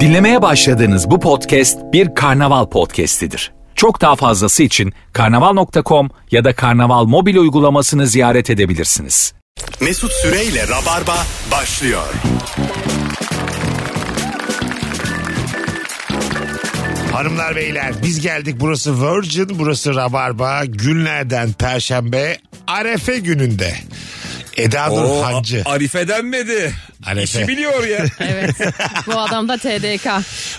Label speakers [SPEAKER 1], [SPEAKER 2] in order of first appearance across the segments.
[SPEAKER 1] Dinlemeye başladığınız bu podcast bir karnaval podcastidir. Çok daha fazlası için karnaval.com ya da karnaval mobil uygulamasını ziyaret edebilirsiniz.
[SPEAKER 2] Mesut Süreyle Rabarba başlıyor.
[SPEAKER 3] Hanımlar beyler biz geldik burası Virgin burası Rabarba günlerden Perşembe Arefe gününde. Eda Nur Hancı.
[SPEAKER 4] Arife denmedi.
[SPEAKER 3] Arefe.
[SPEAKER 4] İşi biliyor ya.
[SPEAKER 5] Evet. Bu adam da TDK.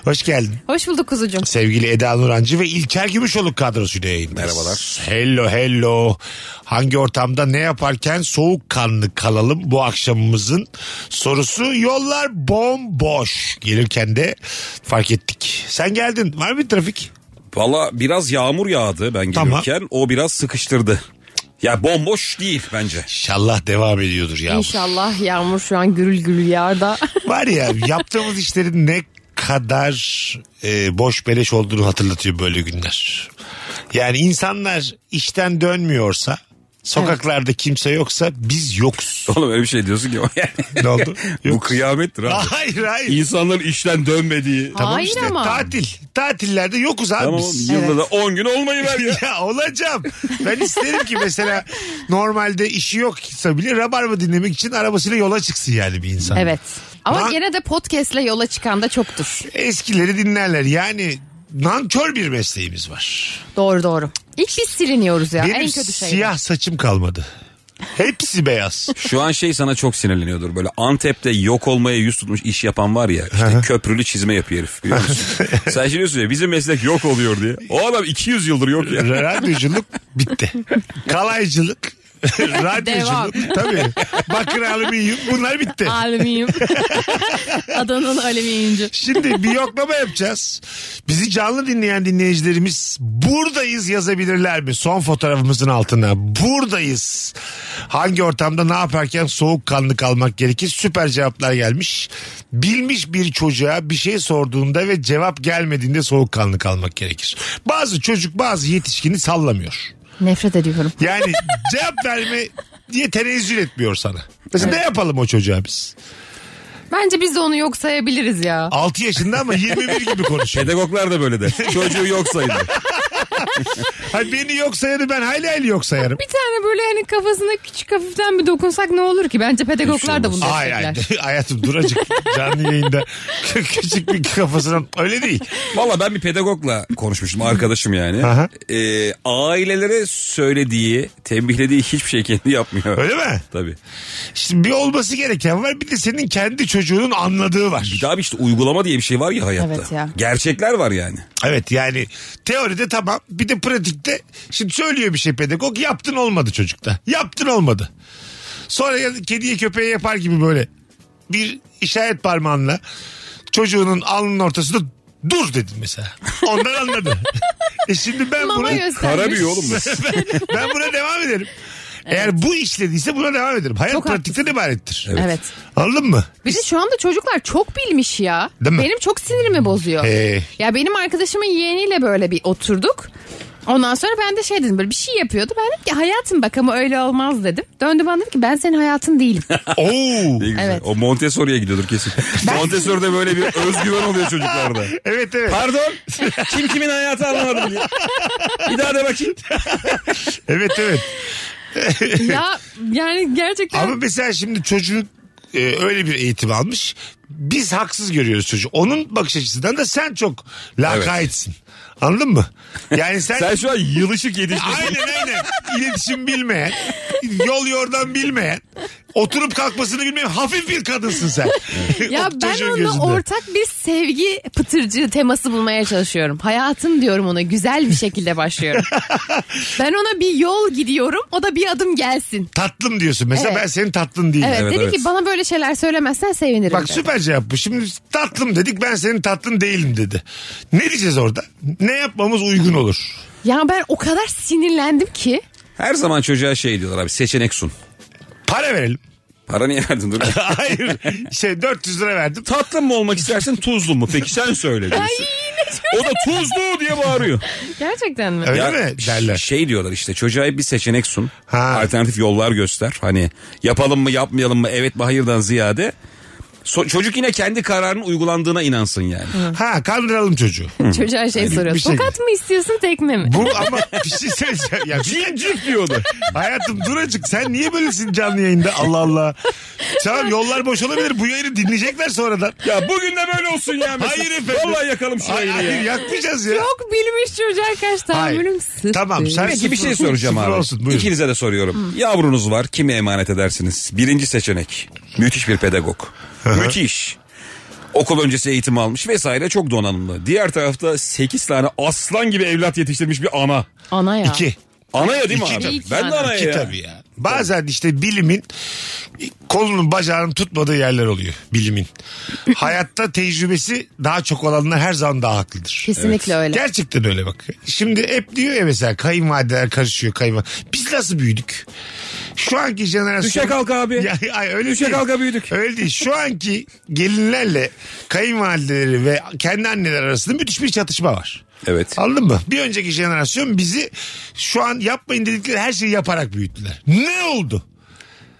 [SPEAKER 3] Hoş geldin.
[SPEAKER 5] Hoş bulduk kuzucuğum.
[SPEAKER 3] Sevgili Eda Nur Hancı ve İlker Gümüşoluk kadrosuyla yayındayız.
[SPEAKER 4] Merhabalar.
[SPEAKER 3] Hello hello. Hangi ortamda ne yaparken soğukkanlı kalalım bu akşamımızın sorusu. Yollar bomboş. Gelirken de fark ettik. Sen geldin. Var mı bir trafik?
[SPEAKER 4] Valla biraz yağmur yağdı ben
[SPEAKER 3] Tamam.
[SPEAKER 4] gelirken. O biraz sıkıştırdı. Ya bomboş değil bence.
[SPEAKER 3] İnşallah devam ediyordur ya.
[SPEAKER 5] İnşallah yağmur şu an gürül gürül yağda.
[SPEAKER 3] Var ya yaptığımız işlerin ne kadar e, boş beleş olduğunu hatırlatıyor böyle günler. Yani insanlar işten dönmüyorsa sokaklarda kimse yoksa biz yokuz.
[SPEAKER 4] Oğlum öyle bir şey diyorsun ki.
[SPEAKER 3] Ne oldu?
[SPEAKER 4] Bu
[SPEAKER 3] Yokuz.
[SPEAKER 4] kıyamettir abi.
[SPEAKER 3] Hayır hayır.
[SPEAKER 4] İnsanların işten dönmediği.
[SPEAKER 5] Hayır
[SPEAKER 3] işte,
[SPEAKER 5] ama.
[SPEAKER 3] Tatil. Tatillerde yokuz abi
[SPEAKER 4] Tamam
[SPEAKER 3] biz.
[SPEAKER 4] yılda da 10 gün olmayı ver ya.
[SPEAKER 3] Ya olacağım. Ben isterim ki mesela normalde işi yoksa bile rabarba dinlemek için arabasıyla yola çıksın yani bir insan.
[SPEAKER 5] evet. Ama
[SPEAKER 3] Lan-
[SPEAKER 5] gene de podcastle yola çıkan da çoktur.
[SPEAKER 3] Eskileri dinlerler. Yani nankör bir mesleğimiz var.
[SPEAKER 5] Doğru doğru. İlk biz siliniyoruz ya.
[SPEAKER 3] Benim
[SPEAKER 5] en kötü şey.
[SPEAKER 3] siyah saçım kalmadı. Hepsi beyaz.
[SPEAKER 4] Şu an şey sana çok sinirleniyordur. Böyle Antep'te yok olmaya yüz tutmuş iş yapan var ya. işte köprülü çizme yapıyor herif biliyor musun? Sen şey diyorsun ya bizim meslek yok oluyor diye. O adam 200 yıldır yok ya.
[SPEAKER 3] Radyoculuk bitti. Kalaycılık. Radyoculuk.
[SPEAKER 5] Devam.
[SPEAKER 3] Tabii. Bakır alüminyum bunlar bitti.
[SPEAKER 5] Alüminyum. Adanın alüminyumcu.
[SPEAKER 3] Şimdi bir yoklama yapacağız. Bizi canlı dinleyen dinleyicilerimiz buradayız yazabilirler mi? Son fotoğrafımızın altına. Buradayız. Hangi ortamda ne yaparken soğukkanlı kalmak gerekir? Süper cevaplar gelmiş. Bilmiş bir çocuğa bir şey sorduğunda ve cevap gelmediğinde soğukkanlı kalmak gerekir. Bazı çocuk bazı yetişkini sallamıyor.
[SPEAKER 5] Nefret ediyorum.
[SPEAKER 3] Yani cevap verme diye tenezzül etmiyor sana. Mesela ne yapalım o çocuğa biz?
[SPEAKER 5] Bence biz de onu yok sayabiliriz ya.
[SPEAKER 3] 6 yaşında ama 21 gibi konuşuyor.
[SPEAKER 4] Pedagoglar da böyle de. Çocuğu yok saydı.
[SPEAKER 3] Hayır beni yok sayarım ben hayli hayli yok sayarım.
[SPEAKER 5] Bir tane böyle hani kafasına küçük hafiften bir dokunsak ne olur ki? Bence pedagoglar da bunu
[SPEAKER 3] Hayır hayır
[SPEAKER 5] destekler.
[SPEAKER 3] hayatım duracık canlı yayında küçük bir kafasına öyle değil.
[SPEAKER 4] Valla ben bir pedagogla konuşmuştum arkadaşım yani.
[SPEAKER 3] Aha.
[SPEAKER 4] Ee, ailelere söylediği, tembihlediği hiçbir şey kendi yapmıyor.
[SPEAKER 3] Öyle mi?
[SPEAKER 4] Tabii.
[SPEAKER 3] Şimdi bir olması gereken var bir de senin kendi çocuğunun anladığı var.
[SPEAKER 4] Bir daha bir işte uygulama diye bir şey var ya hayatta.
[SPEAKER 5] Evet ya.
[SPEAKER 4] Gerçekler var yani.
[SPEAKER 3] Evet yani teoride tamam bir de pratikte şimdi söylüyor bir şey pedagog yaptın olmadı çocukta yaptın olmadı. Sonra ya- kediye köpeğe yapar gibi böyle bir işaret parmağınla çocuğunun alnının ortasında dur dedin mesela. Ondan anladı. e şimdi ben
[SPEAKER 5] Mama
[SPEAKER 3] bunu...
[SPEAKER 5] göstermiş.
[SPEAKER 4] Kara bir oğlum bu.
[SPEAKER 3] ben buna devam ederim. Eğer bu işlediyse buna devam ederim. Hayat
[SPEAKER 5] Çok
[SPEAKER 3] pratikten ibarettir.
[SPEAKER 5] Evet.
[SPEAKER 3] Anladın mı?
[SPEAKER 5] Bir de şu anda çocuklar çok bilmiş ya.
[SPEAKER 3] Değil mi?
[SPEAKER 5] Benim çok sinirimi bozuyor.
[SPEAKER 3] Ee.
[SPEAKER 5] Ya benim arkadaşımın yeğeniyle böyle bir oturduk. Ondan sonra ben de şey dedim böyle bir şey yapıyordu. Ben dedim ki hayatım bak ama öyle olmaz dedim. Döndü bana dedi ki ben senin hayatın değilim.
[SPEAKER 3] Oo.
[SPEAKER 4] Ne güzel.
[SPEAKER 5] Evet.
[SPEAKER 4] O Montessori'ye gidiyordur kesin. Montessori'de böyle bir özgüven oluyor çocuklarda.
[SPEAKER 3] evet evet.
[SPEAKER 4] Pardon. Kim kimin hayatı anlamadım diye. Bir daha da bakayım.
[SPEAKER 3] Evet evet.
[SPEAKER 5] ya yani gerçekten
[SPEAKER 3] Ama mesela şimdi çocuk e, öyle bir eğitim almış. Biz haksız görüyoruz çocuğu. Onun bakış açısından da sen çok lakaytsin. Anladın mı? Yani sen,
[SPEAKER 4] Sen şu an yılışık yetişmişsin.
[SPEAKER 3] aynen aynen iletişim bilmeyen, yol yordan bilmeyen, oturup kalkmasını bilmeyen hafif bir kadınsın sen.
[SPEAKER 5] ya
[SPEAKER 3] O
[SPEAKER 5] ben
[SPEAKER 3] çocuğun
[SPEAKER 5] onunla
[SPEAKER 3] gözünde.
[SPEAKER 5] ortak bir sevgi pıtırcı teması bulmaya çalışıyorum. Hayatım diyorum ona güzel bir şekilde başlıyorum. ben ona bir yol gidiyorum o da bir adım gelsin.
[SPEAKER 3] Tatlım diyorsun. Mesela
[SPEAKER 5] Evet.
[SPEAKER 3] ben senin tatlın değilim.
[SPEAKER 5] Evet,
[SPEAKER 4] Evet,
[SPEAKER 5] dedi
[SPEAKER 4] evet.
[SPEAKER 5] ki bana böyle şeyler söylemezsen sevinirim.
[SPEAKER 3] Bak
[SPEAKER 5] dedi.
[SPEAKER 3] süper cevap bu. Şimdi tatlım dedik ben senin tatlın değilim dedi. Ne diyeceğiz orada? Ne yapmamız uygun olur?
[SPEAKER 5] Ya ben o kadar sinirlendim ki.
[SPEAKER 4] Her zaman çocuğa şey diyorlar abi seçenek sun.
[SPEAKER 3] Para verelim.
[SPEAKER 4] Para niye verdin dur.
[SPEAKER 3] Hayır. Şey 400 lira verdim.
[SPEAKER 4] Tatlı mı olmak istersin tuzlu mu? Peki sen söyle diyorsun. O da tuzlu diye bağırıyor.
[SPEAKER 5] Gerçekten mi?
[SPEAKER 3] Öyle mi
[SPEAKER 4] ş-
[SPEAKER 3] derler?
[SPEAKER 4] Şey diyorlar işte çocuğa hep bir seçenek sun.
[SPEAKER 3] Ha.
[SPEAKER 4] Alternatif yollar göster. Hani yapalım mı yapmayalım mı evet mi hayırdan ziyade. So- çocuk yine kendi kararının uygulandığına inansın yani.
[SPEAKER 3] Ha kandıralım çocuğu.
[SPEAKER 5] Çocuğa şey soruyor.
[SPEAKER 3] bir şey-
[SPEAKER 5] Tokat mı istiyorsun tekme mi?
[SPEAKER 3] Bu ama bir şey söyleyeceğim. Ya, bir-
[SPEAKER 4] Cincik diyordu.
[SPEAKER 3] hayatım dur acık sen niye böylesin canlı yayında Allah Allah. Tamam yollar boş olabilir bu yayını dinleyecekler sonradan.
[SPEAKER 4] ya bugün de böyle olsun ya. mesela.
[SPEAKER 3] Hayır efendim.
[SPEAKER 4] Vallahi yakalım
[SPEAKER 3] Hayır,
[SPEAKER 4] şurayı ya.
[SPEAKER 3] hayır yakmayacağız ya.
[SPEAKER 5] Çok bilmiş çocuğa kaç
[SPEAKER 3] Hayır.
[SPEAKER 5] tahammülüm sıfır.
[SPEAKER 3] Tamam sen
[SPEAKER 4] Peki bir
[SPEAKER 3] sıfır-
[SPEAKER 4] şey soracağım
[SPEAKER 3] sıfır
[SPEAKER 4] abi.
[SPEAKER 3] Olsun, buyurun.
[SPEAKER 4] İkinize de soruyorum. Yavrunuz var. Kime emanet edersiniz? Birinci seçenek. Müthiş bir pedagog. Müthiş. Okul öncesi eğitim almış vesaire çok donanımlı. Diğer tarafta 8 tane aslan gibi evlat yetiştirmiş bir ana.
[SPEAKER 5] Ana ya.
[SPEAKER 3] İki.
[SPEAKER 4] Ana ya değil mi
[SPEAKER 3] İki
[SPEAKER 4] abi?
[SPEAKER 5] tabii. İki
[SPEAKER 4] Ben de
[SPEAKER 5] ana.
[SPEAKER 4] ana
[SPEAKER 3] Ki
[SPEAKER 4] ya.
[SPEAKER 3] tabii ya. Bazen işte bilimin kolunun bacağının tutmadığı yerler oluyor bilimin. Hayatta tecrübesi daha çok olanlar her zaman daha haklıdır.
[SPEAKER 5] Kesinlikle öyle.
[SPEAKER 3] Gerçekten öyle bak. Şimdi hep diyor ya mesela kayınvalideler karışıyor kayınva. Biz nasıl büyüdük? Şu anki jenerasyon...
[SPEAKER 4] Düşe kalk abi.
[SPEAKER 3] Ya, ay, öyle
[SPEAKER 4] Düşe
[SPEAKER 3] değil.
[SPEAKER 4] kalka büyüdük.
[SPEAKER 3] Öyle değil. Şu anki gelinlerle kayınvalideleri ve kendi anneler arasında müthiş bir çatışma var.
[SPEAKER 4] Evet.
[SPEAKER 3] Anladın mı? Bir önceki jenerasyon bizi şu an yapmayın dedikleri her şeyi yaparak büyüttüler. Ne oldu?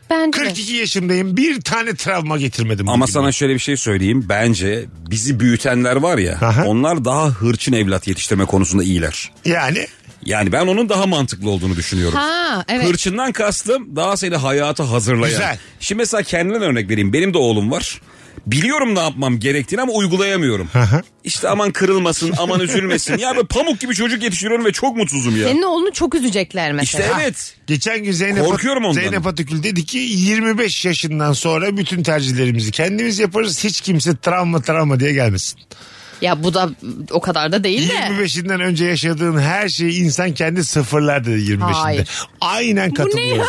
[SPEAKER 5] Bence de.
[SPEAKER 3] 42 yaşındayım. Bir tane travma getirmedim.
[SPEAKER 4] Ama
[SPEAKER 3] bugüne.
[SPEAKER 4] sana şöyle bir şey söyleyeyim. Bence bizi büyütenler var ya
[SPEAKER 3] Aha.
[SPEAKER 4] onlar daha hırçın evlat yetiştirme konusunda iyiler.
[SPEAKER 3] Yani
[SPEAKER 4] Yani ben onun daha mantıklı olduğunu düşünüyorum.
[SPEAKER 5] Ha evet.
[SPEAKER 4] Hırçından kastım daha seni hayata hazırlayan.
[SPEAKER 3] Güzel.
[SPEAKER 4] Şimdi mesela kendimden örnek vereyim. Benim de oğlum var. Biliyorum ne yapmam gerektiğini ama uygulayamıyorum. işte aman kırılmasın, aman üzülmesin. Ya böyle pamuk gibi çocuk yetiştiriyorum ve çok mutsuzum ya.
[SPEAKER 5] Senin oğlunu çok üzecekler mesela.
[SPEAKER 4] İşte evet.
[SPEAKER 3] geçen gün Zeynep,
[SPEAKER 4] Korkuyorum ondan.
[SPEAKER 3] Zeynep Atakül dedi ki 25 yaşından sonra bütün tercihlerimizi kendimiz yaparız. Hiç kimse travma travma diye gelmesin.
[SPEAKER 5] Ya bu da o kadar da değil de.
[SPEAKER 3] 25'inden önce yaşadığın her şeyi insan kendi sıfırlar dedi 25'inde.
[SPEAKER 5] Hayır.
[SPEAKER 3] Aynen
[SPEAKER 5] ne ya?
[SPEAKER 3] katılıyorum.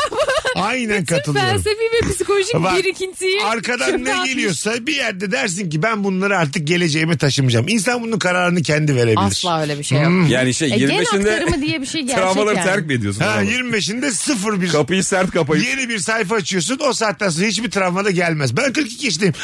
[SPEAKER 3] Aynen katılıyorum.
[SPEAKER 5] Felsefi ve psikolojik
[SPEAKER 3] Bak,
[SPEAKER 5] birikintiyi.
[SPEAKER 3] Arkadan
[SPEAKER 5] çöpe
[SPEAKER 3] ne
[SPEAKER 5] atmış.
[SPEAKER 3] geliyorsa bir yerde dersin ki ben bunları artık geleceğime taşımayacağım. İnsan bunun kararını kendi verebilir.
[SPEAKER 5] Asla öyle bir şey yok.
[SPEAKER 3] Hmm.
[SPEAKER 4] Yani şey
[SPEAKER 5] E, gen
[SPEAKER 4] 25'inde
[SPEAKER 5] aktarımı diye bir şey gerçek
[SPEAKER 4] travmaları
[SPEAKER 5] yani.
[SPEAKER 4] terk mi ediyorsun?
[SPEAKER 3] Ha,
[SPEAKER 4] Bravo.
[SPEAKER 3] 25'inde sıfır bir
[SPEAKER 4] Kapıyı sert kapayıp.
[SPEAKER 3] yeni bir sayfa açıyorsun. O saatten sonra hiçbir travma da gelmez. Ben 42 yaşındayım.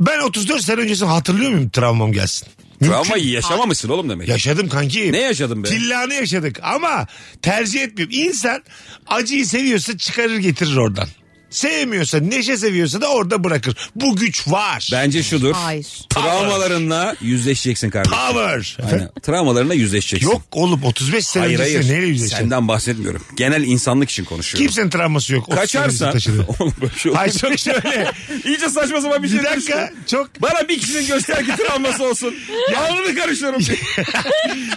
[SPEAKER 3] Ben 34 sene öncesini hatırlıyor muyum travmam gelsin?
[SPEAKER 4] Travmayı yaşamamışsın oğlum demek.
[SPEAKER 3] Yaşadım kanki.
[SPEAKER 4] Ne yaşadın be?
[SPEAKER 3] Tillanı yaşadık ama tercih etmiyorum. İnsan acıyı seviyorsa çıkarır getirir oradan. Sevmiyorsa, neşe seviyorsa da orada bırakır. Bu güç var.
[SPEAKER 4] Bence şudur.
[SPEAKER 5] Hayır.
[SPEAKER 4] Travmalarınla yüzleşeceksin kardeşim.
[SPEAKER 3] Power.
[SPEAKER 4] Aynen. Travmalarınla yüzleşeceksin.
[SPEAKER 3] Yok oğlum 35 sene
[SPEAKER 4] Hayır
[SPEAKER 3] öncesinde
[SPEAKER 4] hayır.
[SPEAKER 3] neyle yüzleşeceksin?
[SPEAKER 4] Senden bahsetmiyorum. Genel insanlık için konuşuyorum.
[SPEAKER 3] Kimsenin travması yok. 35 sene
[SPEAKER 4] Kaçarsa.
[SPEAKER 3] taşıdı.
[SPEAKER 4] Oğlum böyle bir şey olur.
[SPEAKER 3] Ay çok şöyle.
[SPEAKER 4] İyice saçma sapan bir şey
[SPEAKER 3] Bir dakika
[SPEAKER 4] dönüştü.
[SPEAKER 3] çok
[SPEAKER 4] Bana bir kişinin göster ki travması olsun. Alnını karıştırıyorum.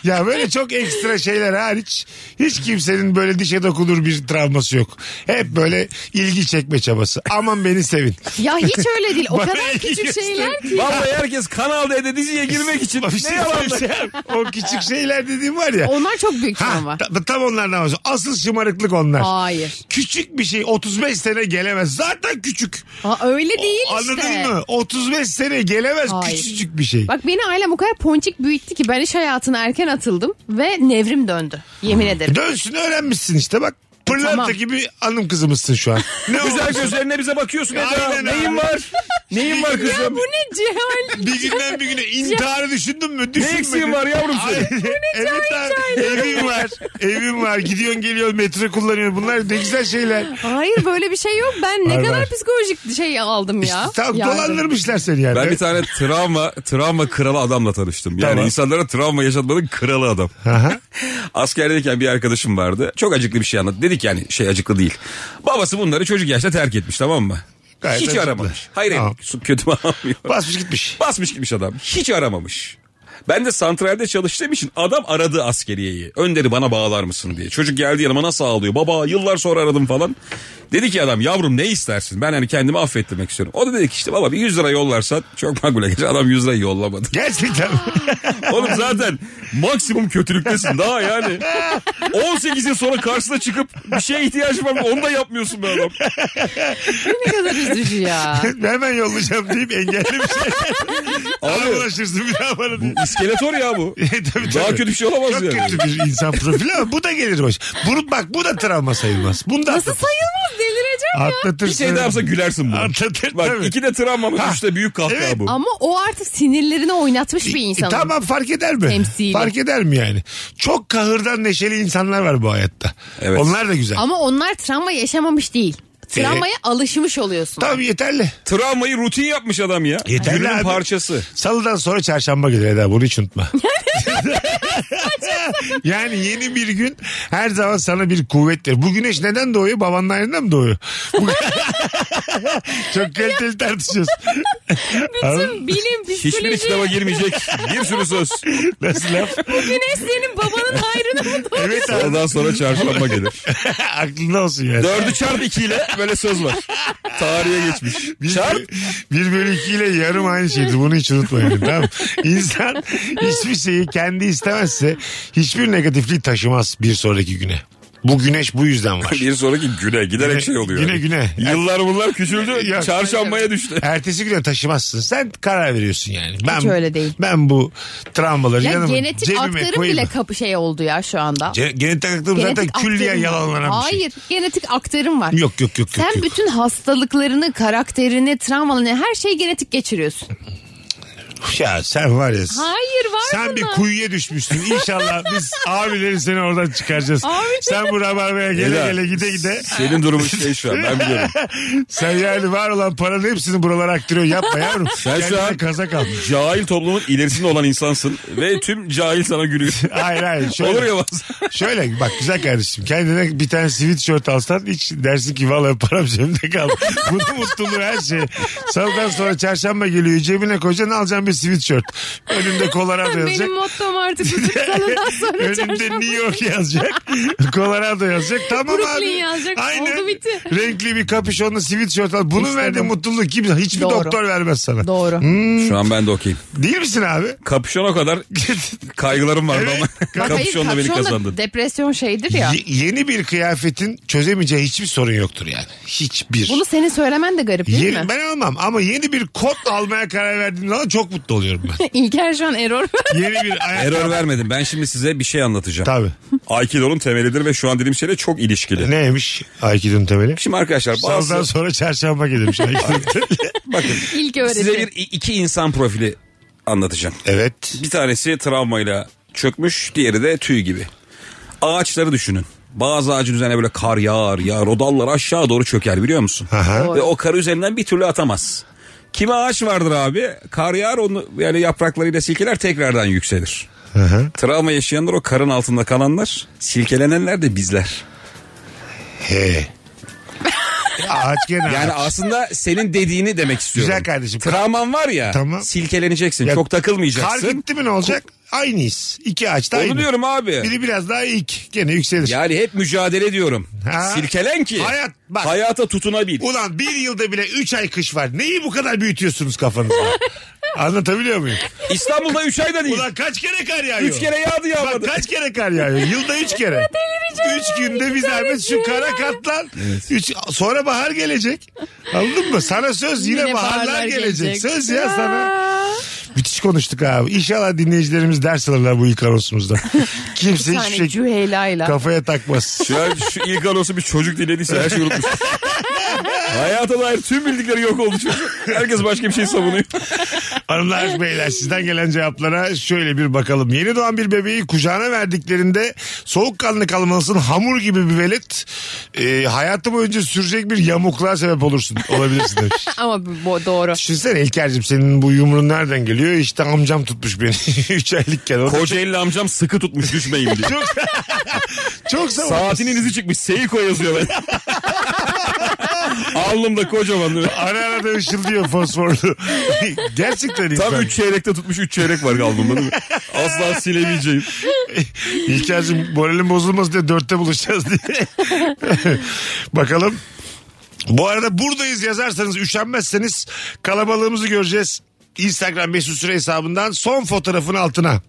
[SPEAKER 3] ya böyle çok ekstra şeyler hariç hiç kimsenin böyle dişe dokunur bir travması yok. Hep böyle ilgi çekme çabası. Aman beni sevin.
[SPEAKER 5] Ya hiç öyle değil. O
[SPEAKER 3] Bana
[SPEAKER 5] kadar küçük
[SPEAKER 3] göster.
[SPEAKER 5] şeyler ki.
[SPEAKER 4] Vallahi herkes Kanal D'de diziye girmek için
[SPEAKER 3] Bir şey
[SPEAKER 4] ne yalan da-
[SPEAKER 3] söyleyeceğim. O küçük şeyler dediğim var ya.
[SPEAKER 5] Onlar çok büyük
[SPEAKER 3] Ha,
[SPEAKER 5] travma.
[SPEAKER 3] ta- tam onlardan bahsediyorum. Asıl şımarıklık onlar.
[SPEAKER 5] Hayır.
[SPEAKER 3] Küçük bir şey 35 sene gelemez. Zaten küçük.
[SPEAKER 5] Ha, öyle değil işte.
[SPEAKER 3] Anladın mı? 35 sene gelemez
[SPEAKER 5] Hayır.
[SPEAKER 3] küçücük bir şey.
[SPEAKER 5] Bak beni ailem o kadar ponçik büyüttü ki ben iş hayatına erken atıldım ve nevrim döndü. Yemin ederim.
[SPEAKER 3] E, Dönsün öğrenmişsin işte bak. Pırlanta
[SPEAKER 5] Tamam.
[SPEAKER 3] gibi hanım kızımızsın şu an. Ne
[SPEAKER 4] Güzel
[SPEAKER 3] olursun.
[SPEAKER 4] gözlerine bize bakıyorsun.
[SPEAKER 3] Aynen
[SPEAKER 4] Eda.
[SPEAKER 3] abi.
[SPEAKER 4] Neyin var? Neyin var kızım?
[SPEAKER 5] Bu ne cehal.
[SPEAKER 3] Bir günden bir güne intiharı düşündün mü? Düşünmedin.
[SPEAKER 4] eksiğin var yavrum senin?
[SPEAKER 3] Ay, evet abi evim var. Evim var. Gidiyorsun geliyorsun metro kullanıyorsun. Bunlar ne güzel şeyler.
[SPEAKER 5] Hayır böyle bir şey yok. Ben ne
[SPEAKER 3] Var,
[SPEAKER 5] kadar
[SPEAKER 3] var.
[SPEAKER 5] psikolojik şey aldım
[SPEAKER 3] İşte
[SPEAKER 5] ya.
[SPEAKER 3] tam
[SPEAKER 5] Yardım.
[SPEAKER 3] dolandırmışlar seni yani.
[SPEAKER 4] Ben bir tane travma travma kralı adamla tanıştım. Yani
[SPEAKER 3] Tamam.
[SPEAKER 4] insanlara travma yaşatmanın kralı adam.
[SPEAKER 3] Aha.
[SPEAKER 4] Askerdeyken bir arkadaşım vardı. Çok acıklı bir şey anlattı. Dedik yani şey acıklı değil. Babası bunları çocuk yaşta terk etmiş tamam mı?
[SPEAKER 3] Gayet
[SPEAKER 4] Hiç
[SPEAKER 3] acıklı.
[SPEAKER 4] aramamış. Hayır
[SPEAKER 3] Tamam.
[SPEAKER 4] hayır, kötü mü anlamıyor.
[SPEAKER 3] Basmış gitmiş.
[SPEAKER 4] Basmış gitmiş adam. Hiç aramamış. Ben de santralde çalıştığım için adam aradı askeriyeyi. Önder'i bana bağlar mısın diye. Çocuk geldi yanıma nasıl ağlıyor? Baba yıllar sonra aradım falan. Dedi ki adam yavrum ne istersin? Ben hani kendimi affettirmek istiyorum. O da dedi ki işte baba bir 100 lira yollarsan çok makbule geçer. Adam 100 lira yollamadı.
[SPEAKER 3] Gerçekten.
[SPEAKER 4] Oğlum zaten maksimum kötülüktesin daha yani. 18 yıl sonra karşısına çıkıp bir şeye ihtiyaç var mı onu da yapmıyorsun be adam.
[SPEAKER 5] Ne kadar üzücü ya.
[SPEAKER 3] Hemen yollayacağım deyip engellemiş. Bana
[SPEAKER 4] Abi
[SPEAKER 3] ulaşırsın bir daha bana diye.
[SPEAKER 4] iskeletor ya bu.
[SPEAKER 3] Tabii,
[SPEAKER 4] Daha
[SPEAKER 3] tabii.
[SPEAKER 4] kötü bir şey olamaz
[SPEAKER 3] Çok
[SPEAKER 4] yani.
[SPEAKER 3] kötü bir insan profili ama bu da gelir baş. Bunu bak bu da travma sayılmaz. Bunu da
[SPEAKER 5] Nasıl sayılmaz delireceğim ya.
[SPEAKER 3] atlatırsın.
[SPEAKER 4] Bir şey daha yapsa gülersin bunu.
[SPEAKER 3] Atlatır
[SPEAKER 4] Bak
[SPEAKER 3] tabii.
[SPEAKER 4] iki de travmamış
[SPEAKER 3] Ha,
[SPEAKER 4] üçte büyük kahkaha
[SPEAKER 3] evet.
[SPEAKER 4] bu.
[SPEAKER 5] Ama o artık sinirlerini oynatmış bir insan.
[SPEAKER 3] E, tamam fark eder mi?
[SPEAKER 5] Temsili.
[SPEAKER 3] Fark eder mi yani? Çok kahırdan neşeli insanlar var bu hayatta.
[SPEAKER 4] Evet.
[SPEAKER 3] Onlar da güzel.
[SPEAKER 5] Ama onlar travma yaşamamış değil.
[SPEAKER 3] Ee,
[SPEAKER 5] Travmaya alışmış oluyorsun.
[SPEAKER 3] Tamam yeterli.
[SPEAKER 4] Travmayı rutin yapmış adam ya.
[SPEAKER 3] Yeterli
[SPEAKER 4] Günün
[SPEAKER 3] abi.
[SPEAKER 4] parçası.
[SPEAKER 3] Salıdan sonra çarşamba gelir Eda bunu hiç unutma. yani yeni bir gün her zaman sana bir kuvvettir. Bu güneş neden doğuyor? Babanın ayrında mı doğuyor? Bu- Çok kaliteli tartışıyoruz. Anladın
[SPEAKER 5] Bütün bilim,
[SPEAKER 4] Hiçbir
[SPEAKER 5] psikoloji,
[SPEAKER 4] kitaba girmeyecek. Bir sürü söz.
[SPEAKER 3] mı? Nasıl laf?
[SPEAKER 5] güneş senin babanın hayrına mı doğdu?
[SPEAKER 3] Evet abi.
[SPEAKER 4] Ondan sonra çarşamba gelir.
[SPEAKER 3] Aklında olsun yani.
[SPEAKER 4] Dördü çarp ikiyle böyle söz var. Tarihe geçmiş.
[SPEAKER 3] Bir,
[SPEAKER 4] Çarp.
[SPEAKER 3] bir bölü iki ile yarım aynı şeydir. Bunu hiç unutmayın. tamam. mı? İnsan hiçbir şeyi kendi istemezse hiçbir negatifliği taşımaz bir sonraki güne. Bu güneş bu yüzden var.
[SPEAKER 4] Bir sonraki güne giderek
[SPEAKER 3] Güne-
[SPEAKER 4] şey oluyor.
[SPEAKER 3] güne güne.
[SPEAKER 4] Yıllar bunlar küçüldü.
[SPEAKER 3] Yok.
[SPEAKER 4] çarşambaya düştü.
[SPEAKER 3] Ertesi güne taşımazsın. Sen karar veriyorsun yani. Ben,
[SPEAKER 5] öyle değil.
[SPEAKER 3] Ben bu travmaları
[SPEAKER 5] Ya
[SPEAKER 3] yanıma
[SPEAKER 5] genetik
[SPEAKER 3] cebime
[SPEAKER 5] aktarım
[SPEAKER 3] koyayım.
[SPEAKER 5] bile kapı şey oldu ya şu anda.
[SPEAKER 3] Ce- genetik aktarım zaten
[SPEAKER 5] Genetik
[SPEAKER 3] külliyen
[SPEAKER 5] aktarım var.
[SPEAKER 3] yalanlanan bir şey.
[SPEAKER 5] Hayır genetik aktarım var.
[SPEAKER 3] Yok yok yok.
[SPEAKER 5] Sen
[SPEAKER 3] yok, yok.
[SPEAKER 5] bütün hastalıklarını, karakterini, travmalarını her şeyi genetik geçiriyorsun.
[SPEAKER 3] Ya sen var ya.
[SPEAKER 5] Hayır var
[SPEAKER 3] Sen
[SPEAKER 5] buna.
[SPEAKER 3] bir kuyuya düşmüşsün. İnşallah biz abileri seni oradan çıkaracağız.
[SPEAKER 5] Abi.
[SPEAKER 3] Sen bu rabarbaya gele
[SPEAKER 4] Eda,
[SPEAKER 3] gele gide gide.
[SPEAKER 4] Senin durumun şey şu an ben biliyorum.
[SPEAKER 3] Sen yani var olan paranın hepsini buralara aktırıyor. Yapma yavrum.
[SPEAKER 4] Sen şu
[SPEAKER 3] Kendine
[SPEAKER 4] an-
[SPEAKER 3] kazak al.
[SPEAKER 4] Cahil toplumun ilerisinde olan insansın ve tüm cahil sana gülüyor.
[SPEAKER 3] Hayır hayır. Şöyle,
[SPEAKER 4] Olur ya bazen.
[SPEAKER 3] Şöyle bak güzel kardeşim kendine bir tane sweatshirt alsan hiç dersin ki vallahi param cebimde kaldı. Bunun mutluluğu her şey. Salıdan sonra çarşamba geliyor cebine koyacaksın alacaksın bir sweatshirt. Önünde Colorado yazacak.
[SPEAKER 5] Benim mottom artık bu salıdan sonra
[SPEAKER 3] Önünde
[SPEAKER 5] çarşamba.
[SPEAKER 3] New York yazacak. Colorado yazacak. Tamam
[SPEAKER 5] Brooklyn
[SPEAKER 3] abi.
[SPEAKER 5] yazacak. Oldu bitti.
[SPEAKER 3] Renkli bir kapüşonlu sweatshirt'la bunun
[SPEAKER 5] İşte
[SPEAKER 3] verdiği
[SPEAKER 5] bu.
[SPEAKER 3] mutluluk gibi hiçbir
[SPEAKER 5] Doğru.
[SPEAKER 3] doktor vermez sana.
[SPEAKER 5] Doğru.
[SPEAKER 4] Şu an ben de okuyayım.
[SPEAKER 3] Değil misin abi?
[SPEAKER 4] Kapüşona kadar kaygılarım vardı
[SPEAKER 3] Evet.
[SPEAKER 4] ama
[SPEAKER 5] Bak, hayır,
[SPEAKER 4] kapüşonla beni
[SPEAKER 5] kapşonla
[SPEAKER 4] kazandın.
[SPEAKER 5] Depresyon şeydir ya.
[SPEAKER 3] Ye- yeni bir kıyafetin çözemeyeceği hiçbir sorun yoktur yani. Hiçbir.
[SPEAKER 5] Bunu senin söylemen de garip değil
[SPEAKER 3] Yeni-
[SPEAKER 5] mi?
[SPEAKER 3] ben almam ama yeni bir kot almaya karar verdiğim zaman çok mutlu oluyorum ben.
[SPEAKER 5] İlker şu an error.
[SPEAKER 3] Yeni bir ayakkabı.
[SPEAKER 4] Error vermedim. Ben şimdi size bir şey anlatacağım.
[SPEAKER 3] Tabii.
[SPEAKER 4] Aikido'nun temelidir ve şu an dediğim şeyle çok ilişkili.
[SPEAKER 3] Neymiş Aikido'nun temeli?
[SPEAKER 4] Şimdi arkadaşlar
[SPEAKER 3] Salıdan
[SPEAKER 4] bazı
[SPEAKER 3] sonra çarşamba gelirmiş Aikido'nun temeli.
[SPEAKER 4] bakın
[SPEAKER 5] İlk öğretim.
[SPEAKER 4] size bir iki insan profili anlatacağım.
[SPEAKER 3] evet.
[SPEAKER 4] Bir tanesi travmayla çökmüş, diğeri de tüy gibi. Ağaçları düşünün. Bazı ağacın üzerine böyle kar yağar, yağar. O dallar aşağı doğru çöker biliyor musun?
[SPEAKER 3] Aha.
[SPEAKER 4] Ve o karı üzerinden bir türlü atamaz. Kimi ağaç vardır abi? Kar yağar onu yani yapraklarıyla silkeler tekrardan yükselir.
[SPEAKER 3] Aha.
[SPEAKER 4] Travma yaşayanlar o karın altında kalanlar, silkelenenler de bizler.
[SPEAKER 3] He. Ağaç gene
[SPEAKER 4] Yani
[SPEAKER 3] ağaç.
[SPEAKER 4] aslında senin dediğini demek istiyorum.
[SPEAKER 3] Güzel kardeşim.
[SPEAKER 4] Travman var ya
[SPEAKER 3] Tamam.
[SPEAKER 4] silkeleneceksin,
[SPEAKER 3] Ya,
[SPEAKER 4] çok
[SPEAKER 3] Kar
[SPEAKER 4] takılmayacaksın.
[SPEAKER 3] gitti mi ne olacak? Aynıyız. İki ağaç da aynı.
[SPEAKER 4] Onu diyorum abi.
[SPEAKER 3] Biri biraz daha ilk. Gene yükselir.
[SPEAKER 4] Yani hep mücadele diyorum.
[SPEAKER 3] Ha.
[SPEAKER 4] Silkelen ki
[SPEAKER 3] Hayat, bak.
[SPEAKER 4] hayata tutunabil.
[SPEAKER 3] Ulan bir yılda bile üç ay kış var. Neyi bu kadar büyütüyorsunuz kafanızda? Anlatabiliyor muyum?
[SPEAKER 4] İstanbul'da 3 ayda değil.
[SPEAKER 3] Ulan kaç kere kar yağıyor?
[SPEAKER 4] 3 kere yağdı
[SPEAKER 3] Bak
[SPEAKER 4] yağmadı.
[SPEAKER 3] kaç kere kar yağıyor? Yılda üç kere. üç günde bir zahmet şu kara katlan. Üç, sonra bahar gelecek. Anladın mı? Sana söz yine,
[SPEAKER 5] Yine
[SPEAKER 3] baharlar,
[SPEAKER 5] baharlar
[SPEAKER 3] gelecek.
[SPEAKER 5] gelecek.
[SPEAKER 3] Söz ya sana. Müthiş konuştuk abi. İnşallah dinleyicilerimiz ders alırlar bu ilk anonsumuzda. Kimse
[SPEAKER 5] Bir
[SPEAKER 3] hiçbir
[SPEAKER 5] tane
[SPEAKER 3] şey
[SPEAKER 5] Cüheyla'yla.
[SPEAKER 3] kafaya takmaz.
[SPEAKER 4] Şu, an, şu ilk anonsu bir çocuk dinlediyse her şeyi unutmuş. Hayata dair tüm bildikleri yok oldu çocuk. Herkes başka bir şey savunuyor.
[SPEAKER 3] Hanımlar beyler sizden gelen cevaplara şöyle bir bakalım. Yeni doğan bir bebeği kucağına verdiklerinde soğukkanlı kalmalısın hamur gibi bir velet e, hayatı boyunca sürecek bir yamukluğa sebep olursun. Olabilirsin demiş.
[SPEAKER 5] Ama bu- bu doğru.
[SPEAKER 3] Düşünsene İlker'cim senin bu yumruğun nereden geliyor? İşte amcam tutmuş beni 3 aylıkken. O da
[SPEAKER 4] Kocaeli amcam sıkı tutmuş düşmeyin diye.
[SPEAKER 3] Çok, çok savun.
[SPEAKER 4] Saatinin izi çıkmış. Seiko yazıyor ben. Alnımda kocaman.
[SPEAKER 3] Ara ara da ışıldıyor fosforlu. Gerçekten insan.
[SPEAKER 4] Tam 3 çeyrekte tutmuş 3 çeyrek var alnımda değil mi? Asla silemeyeceğim.
[SPEAKER 3] İlker'cim moralim bozulmasın diye dörtte buluşacağız diye. Bakalım. Bu arada buradayız yazarsanız üşenmezseniz kalabalığımızı göreceğiz. Instagram Mesut Süre hesabından son fotoğrafın altına.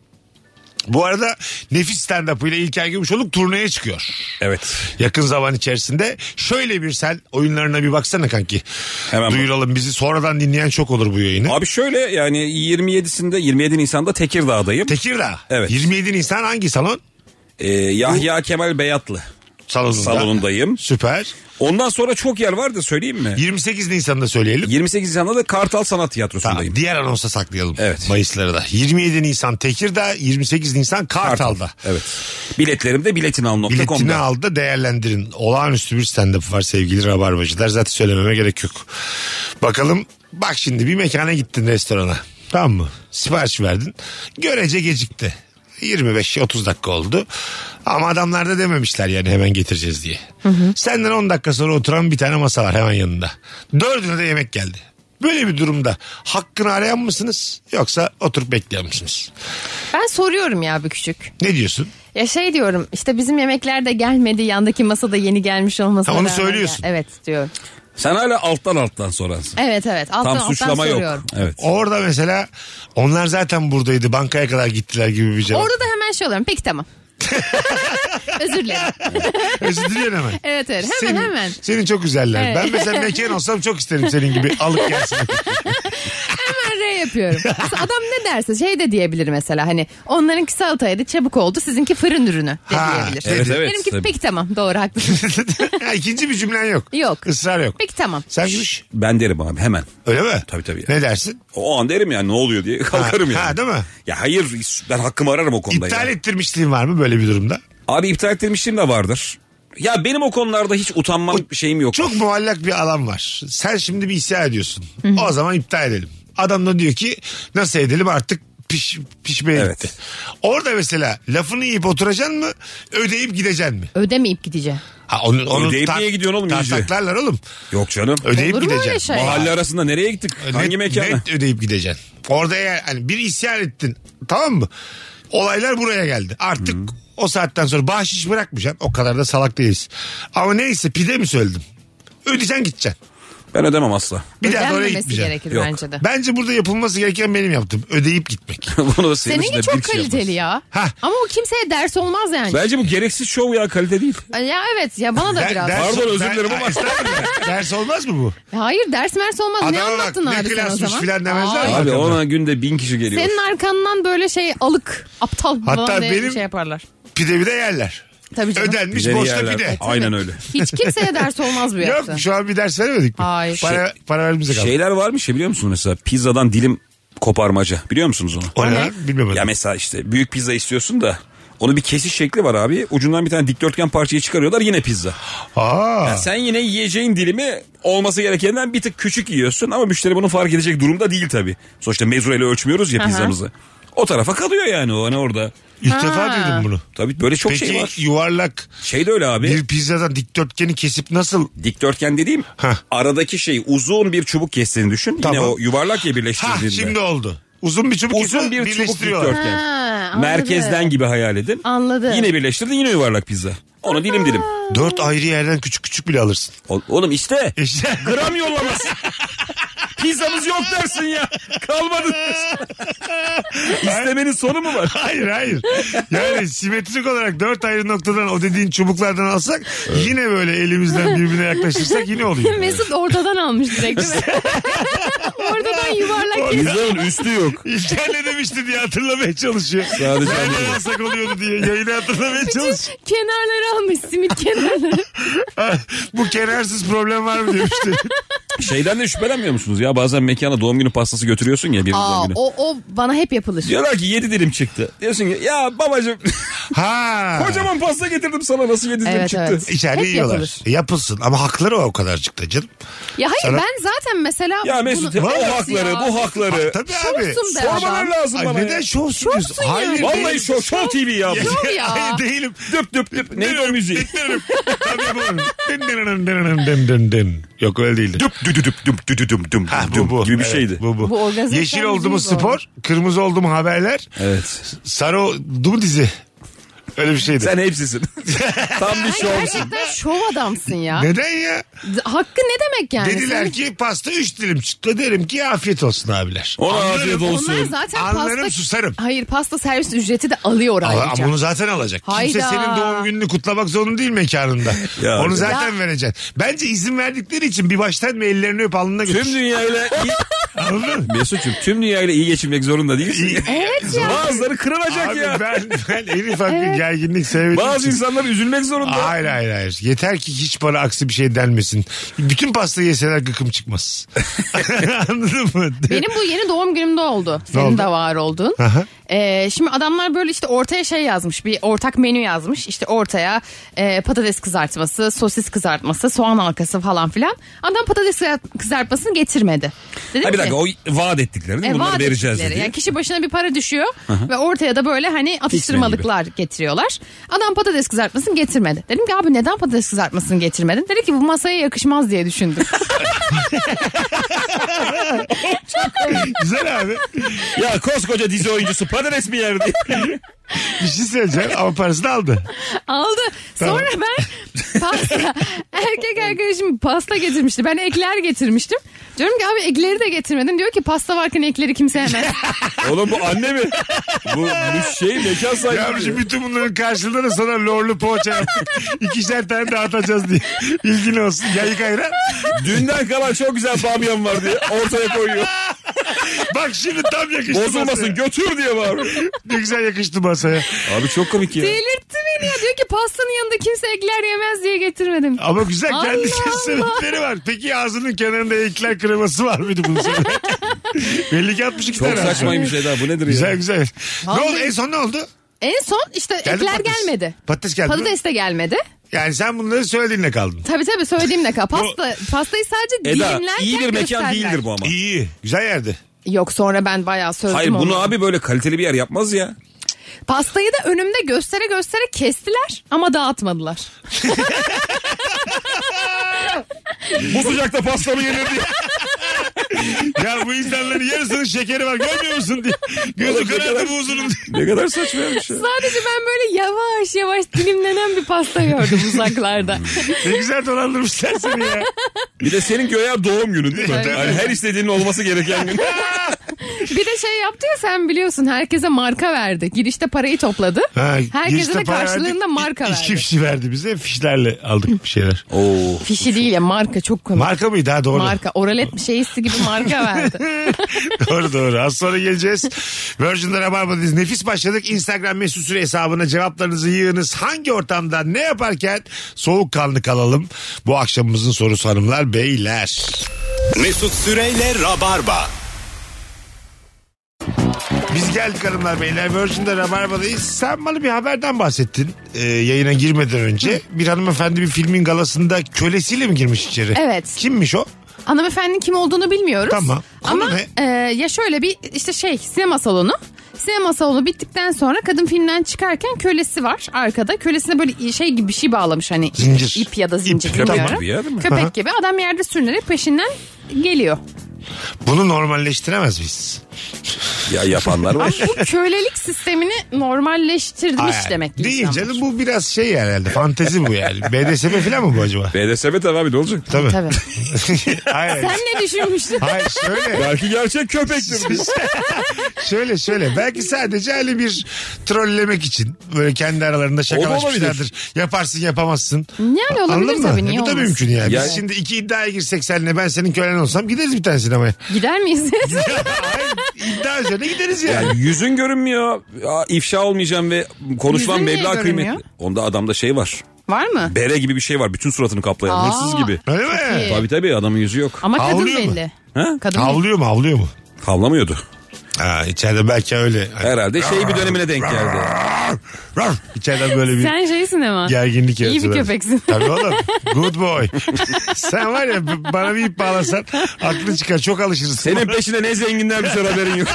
[SPEAKER 3] Bu arada nefis stand-up ile İlker Gümüşoluk turneye çıkıyor.
[SPEAKER 4] Evet.
[SPEAKER 3] Yakın zaman içerisinde şöyle bir sen oyunlarına bir baksana kanki.
[SPEAKER 4] Hemen bak-
[SPEAKER 3] Duyuralım bizi sonradan dinleyen çok olur bu yayını.
[SPEAKER 4] Abi şöyle yani 27'sinde 27 Nisan'da Tekirdağ'dayım.
[SPEAKER 3] Tekirdağ.
[SPEAKER 4] Evet.
[SPEAKER 3] 27 Nisan hangi salon?
[SPEAKER 4] Ee, Yahya Kemal Beyatlı.
[SPEAKER 3] salonunda.
[SPEAKER 4] salonundayım.
[SPEAKER 3] Süper.
[SPEAKER 4] Ondan sonra çok yer var da söyleyeyim mi?
[SPEAKER 3] 28 Nisan'da söyleyelim.
[SPEAKER 4] 28 Nisan'da da Kartal Sanat
[SPEAKER 3] Tamam,
[SPEAKER 4] Tiyatrosu'ndayım.
[SPEAKER 3] diğer anonsa saklayalım.
[SPEAKER 4] Evet.
[SPEAKER 3] Mayısları da. 27 Nisan Tekirdağ, 28 Nisan Kartal'da.
[SPEAKER 4] Evet. Biletlerim de biletinal.com'da.
[SPEAKER 3] Biletini aldı da değerlendirin. Olağanüstü bir stand-up var sevgili rabarbacılar. Zaten söylememe gerek yok. Bakalım bak şimdi bir mekana gittin restorana. Tamam mı? Sipariş verdin. Görece gecikti. 25-30 dakika oldu. Ama adamlar da dememişler yani hemen getireceğiz diye. Senden 10 dakika sonra oturan bir tane masa var hemen yanında. Dördüne de yemek geldi. Böyle bir durumda hakkını arayan mısınız yoksa oturup bekleyen misiniz?
[SPEAKER 5] Ben soruyorum ya bir küçük.
[SPEAKER 3] Ne diyorsun?
[SPEAKER 5] Ya şey diyorum işte bizim yemekler de gelmedi yandaki masada yeni gelmiş olmasına
[SPEAKER 3] Ha, onu
[SPEAKER 5] rağmen
[SPEAKER 3] söylüyorsun.
[SPEAKER 5] gel- Evet diyorum.
[SPEAKER 4] Sen hala alttan alttan sorarsın.
[SPEAKER 5] Evet evet alttan
[SPEAKER 4] Tam
[SPEAKER 5] alttan
[SPEAKER 4] suçlama yok.
[SPEAKER 5] soruyorum.
[SPEAKER 4] Evet.
[SPEAKER 3] Orada mesela onlar zaten buradaydı bankaya kadar gittiler gibi bir cevap.
[SPEAKER 5] Orada da hemen şey oluyorum peki tamam. Özür dilerim.
[SPEAKER 3] Özür diliyorum hemen.
[SPEAKER 5] Evet evet hemen
[SPEAKER 3] Senin-
[SPEAKER 5] hemen.
[SPEAKER 3] Senin çok güzeller.
[SPEAKER 5] Evet.
[SPEAKER 3] Ben mesela mekan olsam çok isterim senin gibi alıp gelsin.
[SPEAKER 5] Hemen R yapıyorum. Mesela adam ne derse şey de diyebilir mesela hani onlarınki salataydı çabuk oldu sizinki fırın ürünü de
[SPEAKER 3] Ha,
[SPEAKER 5] diyebilir.
[SPEAKER 4] evet, evet,
[SPEAKER 5] Benimki
[SPEAKER 4] tabii.
[SPEAKER 5] peki tamam doğru haklısın.
[SPEAKER 3] Ha, İkinci bir cümlen yok.
[SPEAKER 5] Yok.
[SPEAKER 3] Israr yok.
[SPEAKER 5] peki tamam.
[SPEAKER 3] Sen gümüş.
[SPEAKER 4] Ben derim abi hemen.
[SPEAKER 3] Öyle mi?
[SPEAKER 4] Tabii, tabii.
[SPEAKER 3] Ne dersin?
[SPEAKER 4] O an derim yani ne oluyor diye kalkarım
[SPEAKER 3] Ha,
[SPEAKER 4] yani.
[SPEAKER 3] ha, değil mi?
[SPEAKER 4] Ya hayır ben hakkımı ararım o konuda.
[SPEAKER 3] İptal
[SPEAKER 4] ya.
[SPEAKER 3] ettirmişliğin var mı böyle bir durumda?
[SPEAKER 4] Abi iptal ettirmişliğim de vardır. Ya benim o konularda hiç utanmam bir şeyim yok.
[SPEAKER 3] Çok muallak bir alan var. Sen şimdi bir isyan ediyorsun. O zaman iptal edelim. Adam da diyor ki nasıl edelim artık piş, pişmeye
[SPEAKER 4] Evet.
[SPEAKER 3] gitti. Orada mesela lafını yiyip oturacaksın mı ödeyip gideceksin mi?
[SPEAKER 5] Ödemeyip gideceğim.
[SPEAKER 3] Ha, onun, onun
[SPEAKER 4] Ödeyip
[SPEAKER 3] tak-
[SPEAKER 4] niye gidiyorsun oğlum iyice?
[SPEAKER 3] tartaklarlar oğlum.
[SPEAKER 4] Yok canım.
[SPEAKER 3] Ödeyip
[SPEAKER 5] Olur mu öyle
[SPEAKER 3] gideceksin.
[SPEAKER 5] şey?
[SPEAKER 4] Mahalle arasında nereye gittik? Hangi
[SPEAKER 3] net,
[SPEAKER 4] mekana?
[SPEAKER 3] net ödeyip gideceksin. Orada eğer hani bir isyan ettin tamam mı? Olaylar buraya geldi. Artık o saatten sonra bahşiş bırakmayacaksın. O kadar da salak değiliz. Ama neyse pide mi söyledim? Ödeyeceksin gideceksin.
[SPEAKER 4] Ben ödemem asla.
[SPEAKER 3] Bir daha da oraya
[SPEAKER 5] Ödenmemesi
[SPEAKER 3] gitmeyeceksin.
[SPEAKER 5] gerekir
[SPEAKER 4] Yok.
[SPEAKER 5] bence de.
[SPEAKER 3] Bence burada yapılması gereken benim yaptım. Ödeyip gitmek.
[SPEAKER 4] Bunu da senin
[SPEAKER 5] Seninki
[SPEAKER 4] içinde
[SPEAKER 5] çok
[SPEAKER 4] bir şey kişi
[SPEAKER 5] kaliteli
[SPEAKER 4] yapmaz.
[SPEAKER 5] ya.
[SPEAKER 3] Hah.
[SPEAKER 5] Ama o kimseye ders olmaz yani.
[SPEAKER 4] Bence bu gereksiz şov ya kalite değil.
[SPEAKER 5] Ya evet ya bana da
[SPEAKER 3] Der-
[SPEAKER 5] biraz.
[SPEAKER 3] ders-
[SPEAKER 4] Pardon, özür
[SPEAKER 3] der-
[SPEAKER 4] dilerim ama-
[SPEAKER 3] Ay, estağfurullah. ders olmaz mı bu?
[SPEAKER 5] Hayır ders mers olmaz. ne
[SPEAKER 3] Adama bak,
[SPEAKER 5] anlattın
[SPEAKER 3] ne
[SPEAKER 5] abi sen o
[SPEAKER 3] klasmış
[SPEAKER 5] zaman?
[SPEAKER 3] filan demezler mi?
[SPEAKER 5] Ay,
[SPEAKER 4] Abi
[SPEAKER 3] bakalım.
[SPEAKER 4] ona günde bin kişi geliyor.
[SPEAKER 5] Senin arkandan böyle şey alık aptal
[SPEAKER 3] Hatta
[SPEAKER 5] falan diye
[SPEAKER 3] benim-
[SPEAKER 5] şey yaparlar.
[SPEAKER 3] Pide bir de yerler.
[SPEAKER 5] Tabii canım.
[SPEAKER 3] Ödenmiş
[SPEAKER 4] Bizleri
[SPEAKER 3] boşta
[SPEAKER 4] yerler.
[SPEAKER 3] pide.
[SPEAKER 4] Aynen
[SPEAKER 5] Tabii.
[SPEAKER 4] öyle.
[SPEAKER 5] Hiç kimseye ders olmaz bu
[SPEAKER 3] Yok
[SPEAKER 5] yaptı.
[SPEAKER 3] şu an bir şey ders veremedik mi?
[SPEAKER 5] Hayır.
[SPEAKER 3] Para,
[SPEAKER 4] Şey-
[SPEAKER 3] para vermemize kaldı.
[SPEAKER 4] Şeyler varmış ya biliyor musun mesela pizzadan dilim koparmaca biliyor musunuz onu?
[SPEAKER 3] o ne? lan? Bilmiyorum.
[SPEAKER 4] Ya mesela işte büyük pizza istiyorsun da onu bir kesiş şekli var abi. Ucundan bir tane dikdörtgen parçayı çıkarıyorlar yine pizza.
[SPEAKER 3] Aa.
[SPEAKER 4] Ya sen yine yiyeceğin dilimi olması gerekenden bir tık küçük yiyorsun ama müşteri bunu fark edecek durumda değil tabii. Sonuçta mezureyle ölçmüyoruz ya
[SPEAKER 5] Aha.
[SPEAKER 4] pizzamızı. O tarafa kalıyor yani o hani orada.
[SPEAKER 3] İlk
[SPEAKER 5] Ha.
[SPEAKER 3] defa duydum bunu.
[SPEAKER 4] Tabii böyle çok
[SPEAKER 3] Peki
[SPEAKER 4] şey var.
[SPEAKER 3] yuvarlak
[SPEAKER 4] Şey de öyle abi.
[SPEAKER 3] bir pizzadan dikdörtgeni kesip nasıl?
[SPEAKER 4] Dikdörtgen dediğim
[SPEAKER 3] Hah.
[SPEAKER 4] aradaki şey uzun bir çubuk kestiğini düşün.
[SPEAKER 3] Tamam.
[SPEAKER 4] Yine o yuvarlak ya
[SPEAKER 3] Ha
[SPEAKER 4] birleştirdiğinde.
[SPEAKER 3] şimdi oldu. Uzun bir çubuk
[SPEAKER 4] Uzun
[SPEAKER 3] kesip
[SPEAKER 4] bir çubuk
[SPEAKER 3] birleştiriyorlar.
[SPEAKER 4] dikdörtgen.
[SPEAKER 5] Ha, anladım.
[SPEAKER 4] Merkezden gibi hayal edin.
[SPEAKER 5] Anladım.
[SPEAKER 4] Yine birleştirdin yine yuvarlak pizza. Onu dilim dilim.
[SPEAKER 3] Dört ayrı yerden küçük küçük bile alırsın.
[SPEAKER 4] O- Oğlum işte.
[SPEAKER 3] İşte.
[SPEAKER 4] Gram yollamaz. Pizzamız yok dersin ya. Kalmadı. dersin. İstemenin sonu mu var?
[SPEAKER 3] Hayır hayır. Yani simetrik olarak dört ayrı noktadan o dediğin çubuklardan alsak yine böyle elimizden birbirine yaklaşırsak yine oluyor.
[SPEAKER 5] Mesut ortadan almış direkt değil mi? ortadan yuvarlak kes.
[SPEAKER 4] Pizzanın üstü yok.
[SPEAKER 3] İlker ne demişti diye hatırlamaya çalışıyor.
[SPEAKER 4] Sadece
[SPEAKER 3] Nereden alsak oluyordu diye yayını hatırlamaya çalışıyor.
[SPEAKER 5] Kenarları almış simit kenarları.
[SPEAKER 3] Bu kenarsız problem var mı demişti.
[SPEAKER 4] Şeyden de şüphelenmiyor musunuz ya? Bazen mekana doğum günü pastası götürüyorsun ya bir
[SPEAKER 5] Aa,
[SPEAKER 4] doğum günü.
[SPEAKER 5] o, o bana hep yapılır.
[SPEAKER 4] Diyorlar ki yedi dilim çıktı. Diyorsun ki ya babacım
[SPEAKER 3] Ha.
[SPEAKER 4] kocaman pasta getirdim sana nasıl yedi dilim
[SPEAKER 5] Evet,
[SPEAKER 4] çıktı.
[SPEAKER 5] evet.
[SPEAKER 3] İçeride
[SPEAKER 5] Hep
[SPEAKER 3] yiyorlar. E,
[SPEAKER 5] yapılır.
[SPEAKER 3] Yapılsın ama hakları o, o kadarcık da canım.
[SPEAKER 5] Ya hayır
[SPEAKER 3] Sana-
[SPEAKER 5] ben zaten mesela...
[SPEAKER 4] Ya Mesut
[SPEAKER 5] bunu- Evet
[SPEAKER 4] o hakları
[SPEAKER 5] ya.
[SPEAKER 4] bu hakları.
[SPEAKER 3] Tabii abi.
[SPEAKER 5] Şovsun be
[SPEAKER 4] Ee, Sormaları
[SPEAKER 5] adam.
[SPEAKER 4] lazım
[SPEAKER 3] Ay
[SPEAKER 4] bana
[SPEAKER 3] neden
[SPEAKER 4] ya.
[SPEAKER 3] şovsun diyorsun?
[SPEAKER 5] yani.
[SPEAKER 3] Hayır.
[SPEAKER 4] Vallahi
[SPEAKER 3] değilim.
[SPEAKER 4] şov, şov TV ya. bu.
[SPEAKER 5] Şov ya.
[SPEAKER 3] Hayır değilim.
[SPEAKER 4] Düp düp düp. Neydi o müziği?
[SPEAKER 3] Dinlerim. Tabii bu. Dın dın dın dın dın dın dın. Yok öyle değildi.
[SPEAKER 4] Düp düdü düp düp düdü düp düp
[SPEAKER 3] Ha,
[SPEAKER 4] düp
[SPEAKER 3] bu bu.
[SPEAKER 4] gibi bir
[SPEAKER 3] Evet,
[SPEAKER 4] şeydi.
[SPEAKER 3] bu bu.
[SPEAKER 5] Bu organizasyon
[SPEAKER 3] Yeşil oldu mu
[SPEAKER 5] müziği bu.
[SPEAKER 3] spor, kırmızı oldu mu haberler,
[SPEAKER 4] Evet.
[SPEAKER 3] sarı oldu mu dizi. Öyle bir şeydi.
[SPEAKER 4] Sen hepsisin. Tam bir
[SPEAKER 5] Sen
[SPEAKER 4] şovsun.
[SPEAKER 5] gerçekten şov adamsın ya.
[SPEAKER 3] Neden ya?
[SPEAKER 5] Hakkı ne demek yani?
[SPEAKER 3] Dediler
[SPEAKER 5] Sen-
[SPEAKER 3] ki pasta 3 dilim çıktı. Derim ki afiyet olsun abiler.
[SPEAKER 4] Ona
[SPEAKER 3] Anlarım.
[SPEAKER 4] afiyet
[SPEAKER 5] Onlar
[SPEAKER 4] olsun.
[SPEAKER 5] zaten
[SPEAKER 3] Anlarım,
[SPEAKER 5] pasta...
[SPEAKER 3] susarım.
[SPEAKER 5] Hayır pasta servis ücreti de alıyor
[SPEAKER 3] Ama-
[SPEAKER 5] ayrıca.
[SPEAKER 3] Ama onu zaten alacak. Kimse
[SPEAKER 5] Hayda.
[SPEAKER 3] senin doğum gününü kutlamak zorunda değil mekanında.
[SPEAKER 4] Ya.
[SPEAKER 3] onu zaten vereceksin. Bence izin verdikleri için bir baştan mı ellerini öp alnına götür.
[SPEAKER 4] Tüm dünyayla iyi...
[SPEAKER 3] Anladın mı?
[SPEAKER 4] Mesut'cum tüm dünyayla iyi geçinmek zorunda değilsin.
[SPEAKER 3] İyi.
[SPEAKER 5] Evet ya.
[SPEAKER 4] Bazıları kırılacak
[SPEAKER 3] Abi
[SPEAKER 4] ya.
[SPEAKER 3] ben, ben Elif Hakkı
[SPEAKER 5] Evet
[SPEAKER 3] gerginlik sevmediğim
[SPEAKER 4] Bazı
[SPEAKER 3] için-
[SPEAKER 4] insanlar üzülmek zorunda.
[SPEAKER 3] Hayır hayır hayır. Yeter ki hiç bana aksi bir şey denmesin. Bütün pastayı yeseler gıkım çıkmaz. Anladın mı?
[SPEAKER 5] Benim bu yeni doğum günümde oldu. Senin
[SPEAKER 3] oldu?
[SPEAKER 5] de var oldun.
[SPEAKER 3] Aha.
[SPEAKER 5] Ee, şimdi adamlar böyle işte ortaya şey yazmış. Bir ortak menü yazmış. İşte ortaya e, patates kızartması, sosis kızartması, soğan halkası falan filan. Adam patates kızartmasını getirmedi. Dedim
[SPEAKER 4] Ha, bir
[SPEAKER 5] ki,
[SPEAKER 4] dakika o vaat ettikleri değil mi?
[SPEAKER 5] e,
[SPEAKER 4] Bunları
[SPEAKER 5] vaat
[SPEAKER 4] vereceğiz
[SPEAKER 5] ettikleri.
[SPEAKER 4] dedi.
[SPEAKER 5] Yani kişi başına bir para düşüyor ve ortaya da böyle hani atıştırmalıklar getiriyorlar. Adam patates kızartmasını getirmedi. Dedim ki abi neden patates kızartmasını getirmedin? Dedi ki bu masaya yakışmaz diye düşündüm.
[SPEAKER 3] Güzel abi.
[SPEAKER 4] Ya koskoca dizi oyuncusu patates mi yer diye.
[SPEAKER 3] Bir şey söyleyeceğim ama parasını aldı.
[SPEAKER 5] Aldı.
[SPEAKER 3] Tamam.
[SPEAKER 5] Sonra ben pasta erkek arkadaşım pasta getirmişti. Ben ekler getirmiştim. Diyorum ki abi ekleri de getirmedin. Diyor ki pasta varken ekleri kimse yemez.
[SPEAKER 4] Oğlum bu anne mi? Bu, bu şey mekan
[SPEAKER 3] Ya
[SPEAKER 4] sahibi.
[SPEAKER 3] şimdi bütün bunların karşılığında da sana lorlu poğaça yaptık. İkişer tane dağıtacağız diye. İlgin olsun. Yayık ayran.
[SPEAKER 4] Dünden kalan çok güzel bamyam var diye ortaya koyuyor.
[SPEAKER 3] Bak şimdi tam yakıştı masaya.
[SPEAKER 4] Bozulmasın götür diye bağırıyor.
[SPEAKER 3] Ne güzel yakıştı masaya.
[SPEAKER 4] Abi çok komik ya.
[SPEAKER 5] Delirtti beni ya. Diyor ki pastanın yanında kimse ekler yemez diye getirmedim.
[SPEAKER 3] Ama güzel
[SPEAKER 5] Allah
[SPEAKER 3] kendi
[SPEAKER 5] Allah.
[SPEAKER 3] sebepleri var. Peki ağzının kenarında ekler kreması var mıydı bunun sebebi? Belli ki 62
[SPEAKER 4] Çok
[SPEAKER 3] tane.
[SPEAKER 4] saçmaymış Eda bu nedir
[SPEAKER 3] Güzel
[SPEAKER 4] ya?
[SPEAKER 3] güzel. Ne
[SPEAKER 5] Vallahi-
[SPEAKER 3] oldu? En son ne oldu?
[SPEAKER 5] En son işte
[SPEAKER 3] Geldi
[SPEAKER 5] ekler
[SPEAKER 3] patates.
[SPEAKER 5] gelmedi.
[SPEAKER 3] Patates geldi mi?
[SPEAKER 5] Patates de gelmedi.
[SPEAKER 3] Yani sen bunları söylediğinle kaldın.
[SPEAKER 5] Tabii tabii söylediğimle kal. Pasta, pastayı sadece
[SPEAKER 4] Eda
[SPEAKER 5] dilimlerken
[SPEAKER 4] iyi bir mekan
[SPEAKER 5] gösterdiler.
[SPEAKER 4] değildir bu ama.
[SPEAKER 3] İyi. Güzel yerde.
[SPEAKER 5] Yok sonra ben bayağı sözüm
[SPEAKER 4] Hayır bunu
[SPEAKER 5] oldu.
[SPEAKER 4] abi böyle kaliteli bir yer yapmaz ya.
[SPEAKER 5] Pastayı da önümde göstere göstere kestiler ama dağıtmadılar.
[SPEAKER 4] Bu sıcakta pasta mı yenir diye.
[SPEAKER 3] Ya bu insanların yarısının şekeri var görmüyor musun diye. Gözü
[SPEAKER 4] Oğlum, ne
[SPEAKER 3] karardı
[SPEAKER 4] kadar-
[SPEAKER 3] bu huzurun diye.
[SPEAKER 4] Ne kadar saçma şey. yapmış ya.
[SPEAKER 5] Sadece ben böyle yavaş yavaş dilimlenen bir pasta gördüm uzaklarda.
[SPEAKER 3] Ne güzel dolandırmışlar seni ya.
[SPEAKER 4] Bir de senin göğe doğum günün değil mi?
[SPEAKER 3] Evet.
[SPEAKER 4] Yani her istediğinin olması gereken gün.
[SPEAKER 5] bir de şey yaptı ya sen biliyorsun herkese marka verdi. Girişte parayı topladı. Herkese de karşılığında marka verdi.
[SPEAKER 3] İki fişi verdi bize. Fişlerle aldık bir şeyler.
[SPEAKER 4] Oo.
[SPEAKER 5] Fişi değil ya marka çok komik.
[SPEAKER 3] Marka mıydı ha doğru.
[SPEAKER 5] marka oralet bir şeysi gibi marka verdi.
[SPEAKER 3] doğru doğru. Az sonra geleceğiz. Virgin'de Rabarba'dayız. Nefis başladık. Instagram mesut süre hesabına cevaplarınızı yığınız. Hangi ortamda ne yaparken soğukkanlı kalalım? Bu akşamımızın sorusu hanımlar beyler.
[SPEAKER 2] Mesut Süreyle Rabarba.
[SPEAKER 3] Biz geldik hanımlar beyler. Virgin'de Rabarba'dayız. Sen bana bir haberden bahsettin e, yayına girmeden önce. Bir hanımefendi bir filmin galasında kölesiyle mi girmiş içeri?
[SPEAKER 5] Evet.
[SPEAKER 3] Kimmiş o?
[SPEAKER 5] Hanımefendinin kim olduğunu bilmiyoruz.
[SPEAKER 3] Tamam. Konu
[SPEAKER 5] Ama
[SPEAKER 3] ne?
[SPEAKER 5] e, ya şöyle bir işte şey sinema salonu. Sinema salonu bittikten sonra kadın filmden çıkarken kölesi var arkada. Kölesine böyle şey gibi bir şey bağlamış hani.
[SPEAKER 3] Zincir.
[SPEAKER 5] ip ya da zincir
[SPEAKER 3] İp,
[SPEAKER 5] bilmiyorum.
[SPEAKER 3] tamam.
[SPEAKER 4] gibi ya, değil mi?
[SPEAKER 5] Köpek
[SPEAKER 3] Aha.
[SPEAKER 5] gibi adam yerde sürünerek peşinden geliyor.
[SPEAKER 3] Bunu normalleştiremez miyiz?
[SPEAKER 4] Ya yapanlar
[SPEAKER 5] Ama
[SPEAKER 4] var.
[SPEAKER 5] bu kölelik sistemini normalleştirmiş
[SPEAKER 3] Hayır.
[SPEAKER 5] demek ki.
[SPEAKER 3] Değil
[SPEAKER 5] insanlar.
[SPEAKER 3] canım bu biraz şey herhalde. Fantezi bu yani. BDSM falan mı bu acaba?
[SPEAKER 4] BDSM tabii abi ne olacak?
[SPEAKER 3] Tabii.
[SPEAKER 5] Tabii.
[SPEAKER 3] Hayır.
[SPEAKER 5] Sen ne düşünmüştün?
[SPEAKER 3] Hayır şöyle.
[SPEAKER 4] Belki gerçek köpektir.
[SPEAKER 3] şöyle şöyle belki sadece öyle bir trollemek için böyle kendi aralarında şakalaşmışlardır. Yaparsın yapamazsın.
[SPEAKER 5] Yani olabilir
[SPEAKER 3] Anladın mı? E,
[SPEAKER 5] tabii, niye
[SPEAKER 3] Bu da
[SPEAKER 5] olmasın?
[SPEAKER 3] mümkün yani.
[SPEAKER 4] Ya-
[SPEAKER 3] Biz şimdi iki iddiaya girsek seninle ben senin kölen olsam gideriz bir tane sinemaya.
[SPEAKER 5] Gider miyiz?
[SPEAKER 3] Hayır iddia üzerine gideriz yani.
[SPEAKER 4] Yani yüzün görünmüyor. Ya, ifşa olmayacağım ve konuşulan
[SPEAKER 5] Yüzün niye
[SPEAKER 4] meblağ
[SPEAKER 5] görünmüyor?
[SPEAKER 4] kıymetli. Onda adamda şey var.
[SPEAKER 5] var mı?
[SPEAKER 4] Bere gibi bir şey var. Bütün suratını kaplayan.
[SPEAKER 5] Aa.
[SPEAKER 4] Hırsız gibi.
[SPEAKER 3] Öyle mi?
[SPEAKER 5] iyi.
[SPEAKER 4] Tabii tabii adamın yüzü yok.
[SPEAKER 5] Ama kadın
[SPEAKER 3] Havlıyor mu?
[SPEAKER 5] belli.
[SPEAKER 4] Ha?
[SPEAKER 5] Kadın belli.
[SPEAKER 3] Havlıyor mu havlıyor mu?
[SPEAKER 4] Havlamıyordu.
[SPEAKER 3] Ha, içeride belki öyle.
[SPEAKER 4] Herhalde şey bir dönemine denk geldi.
[SPEAKER 3] Rar, İçeriden böyle bir
[SPEAKER 5] Sen şeysin ama.
[SPEAKER 3] gerginlik
[SPEAKER 5] İyi bir
[SPEAKER 3] yaratıyorlar.
[SPEAKER 5] köpeksin.
[SPEAKER 3] Tabii oğlum. Good boy. Sen var ya b- bana bir ip bağlasan aklın çıkar. Çok alışırsın.
[SPEAKER 4] Senin peşinde ne zenginler bir sürü haberin yok.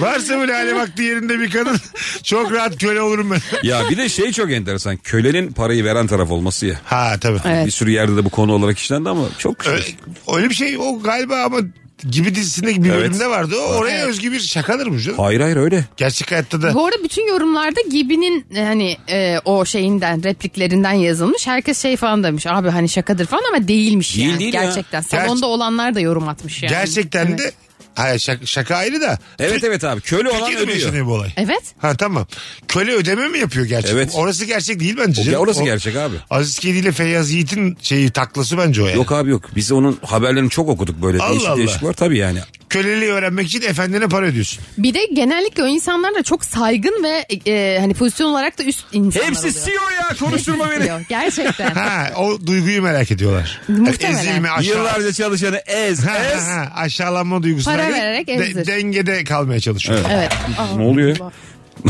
[SPEAKER 3] Varsa böyle hale vakti yerinde bir kadın çok rahat köle olurum ben.
[SPEAKER 4] ya bir de şey çok enteresan. Kölenin parayı veren taraf olması ya.
[SPEAKER 3] Ha tabii.
[SPEAKER 5] Evet.
[SPEAKER 4] Bir sürü yerde de bu konu olarak işlendi ama çok
[SPEAKER 3] Öyle, öyle bir şey o galiba ama gibi dizisinde bir
[SPEAKER 4] Evet.
[SPEAKER 3] bölümde vardı. O oraya özgü bir şakadır mı canım?
[SPEAKER 4] Hayır hayır öyle.
[SPEAKER 3] Gerçek hayatta da.
[SPEAKER 5] Bu arada bütün yorumlarda Gibi'nin e, hani e, o şeyinden repliklerinden yazılmış. Herkes şey falan demiş. Abi hani şakadır falan ama değilmiş
[SPEAKER 4] Değil,
[SPEAKER 5] yani
[SPEAKER 4] değil ya.
[SPEAKER 5] gerçekten. Salonda olanlar da yorum atmış yani.
[SPEAKER 3] Gerçekten
[SPEAKER 5] Evet.
[SPEAKER 3] de hayır şaka, şaka ayrı da.
[SPEAKER 4] Evet evet abi. Köle olan
[SPEAKER 3] Türkiye'de mi
[SPEAKER 4] ödüyor.
[SPEAKER 3] yaşanıyor bu olay?
[SPEAKER 5] Evet.
[SPEAKER 3] Ha tamam. Köle ödeme mi yapıyor gerçek?
[SPEAKER 4] Evet.
[SPEAKER 3] Orası gerçek değil bence.
[SPEAKER 4] O-
[SPEAKER 3] canım.
[SPEAKER 4] orası
[SPEAKER 3] O-
[SPEAKER 4] gerçek abi.
[SPEAKER 3] Aziz Kedi ile Feyyaz Yiğit'in şeyi taklası bence o yani.
[SPEAKER 4] Yok abi yok. Biz onun haberlerini çok okuduk böyle.
[SPEAKER 3] Allah
[SPEAKER 4] değişik
[SPEAKER 3] Allah.
[SPEAKER 4] değişik var tabii yani.
[SPEAKER 3] köleliği öğrenmek için efendine para ödüyorsun.
[SPEAKER 5] Bir de genellikle o insanlar da çok saygın ve e, hani pozisyon olarak da üst insanlar
[SPEAKER 4] Hepsi
[SPEAKER 5] oluyor.
[SPEAKER 4] CEO ya konuşturma beni.
[SPEAKER 5] Yok, Gerçekten.
[SPEAKER 3] Ha, o duyguyu merak ediyorlar.
[SPEAKER 5] Muhtemelen.
[SPEAKER 3] Ezilme, aşağı...
[SPEAKER 4] Yıllarca çalışanı ez
[SPEAKER 3] Ha, ha,
[SPEAKER 4] ez.
[SPEAKER 3] ha, aşağılanma duygusuna
[SPEAKER 5] Para
[SPEAKER 3] değil,
[SPEAKER 5] vererek
[SPEAKER 3] de-
[SPEAKER 5] ezdir.
[SPEAKER 3] dengede kalmaya çalışıyor.
[SPEAKER 5] evet. Aa,
[SPEAKER 4] Ne oluyor?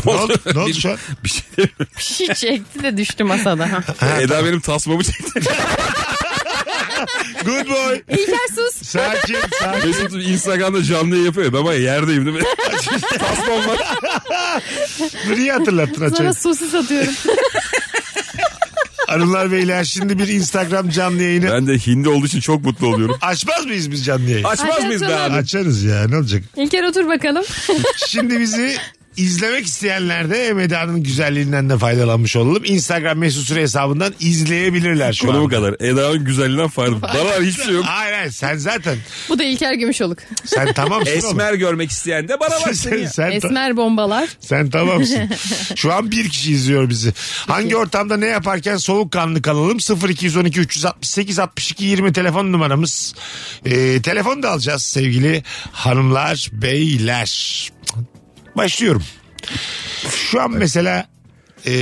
[SPEAKER 3] Ne oldu, ne oldu şu an?
[SPEAKER 4] Bir şey demiyorum.
[SPEAKER 5] Bir şey çekti de düştü masada. Ha.
[SPEAKER 4] Eda benim tasmamı çekti.
[SPEAKER 3] Good boy.
[SPEAKER 5] İlker sus.
[SPEAKER 3] Sakin sakin.
[SPEAKER 4] Mesut Instagram'da canlı yayın yapıyor. Ben bayağı yerdeyim değil mi? Tasmam var.
[SPEAKER 3] Niye hatırlattın
[SPEAKER 5] Sana
[SPEAKER 3] açık?
[SPEAKER 5] sosis atıyorum.
[SPEAKER 3] Hanımlar beyler şimdi bir Instagram canlı yayını.
[SPEAKER 4] Ben de hindi olduğu için çok mutlu oluyorum.
[SPEAKER 3] Açmaz mıyız biz canlı yayını?
[SPEAKER 4] Açmaz mıyız be abi?
[SPEAKER 3] Açarız ya ne olacak?
[SPEAKER 5] İlker otur bakalım.
[SPEAKER 3] Şimdi bizi izlemek isteyenler de Meda'nın güzelliğinden de faydalanmış olalım. Instagram mesut süre hesabından izleyebilirler şu
[SPEAKER 4] Konu bu
[SPEAKER 3] an.
[SPEAKER 4] kadar. Eda'nın güzelliğinden farkı. Bana var, hiçbir şey yok.
[SPEAKER 3] Hayır hayır sen zaten
[SPEAKER 5] Bu da İlker Gümüşoluk.
[SPEAKER 3] sen tamamsın oğlum.
[SPEAKER 4] Esmer görmek isteyen de bana
[SPEAKER 3] Sen,
[SPEAKER 4] var
[SPEAKER 3] sen,
[SPEAKER 4] seni.
[SPEAKER 3] sen,
[SPEAKER 5] Esmer bombalar.
[SPEAKER 3] sen tamamsın. Şu an bir kişi izliyor bizi. Hangi ortamda ne yaparken soğukkanlı kalalım? 0212 368 62 20 telefon numaramız. Ee, telefon da alacağız sevgili hanımlar, beyler. Başlıyorum. Şu an mesela e,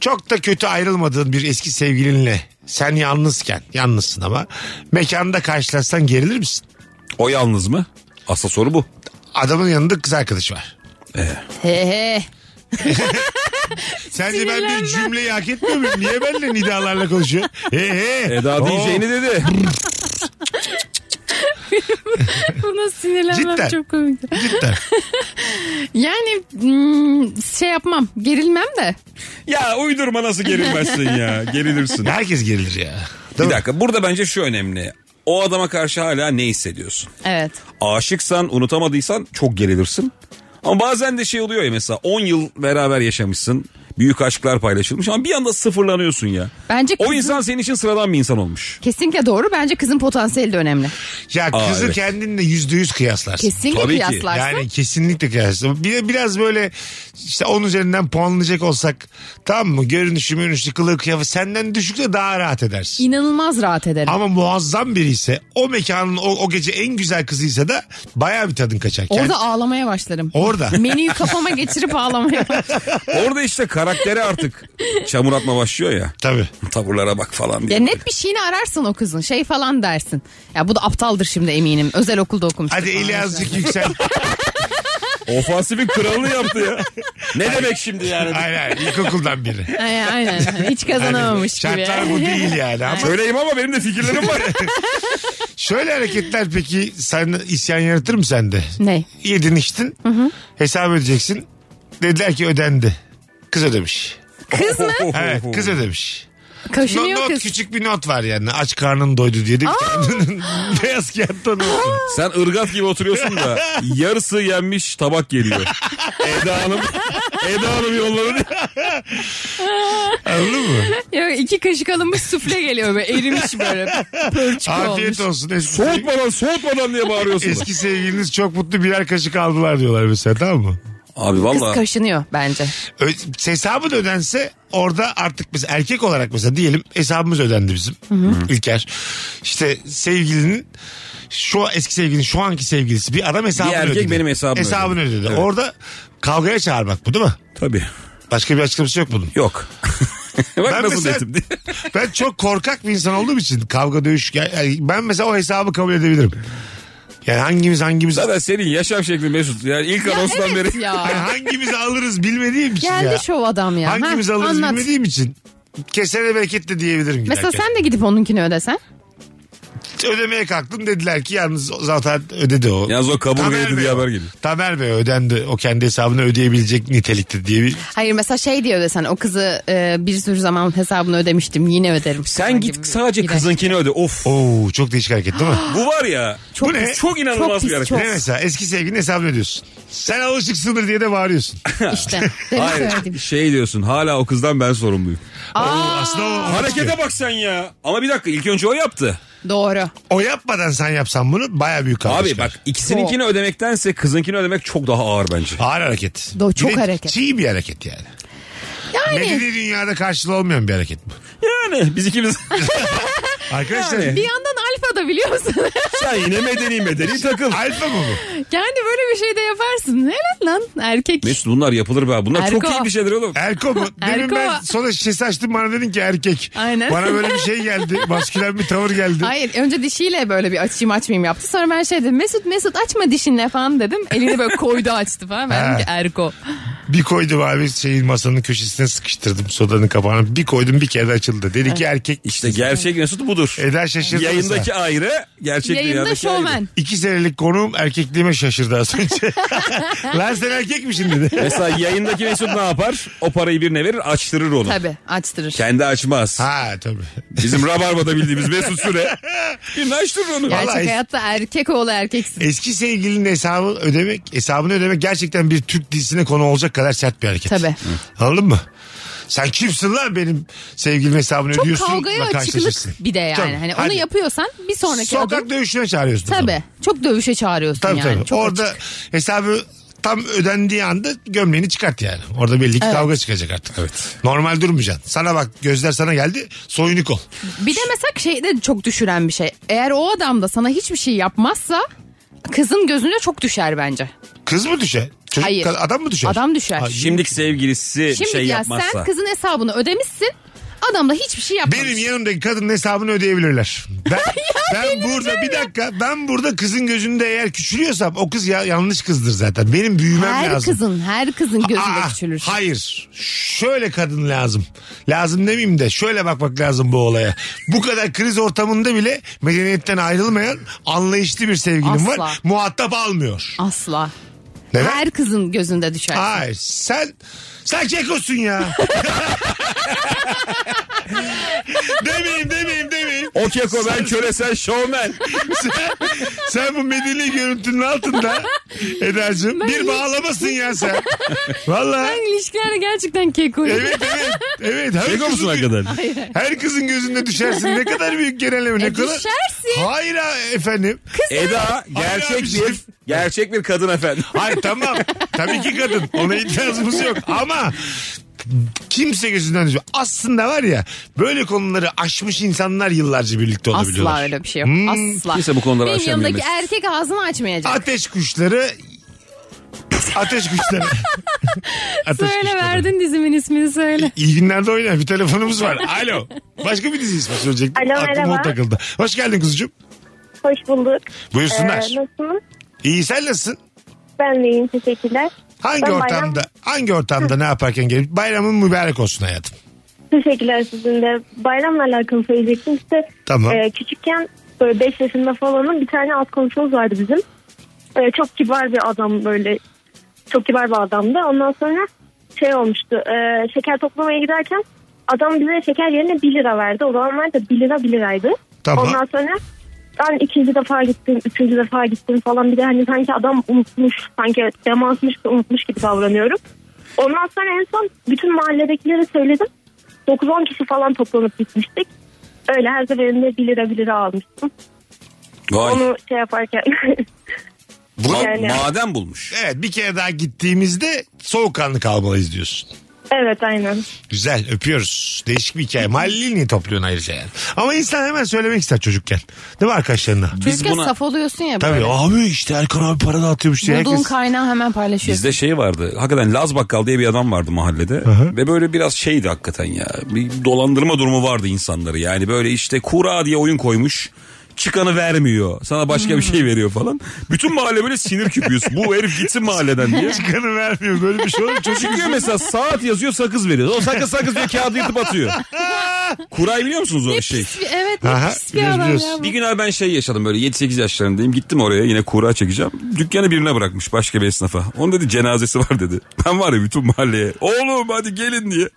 [SPEAKER 3] çok da kötü ayrılmadığın bir eski sevgilinle sen yalnızken, yalnızsın ama mekanda karşılaşsan gerilir misin?
[SPEAKER 4] O yalnız mı? Asıl soru bu.
[SPEAKER 3] Adamın yanında kız arkadaşı var.
[SPEAKER 5] He he.
[SPEAKER 3] Sence ben bir
[SPEAKER 5] Sinirlenme.
[SPEAKER 3] cümleyi hak etmiyor muyum? Niye benimle nidalarla konuşuyor? He he.
[SPEAKER 4] Eda
[SPEAKER 3] Oo,
[SPEAKER 4] E, diyeceğini dedi.
[SPEAKER 5] Buna sinirlenmem
[SPEAKER 3] Cidden.
[SPEAKER 5] çok komik.
[SPEAKER 3] Cidden.
[SPEAKER 5] Yani hmm, şey yapmam. Gerilmem de.
[SPEAKER 4] Ya uydurma nasıl gerilmezsin ya. Gerilirsin.
[SPEAKER 3] Herkes gerilir ya. Değil
[SPEAKER 4] Bir
[SPEAKER 3] mi?
[SPEAKER 4] dakika burada bence şu önemli. O adama karşı hala ne hissediyorsun?
[SPEAKER 5] Evet.
[SPEAKER 4] Aşıksan, unutamadıysan çok gerilirsin. Ama bazen de şey oluyor ya mesela 10 yıl beraber yaşamışsın. Büyük aşklar paylaşılmış ama bir anda sıfırlanıyorsun ya.
[SPEAKER 5] Bence
[SPEAKER 4] O
[SPEAKER 5] kızın-
[SPEAKER 4] insan senin için sıradan bir insan olmuş.
[SPEAKER 5] Kesinlikle doğru. Bence kızın potansiyeli de önemli.
[SPEAKER 3] Ya
[SPEAKER 4] Aa,
[SPEAKER 3] kızı
[SPEAKER 4] evet.
[SPEAKER 3] kendinle yüzde yüz kıyaslarsın.
[SPEAKER 5] Kesinlikle
[SPEAKER 4] Tabii ki.
[SPEAKER 5] kıyaslarsın.
[SPEAKER 3] Yani kesinlikle kıyaslarsın. Bir, biraz böyle işte 10 üzerinden puanlayacak olsak tamam mı? Görünüşü, görünüşü, kılığı, kıyafet senden düşükse daha rahat edersin.
[SPEAKER 5] İnanılmaz rahat ederim.
[SPEAKER 3] Ama muazzam biri ise o mekanın o, o gece en güzel kızıysa da bayağı bir tadın kaçar.
[SPEAKER 5] Orada
[SPEAKER 3] Kendi-
[SPEAKER 5] ağlamaya başlarım.
[SPEAKER 3] Orada.
[SPEAKER 5] Menüyü kafama geçirip ağlamaya başlarım.
[SPEAKER 4] Orada işte karakteri artık çamur atma başlıyor ya.
[SPEAKER 3] Tabii.
[SPEAKER 4] Tavırlara bak falan
[SPEAKER 5] Ya
[SPEAKER 4] diye.
[SPEAKER 5] net bir şeyini ararsın o kızın. Şey falan dersin. Ya bu da aptaldır şimdi eminim. Özel okulda okumuş.
[SPEAKER 3] Hadi eli azıcık yüksel.
[SPEAKER 4] Ofansifin kralını yaptı ya. Ne demek şimdi yani?
[SPEAKER 3] Aynen ilkokuldan biri.
[SPEAKER 5] Aynen, aynen. Hiç kazanamamış gibi.
[SPEAKER 3] Şartlar bu değil yani ama
[SPEAKER 4] Söyleyeyim ama benim de fikirlerim var.
[SPEAKER 3] Şöyle hareketler peki sen isyan yaratır mı sende?
[SPEAKER 5] Ne?
[SPEAKER 3] Yedin içtin hesap ödeyeceksin. Dediler ki ödendi. Kız ödemiş.
[SPEAKER 5] Kız mı?
[SPEAKER 3] Evet kız ödemiş. No,
[SPEAKER 5] Kaşınıyor
[SPEAKER 3] not,
[SPEAKER 5] kız.
[SPEAKER 3] küçük bir not var yani aç karnın doydu diye de bir tane beyaz kağıtta not var.
[SPEAKER 4] Sen ırgat gibi oturuyorsun da yarısı yenmiş tabak geliyor. Eda Hanım, Eda Hanım yolladı.
[SPEAKER 3] Anladın mı?
[SPEAKER 5] Ya iki kaşık alınmış sufle geliyor böyle erimiş böyle. Pörçük olmuş.
[SPEAKER 3] Afiyet olsun. Eski,
[SPEAKER 4] Soğutmadan soğutmadan diye bağırıyorsun.
[SPEAKER 3] eski sevgiliniz çok mutlu birer kaşık aldılar diyorlar mesela tamam mı?
[SPEAKER 4] Abi
[SPEAKER 5] Kız
[SPEAKER 4] valla
[SPEAKER 5] kaşınıyor bence.
[SPEAKER 3] Ö- hesabı da ödense orada artık biz erkek olarak mesela diyelim hesabımız ödendi bizim İlker. İşte sevgilinin şu eski sevgilinin şu anki sevgilisi bir adam hesabını
[SPEAKER 4] Bir erkek
[SPEAKER 3] ödedi.
[SPEAKER 4] benim hesabımı
[SPEAKER 3] hesabını ödedi.
[SPEAKER 4] ödedi. Evet.
[SPEAKER 3] Orada kavgaya çağırmak bu değil mi?
[SPEAKER 4] tabii
[SPEAKER 3] Başka bir açıklaması yok bunun.
[SPEAKER 4] yok. Bak
[SPEAKER 3] Ben
[SPEAKER 4] nasıl
[SPEAKER 3] mesela-
[SPEAKER 4] dedim diye.
[SPEAKER 3] Ben çok korkak bir insan olduğum için kavga dövüş yani ben mesela o hesabı kabul edebilirim. Yani hangimiz hangimiz
[SPEAKER 4] Zaten senin yaşam şeklin Mesut. Yani ilk anonstan
[SPEAKER 5] evet
[SPEAKER 3] yani
[SPEAKER 4] beri.
[SPEAKER 5] ya.
[SPEAKER 3] hangimiz alırız bilmediğim için
[SPEAKER 5] Geldi
[SPEAKER 3] ya.
[SPEAKER 5] şov adam ya.
[SPEAKER 3] Hangimiz
[SPEAKER 5] Ha,
[SPEAKER 3] alırız
[SPEAKER 5] anlat.
[SPEAKER 3] bilmediğim için. Kesene bereket de diyebilirim giderken.
[SPEAKER 5] Mesela sen de gidip onunkini ödesen.
[SPEAKER 3] ödemeye kalktım dediler ki yalnız zaten ödedi o.
[SPEAKER 4] Yalnız o kaburga
[SPEAKER 3] Tamer
[SPEAKER 4] yedi
[SPEAKER 3] Bey
[SPEAKER 4] diye
[SPEAKER 3] o.
[SPEAKER 4] haber geliyor.
[SPEAKER 3] Tamer Bey ödendi. O kendi hesabını ödeyebilecek nitelikte diye bir...
[SPEAKER 5] Hayır mesela şey diye ödesen o kızı e, bir sürü zaman hesabını ödemiştim yine öderim.
[SPEAKER 4] Sen git sadece kızınkini öde. Of.
[SPEAKER 3] Oo çok değişik hareket değil mi?
[SPEAKER 4] Bu var ya.
[SPEAKER 5] Çok
[SPEAKER 3] Bu ne?
[SPEAKER 5] pis,
[SPEAKER 4] Çok inanılmaz
[SPEAKER 5] çok pis,
[SPEAKER 4] bir hareket.
[SPEAKER 5] çok
[SPEAKER 3] ne mesela eski sevgilinin hesabını ödüyorsun. Sen alışıksındır diye de bağırıyorsun.
[SPEAKER 5] işte. Demin
[SPEAKER 4] Hayır
[SPEAKER 5] söyledim.
[SPEAKER 4] şey diyorsun hala o kızdan ben sorumluyum.
[SPEAKER 3] Oo, aslında o,
[SPEAKER 4] Harekete bak sen ya. Ama bir dakika ilk önce o yaptı.
[SPEAKER 5] Doğru.
[SPEAKER 3] o yapmadan sen yapsan bunu baya büyük kavga
[SPEAKER 4] Abi
[SPEAKER 3] çıkar.
[SPEAKER 4] bak ikisininkini ödemektense kızınkini ödemek çok daha ağır bence.
[SPEAKER 3] Ağır hareket.
[SPEAKER 5] Do-
[SPEAKER 3] Bir
[SPEAKER 5] çok
[SPEAKER 3] de
[SPEAKER 5] hareket.
[SPEAKER 3] Çiğ bir hareket yani.
[SPEAKER 5] Yani
[SPEAKER 3] Medeni dünyada karşılığı olmayan bir hareket bu.
[SPEAKER 4] Yani biz ikimiz
[SPEAKER 3] Arkadaşlar
[SPEAKER 5] bir yandan alfa da biliyor musun?
[SPEAKER 4] Sen yine medeni medeni takıl.
[SPEAKER 3] Alfa mı bu?
[SPEAKER 5] Kendi böyle bir şey de yaparsın. Helal lan erkek.
[SPEAKER 4] Mesut bunlar yapılır be. Bunlar çok
[SPEAKER 5] Erko.
[SPEAKER 4] iyi bir şeyler oğlum.
[SPEAKER 3] Erko mu? Demin
[SPEAKER 5] Erko.
[SPEAKER 3] ben sonra şişesi açtım bana dedin ki erkek.
[SPEAKER 5] Aynen.
[SPEAKER 3] Bana böyle bir şey geldi. Maskülen bir tavır geldi.
[SPEAKER 5] Hayır önce dişiyle böyle bir açayım açmayayım yaptı. Sonra ben şey dedim Mesut Mesut açma dişinle falan dedim. Elini böyle koydu açtı falan. Ben dedim ki Erko.
[SPEAKER 3] Bir koydum abi şeyin masanın köşesine sıkıştırdım sodanın kapağını. Bir koydum bir kere de açıldı. Dedi ki erkek.
[SPEAKER 4] İşte gerçek Mesut budur.
[SPEAKER 3] Eda şaşırdı.
[SPEAKER 4] Yayındaki ayrı, gerçek
[SPEAKER 5] Yayında
[SPEAKER 3] şey
[SPEAKER 4] dünyadaki ayrı.
[SPEAKER 5] şovmen.
[SPEAKER 3] İki senelik konuğum erkekliğime şaşırdı az önce. Lan sen erkek misin dedi.
[SPEAKER 4] Mesela yayındaki Mesut ne yapar? O parayı birine verir, açtırır onu.
[SPEAKER 5] Tabii açtırır.
[SPEAKER 4] Kendi açmaz.
[SPEAKER 3] Ha tabii.
[SPEAKER 4] Bizim Rabarba'da bildiğimiz Mesut Süre. Birine açtırır onu.
[SPEAKER 5] Gerçek
[SPEAKER 3] Vallahi-
[SPEAKER 5] hayatta erkek oğlu erkeksin.
[SPEAKER 3] Eski sevgilinin hesabı ödemek, hesabını ödemek gerçekten bir Türk dizisine konu olacak kadar sert bir hareket.
[SPEAKER 5] Tabii.
[SPEAKER 3] Anladın mı? Sen kimsin lan benim sevgilim hesabını
[SPEAKER 5] Çok
[SPEAKER 3] ödüyorsun.
[SPEAKER 5] kavgaya
[SPEAKER 3] bak karşılaşırsın.
[SPEAKER 5] açıklık bir de yani.
[SPEAKER 3] Tabii.
[SPEAKER 5] Hani onu
[SPEAKER 3] Hadi.
[SPEAKER 5] yapıyorsan bir sonraki
[SPEAKER 3] Sokak
[SPEAKER 5] adım.
[SPEAKER 3] dövüşüne çağırıyorsun. o zaman.
[SPEAKER 5] Tabii. Çok dövüşe çağırıyorsun
[SPEAKER 3] Tabii
[SPEAKER 5] yani.
[SPEAKER 3] tabii.
[SPEAKER 5] Çok
[SPEAKER 3] Orada
[SPEAKER 5] açık.
[SPEAKER 3] hesabı tam ödendiği anda gömleğini çıkart yani. Orada belli ki kavga çıkacak artık. Evet. Normal durmayacaksın. Sana bak gözler sana geldi. Soyunuk ol.
[SPEAKER 5] Bir de mesela şey de çok düşüren bir şey. Eğer o adam da sana hiçbir şey yapmazsa kızın gözüne çok düşer bence.
[SPEAKER 3] Kız mı düşer? Çocuk,
[SPEAKER 5] Hayır.
[SPEAKER 3] kız- Adam mı düşer?
[SPEAKER 5] Adam düşer.
[SPEAKER 3] Ay,
[SPEAKER 4] Şimdiki sevgilisi
[SPEAKER 5] Şimdi
[SPEAKER 4] şey
[SPEAKER 5] ya
[SPEAKER 4] yapmazsa.
[SPEAKER 5] sen kızın hesabını ödemişsin. Adam da hiçbir şey yapmamış.
[SPEAKER 3] Benim yanımdaki kadının hesabını ödeyebilirler. Ben, ben burada bir dakika ben burada kızın gözünde eğer küçülüyorsam o kız ya, yanlış kızdır zaten. Benim büyümem
[SPEAKER 5] her
[SPEAKER 3] lazım.
[SPEAKER 5] kızın, her kızın gözünde
[SPEAKER 3] Aa,
[SPEAKER 5] küçülür.
[SPEAKER 3] Hayır. Şöyle kadın lazım. Lazım demeyeyim de şöyle bakmak lazım bu olaya. Bu kadar kriz ortamında bile medeniyetten ayrılmayan anlayışlı bir sevgilim
[SPEAKER 5] Asla.
[SPEAKER 3] var. Muhatap almıyor.
[SPEAKER 5] Asla.
[SPEAKER 3] Neden?
[SPEAKER 5] Her kızın gözünde düşer.
[SPEAKER 3] Hayır. Sen sen kekosun ya. demeyeyim demeyeyim demeyeyim.
[SPEAKER 4] O keko ben köresel şovmen.
[SPEAKER 3] Sen, sen bu medeni görüntünün altında Eda'cığım bir bağlamasın ya sen. Valla.
[SPEAKER 5] Ben ilişkilerde gerçekten kekoyum.
[SPEAKER 3] Evet evet. Evet. Her
[SPEAKER 4] Keko musun
[SPEAKER 3] kızın-
[SPEAKER 4] hakikaten?
[SPEAKER 3] Her kızın gözünde düşersin. Ne kadar büyük genelleme ne
[SPEAKER 5] E,
[SPEAKER 3] kadar.
[SPEAKER 5] düşersin.
[SPEAKER 3] Hayır ha, efendim.
[SPEAKER 4] Eda gerçek
[SPEAKER 3] abi, şey-
[SPEAKER 4] bir gerçek bir kadın efendim.
[SPEAKER 3] Hayır tamam. Tabii ki kadın. Ona itirazımız yok. Ama kimse gözünden düşmüyor. Aslında var ya böyle konuları aşmış insanlar yıllarca birlikte olabiliyorlar.
[SPEAKER 5] Asla öyle bir şey yok.
[SPEAKER 3] Hmm.
[SPEAKER 5] Asla.
[SPEAKER 4] Kimse bu konuları
[SPEAKER 5] Benim
[SPEAKER 4] aşamıyor
[SPEAKER 5] yanımdaki
[SPEAKER 4] Mesut.
[SPEAKER 5] erkek ağzını açmayacak.
[SPEAKER 3] Ateş kuşları Ateş kuşları. Ateş
[SPEAKER 5] söyle
[SPEAKER 3] kuşları.
[SPEAKER 5] verdin dizimin ismini söyle.
[SPEAKER 3] İyi günlerde oyna. Bir telefonumuz var. Alo. Başka bir dizi ismi söyleyecektim.
[SPEAKER 6] Alo,
[SPEAKER 3] Aklıma o
[SPEAKER 6] merhaba.
[SPEAKER 3] takıldı. Hoş geldin kuzucuğum.
[SPEAKER 6] Hoş bulduk.
[SPEAKER 3] Buyursunlar.
[SPEAKER 6] Ee, nasılsınız?
[SPEAKER 3] İyi sen nasılsın?
[SPEAKER 6] Ben de iyiyim teşekkürler.
[SPEAKER 3] Hangi
[SPEAKER 6] Ben bayram-
[SPEAKER 3] ortamda hangi ortamda ne yaparken gelip bayramın mübarek olsun hayatım.
[SPEAKER 6] Teşekkürler sizin de. Bayramla alakalı söyleyecektim. İşte
[SPEAKER 3] Tamam.
[SPEAKER 6] e, küçükken böyle 5 yaşında falanın bir tane alt komşumuz vardı bizim. E, çok kibar bir adam böyle. Çok kibar bir adamdı. Ondan sonra şey olmuştu. e, şeker toplamaya giderken adam bize şeker yerine 1 lira verdi. O zamanlar da 1 lira 1 liraydı.
[SPEAKER 3] Tamam.
[SPEAKER 6] Ondan sonra ben ikinci defa gittim, üçüncü defa gittim falan. Bir de hani sanki adam unutmuş, sanki demansmış da unutmuş gibi davranıyorum. Ondan sonra en son bütün mahalledekilere söyledim. 9-10 kişi falan toplanıp gitmiştik. Öyle her seferinde 1 lira 1 lira almıştım.
[SPEAKER 4] Vay.
[SPEAKER 6] Onu şey yaparken
[SPEAKER 4] Ma-
[SPEAKER 6] Yani-
[SPEAKER 4] Maden bulmuş.
[SPEAKER 3] Evet bir kere daha gittiğimizde soğukkanlı kalmalıyız diyorsun.
[SPEAKER 6] evet aynen.
[SPEAKER 3] Güzel öpüyoruz. Değişik bir hikaye. Mahalleli niye topluyorsun ayrıca yani? Ama insan hemen söylemek ister çocukken. Değil mi arkadaşlarına?
[SPEAKER 5] Çocukken
[SPEAKER 4] buna-
[SPEAKER 5] saf oluyorsun ya
[SPEAKER 3] Tabii
[SPEAKER 5] böyle.
[SPEAKER 3] abi işte Erkan abi para dağıtıyormuş diye
[SPEAKER 5] Bulduğun
[SPEAKER 3] herkes.
[SPEAKER 5] kaynağı hemen paylaşıyorsun.
[SPEAKER 4] Bizde şey vardı. Hakikaten Laz Bakkal diye bir adam vardı mahallede. Ve böyle biraz şeydi hakikaten ya. Bir dolandırma durumu vardı insanları. Yani böyle işte kura diye oyun koymuş. Çıkanı vermiyor. Sana başka bir şey veriyor falan. Bütün mahalle böyle sinir küpüyorsun. Bu herif gitsin mahalleden diye.
[SPEAKER 3] Çıkanı vermiyor böyle bir şey olur mu? Çocuk
[SPEAKER 4] Çıkıyor mesela saat yazıyor sakız veriyor. O sakız sakız diye kağıdı yırtıp atıyor. Kuray biliyor musunuz o şey?
[SPEAKER 5] Pis bir- Evet ne
[SPEAKER 3] Aha,
[SPEAKER 5] pis bir
[SPEAKER 3] biliyoruz,
[SPEAKER 5] adam
[SPEAKER 3] biliyoruz.
[SPEAKER 5] ya. bu.
[SPEAKER 4] Bir gün abi ben şey yaşadım böyle 7-8 yaşlarındayım. Gittim oraya yine kura çekeceğim. Dükkanı birine bırakmış başka bir esnafa. Onun dedi cenazesi var dedi. Ben var ya bütün mahalleye. Oğlum hadi gelin diye.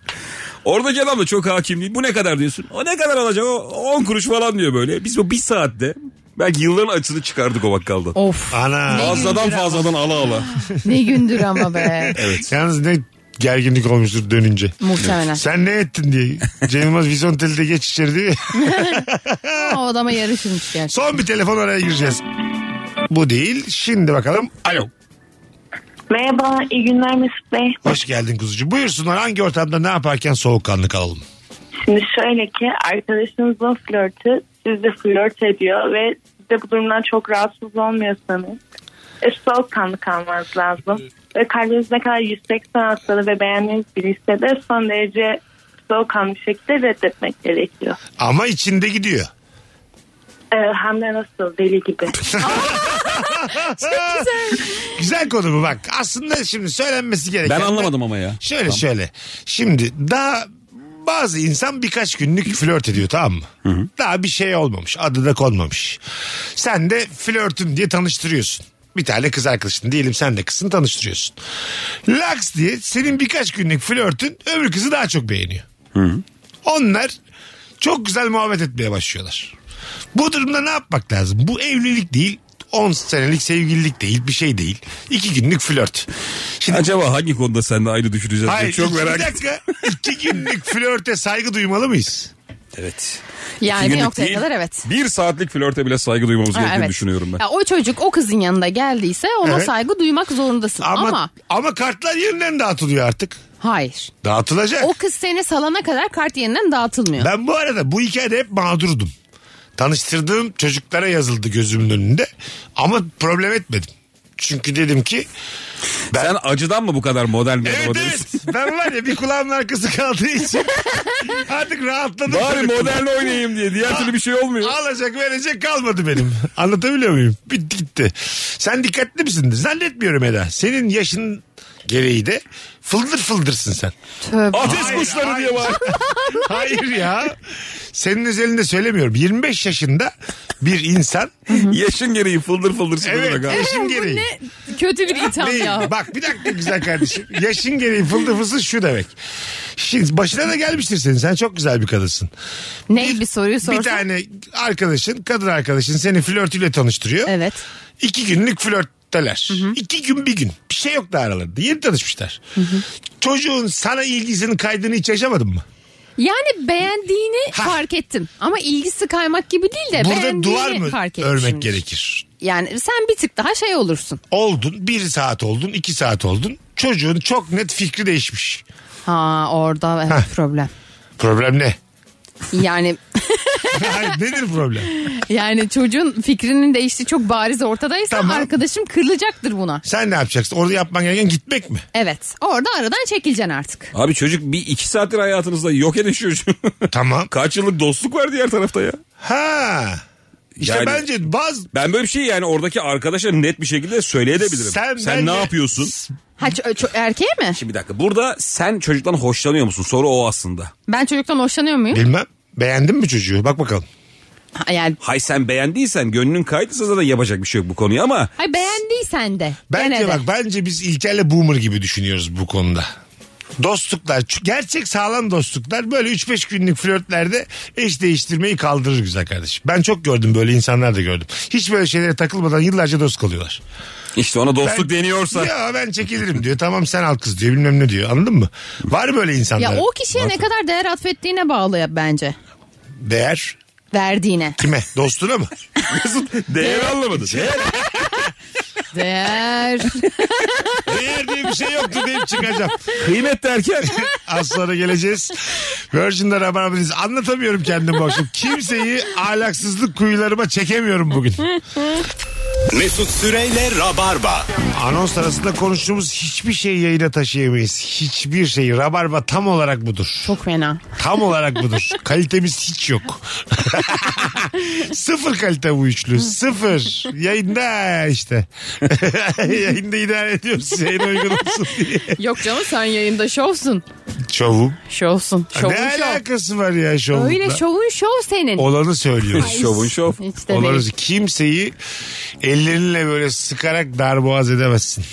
[SPEAKER 4] Oradaki adam da çok hakim değil. Bu ne kadar diyorsun? O ne kadar alacak? O 10 kuruş falan diyor böyle. Biz bu bir saatte belki yılların açını çıkardık o bakkaldan.
[SPEAKER 5] Of
[SPEAKER 3] Ana.
[SPEAKER 4] Fazladan fazladan ala ala.
[SPEAKER 5] ne gündür ama be.
[SPEAKER 3] Yalnız ne gerginlik olmuştur dönünce.
[SPEAKER 5] Muhtemelen.
[SPEAKER 3] Sen ne ettin diye. Cem Yılmaz vizyon telide geç içeri diyor ya.
[SPEAKER 5] Ama o adama yarışılmış gerçekten.
[SPEAKER 3] Son bir telefon araya gireceğiz. Bu değil. Şimdi bakalım. Alo.
[SPEAKER 6] Merhaba iyi günler Mesut Bey.
[SPEAKER 3] Hoş geldin kuzucu. Buyursunlar hangi ortamda ne yaparken soğukkanlı kalalım?
[SPEAKER 6] Şimdi şöyle ki arkadaşınızın flörtü sizle flört ediyor ve siz de bu durumdan çok rahatsız olmuyorsanız e, soğukkanlı kalmanız lazım. Ve kalbiniz ne kadar 180 atsalı ve beğendiğiniz biri ise de son derece soğukkanlı bir şekilde reddetmek gerekiyor.
[SPEAKER 3] Ama içinde gidiyor.
[SPEAKER 6] E, hem de nasıl deli gibi.
[SPEAKER 3] Güzel konu bu bak. Aslında şimdi söylenmesi gereken.
[SPEAKER 4] Ben anlamadım ama ya.
[SPEAKER 3] Şöyle şöyle. Şimdi daha bazı insan birkaç günlük flört ediyor tamam mı? Daha bir şey olmamış. Adı da konmamış. Sen de flörtüm diye tanıştırıyorsun. Bir tane kız arkadaşın diyelim sen de kızını tanıştırıyorsun. Laks diye senin birkaç günlük flörtün öbür kızı daha çok beğeniyor. Onlar çok güzel muhabbet etmeye başlıyorlar. Bu durumda ne yapmak lazım? Bu evlilik değil 10 senelik sevgililik değil bir şey değil. 2 günlük flört. Şimdi
[SPEAKER 4] Acaba hangi konuda sen de ayrı düşüneceğiz? diye
[SPEAKER 3] Hayır,
[SPEAKER 4] çok
[SPEAKER 3] iki
[SPEAKER 4] şey merak ettim.
[SPEAKER 3] dakika. İki günlük flörte saygı duymalı mıyız?
[SPEAKER 4] Evet.
[SPEAKER 5] Yani
[SPEAKER 4] İki
[SPEAKER 5] bir
[SPEAKER 4] günlük
[SPEAKER 5] noktaya
[SPEAKER 4] değil,
[SPEAKER 5] kadar evet.
[SPEAKER 4] Bir saatlik flörte bile saygı duymamız
[SPEAKER 5] Ha,
[SPEAKER 4] gerektiğini
[SPEAKER 5] evet.
[SPEAKER 4] düşünüyorum ben.
[SPEAKER 5] Ya o çocuk o kızın yanında geldiyse ona
[SPEAKER 3] Evet.
[SPEAKER 5] saygı duymak zorundasın.
[SPEAKER 3] Ama,
[SPEAKER 5] Ama,
[SPEAKER 3] ama kartlar yeniden dağıtılıyor artık.
[SPEAKER 5] hayır.
[SPEAKER 3] Dağıtılacak.
[SPEAKER 5] O kız seni salana kadar kart yeniden dağıtılmıyor.
[SPEAKER 3] Ben bu arada bu hikayede hep mağdurdum. Tanıştırdığım çocuklara yazıldı gözümün önünde. Ama problem etmedim. Çünkü dedim ki ben-
[SPEAKER 4] Sen acıdan mı bu kadar model bir
[SPEAKER 3] evet
[SPEAKER 4] adama
[SPEAKER 3] evet
[SPEAKER 4] dönüyorsun?
[SPEAKER 3] ben var ya bir kulağımın arkası kaldığı için artık rahatladım.
[SPEAKER 4] Bari model oynayayım diye. Diğer türlü bir şey olmuyor.
[SPEAKER 3] Alacak verecek kalmadı benim. Anlatabiliyor muyum? Bitti gitti. Sen dikkatli misin? Zannetmiyorum Eda. Senin yaşın gereği de fıldır fıldırsın sen.
[SPEAKER 5] Tövbe.
[SPEAKER 4] Ateş
[SPEAKER 3] Hayır,
[SPEAKER 4] kuşları diye
[SPEAKER 3] hayır.
[SPEAKER 4] var.
[SPEAKER 3] Hayır ya. Senin özelinde söylemiyorum. 25 yaşında bir insan.
[SPEAKER 4] Yaşın gereği fıldır fıldır
[SPEAKER 3] evet
[SPEAKER 4] sıkılır. Evet.
[SPEAKER 3] yaşın gereği.
[SPEAKER 5] Kötü bir itham
[SPEAKER 3] Değil.
[SPEAKER 5] ya.
[SPEAKER 3] Bak bir dakika güzel kardeşim. Yaşın gereği fıldır fıldır şu demek. Şimdi başına da gelmiştir senin. Sen çok güzel bir kadınsın.
[SPEAKER 5] Ney bir soruyu sorsan.
[SPEAKER 3] Bir tane arkadaşın, kadın arkadaşın seni flörtüyle tanıştırıyor.
[SPEAKER 5] Evet.
[SPEAKER 3] İki günlük flörtteler. İki gün bir gün. Bir şey yok da aralarında. Yeni tanışmışlar. Çocuğun sana ilgisinin kaydını hiç yaşamadın mı?
[SPEAKER 5] Yani beğendiğini
[SPEAKER 3] Ha.
[SPEAKER 5] fark ettim. Ama ilgisi kaymak gibi değil de
[SPEAKER 3] Burada
[SPEAKER 5] E, beğendiğini
[SPEAKER 3] duvar mı
[SPEAKER 5] fark
[SPEAKER 3] örmek
[SPEAKER 5] etmişimdir.
[SPEAKER 3] gerekir?
[SPEAKER 5] Yani sen bir tık daha şey olursun.
[SPEAKER 3] Oldun bir saat oldun iki saat oldun. Çocuğun çok net fikri değişmiş.
[SPEAKER 5] Ha orada evet,
[SPEAKER 3] Heh.
[SPEAKER 5] problem.
[SPEAKER 3] Problem ne?
[SPEAKER 5] Yani
[SPEAKER 3] Hayır, Nedir problem?
[SPEAKER 5] yani çocuğun fikrinin değiştiği çok bariz ortadaysa
[SPEAKER 3] Tamam.
[SPEAKER 5] arkadaşım kırılacaktır buna.
[SPEAKER 3] Sen ne yapacaksın? Orada yapman gereken gitmek mi?
[SPEAKER 5] Evet. Orada aradan çekileceksin artık.
[SPEAKER 4] Abi çocuk bir iki saattir hayatınızda yok edin şu çocuğu.
[SPEAKER 3] Tamam.
[SPEAKER 4] Kaç yıllık dostluk var diğer tarafta ya.
[SPEAKER 3] Ha. İşte
[SPEAKER 4] Yani-
[SPEAKER 3] bence bazı
[SPEAKER 4] Ben böyle bir şey yani oradaki arkadaşa net bir şekilde söyleyebilirim.
[SPEAKER 3] Sen
[SPEAKER 4] Sen,
[SPEAKER 3] bence-
[SPEAKER 4] ne yapıyorsun?
[SPEAKER 5] Ha ç- ç- erkeğe mi?
[SPEAKER 4] Şimdi bir dakika. Burada sen çocuktan hoşlanıyor musun? Soru o aslında.
[SPEAKER 5] Ben çocuktan hoşlanıyor muyum?
[SPEAKER 3] bilmem. Beğendin mi çocuğu? Bak bakalım.
[SPEAKER 5] Ha, yani
[SPEAKER 4] Hay sen beğendiysen gönlün kaydıysa zaten yapacak bir şey yok bu konuya ama
[SPEAKER 5] Hayır beğendiysen de.
[SPEAKER 3] Bence
[SPEAKER 5] gene de.
[SPEAKER 3] bak bence biz İlker'le Boomer gibi düşünüyoruz bu konuda. Dostluklar çünkü gerçek sağlam dostluklar böyle 3-5 günlük flörtlerde eş değiştirmeyi kaldırır güzel kardeşim. Ben çok gördüm böyle insanlar da gördüm. Hiç böyle şeylere takılmadan yıllarca dost kalıyorlar.
[SPEAKER 4] işte ona dostluk
[SPEAKER 3] Ben-
[SPEAKER 4] deniyorsa.
[SPEAKER 3] Ya ben çekilirim diyor tamam sen al kız diyor bilmem ne diyor anladın mı? Var böyle insanlar.
[SPEAKER 5] Ya o kişiye ne kadar değer atfettiğine bağlı ya bence.
[SPEAKER 3] Değer
[SPEAKER 5] Verdiğine.
[SPEAKER 3] kime? Dostuna mı?
[SPEAKER 4] Değer anlamadı. Değer.
[SPEAKER 5] Değer.
[SPEAKER 3] Değer diye bir şey yoktu deyip çıkacağım.
[SPEAKER 4] Kıymet derken.
[SPEAKER 3] Az sonra geleceğiz. Virgin'de Rabarba'dayız. Anlatamıyorum kendimi bu akşam. Kimseyi ahlaksızlık kuyularıma çekemiyorum bugün.
[SPEAKER 2] Mesut Süreyle Rabarba.
[SPEAKER 3] Anons arasında konuştuğumuz hiçbir şeyi yayına taşıyamayız. Hiçbir şeyi. Rabarba tam olarak budur.
[SPEAKER 5] Çok fena.
[SPEAKER 3] Tam olarak budur. Kalitemiz hiç yok. sıfır kalite bu üçlü. Sıfır. Yayında işte. Yayında idare ediyoruz. Yayına uygun olsun diye.
[SPEAKER 5] Yok canım sen yayında şovsun.
[SPEAKER 3] Şovum.
[SPEAKER 5] Şovsun. Şovun
[SPEAKER 3] ne
[SPEAKER 5] şov.
[SPEAKER 3] alakası var ya şovla?
[SPEAKER 5] Öyle şovun şov senin.
[SPEAKER 3] Olanı söylüyoruz.
[SPEAKER 4] Şovun şov.
[SPEAKER 5] Hiç de
[SPEAKER 3] Onları
[SPEAKER 5] değil.
[SPEAKER 3] kimseyi ellerinle böyle sıkarak darboğaz edemezsin.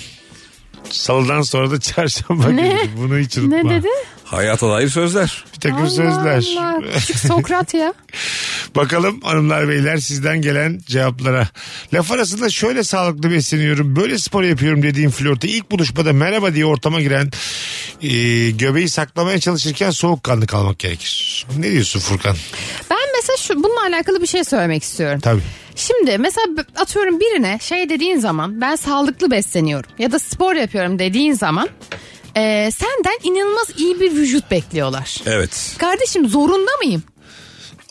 [SPEAKER 3] Salıdan sonra da çarşamba günü. Bunu hiç unutma.
[SPEAKER 5] Ne dedi?
[SPEAKER 4] Hayata dair sözler.
[SPEAKER 3] Bir takım
[SPEAKER 5] Allah
[SPEAKER 3] sözler.
[SPEAKER 5] Allah. Küçük Sokrat ya.
[SPEAKER 3] Bakalım hanımlar beyler sizden gelen cevaplara. Laf arasında şöyle sağlıklı besleniyorum, böyle spor yapıyorum dediğim flörte ilk buluşmada merhaba diye ortama giren e, göbeği saklamaya çalışırken soğukkanlı kalmak gerekir. Ne diyorsun Furkan?
[SPEAKER 5] Ben mesela şu, bununla alakalı bir şey söylemek istiyorum.
[SPEAKER 3] Tabii.
[SPEAKER 5] Şimdi mesela b- atıyorum birine şey dediğin zaman ben sağlıklı besleniyorum ya da spor yapıyorum dediğin zaman e, senden inanılmaz iyi bir vücut bekliyorlar.
[SPEAKER 4] Evet.
[SPEAKER 5] Kardeşim zorunda mıyım?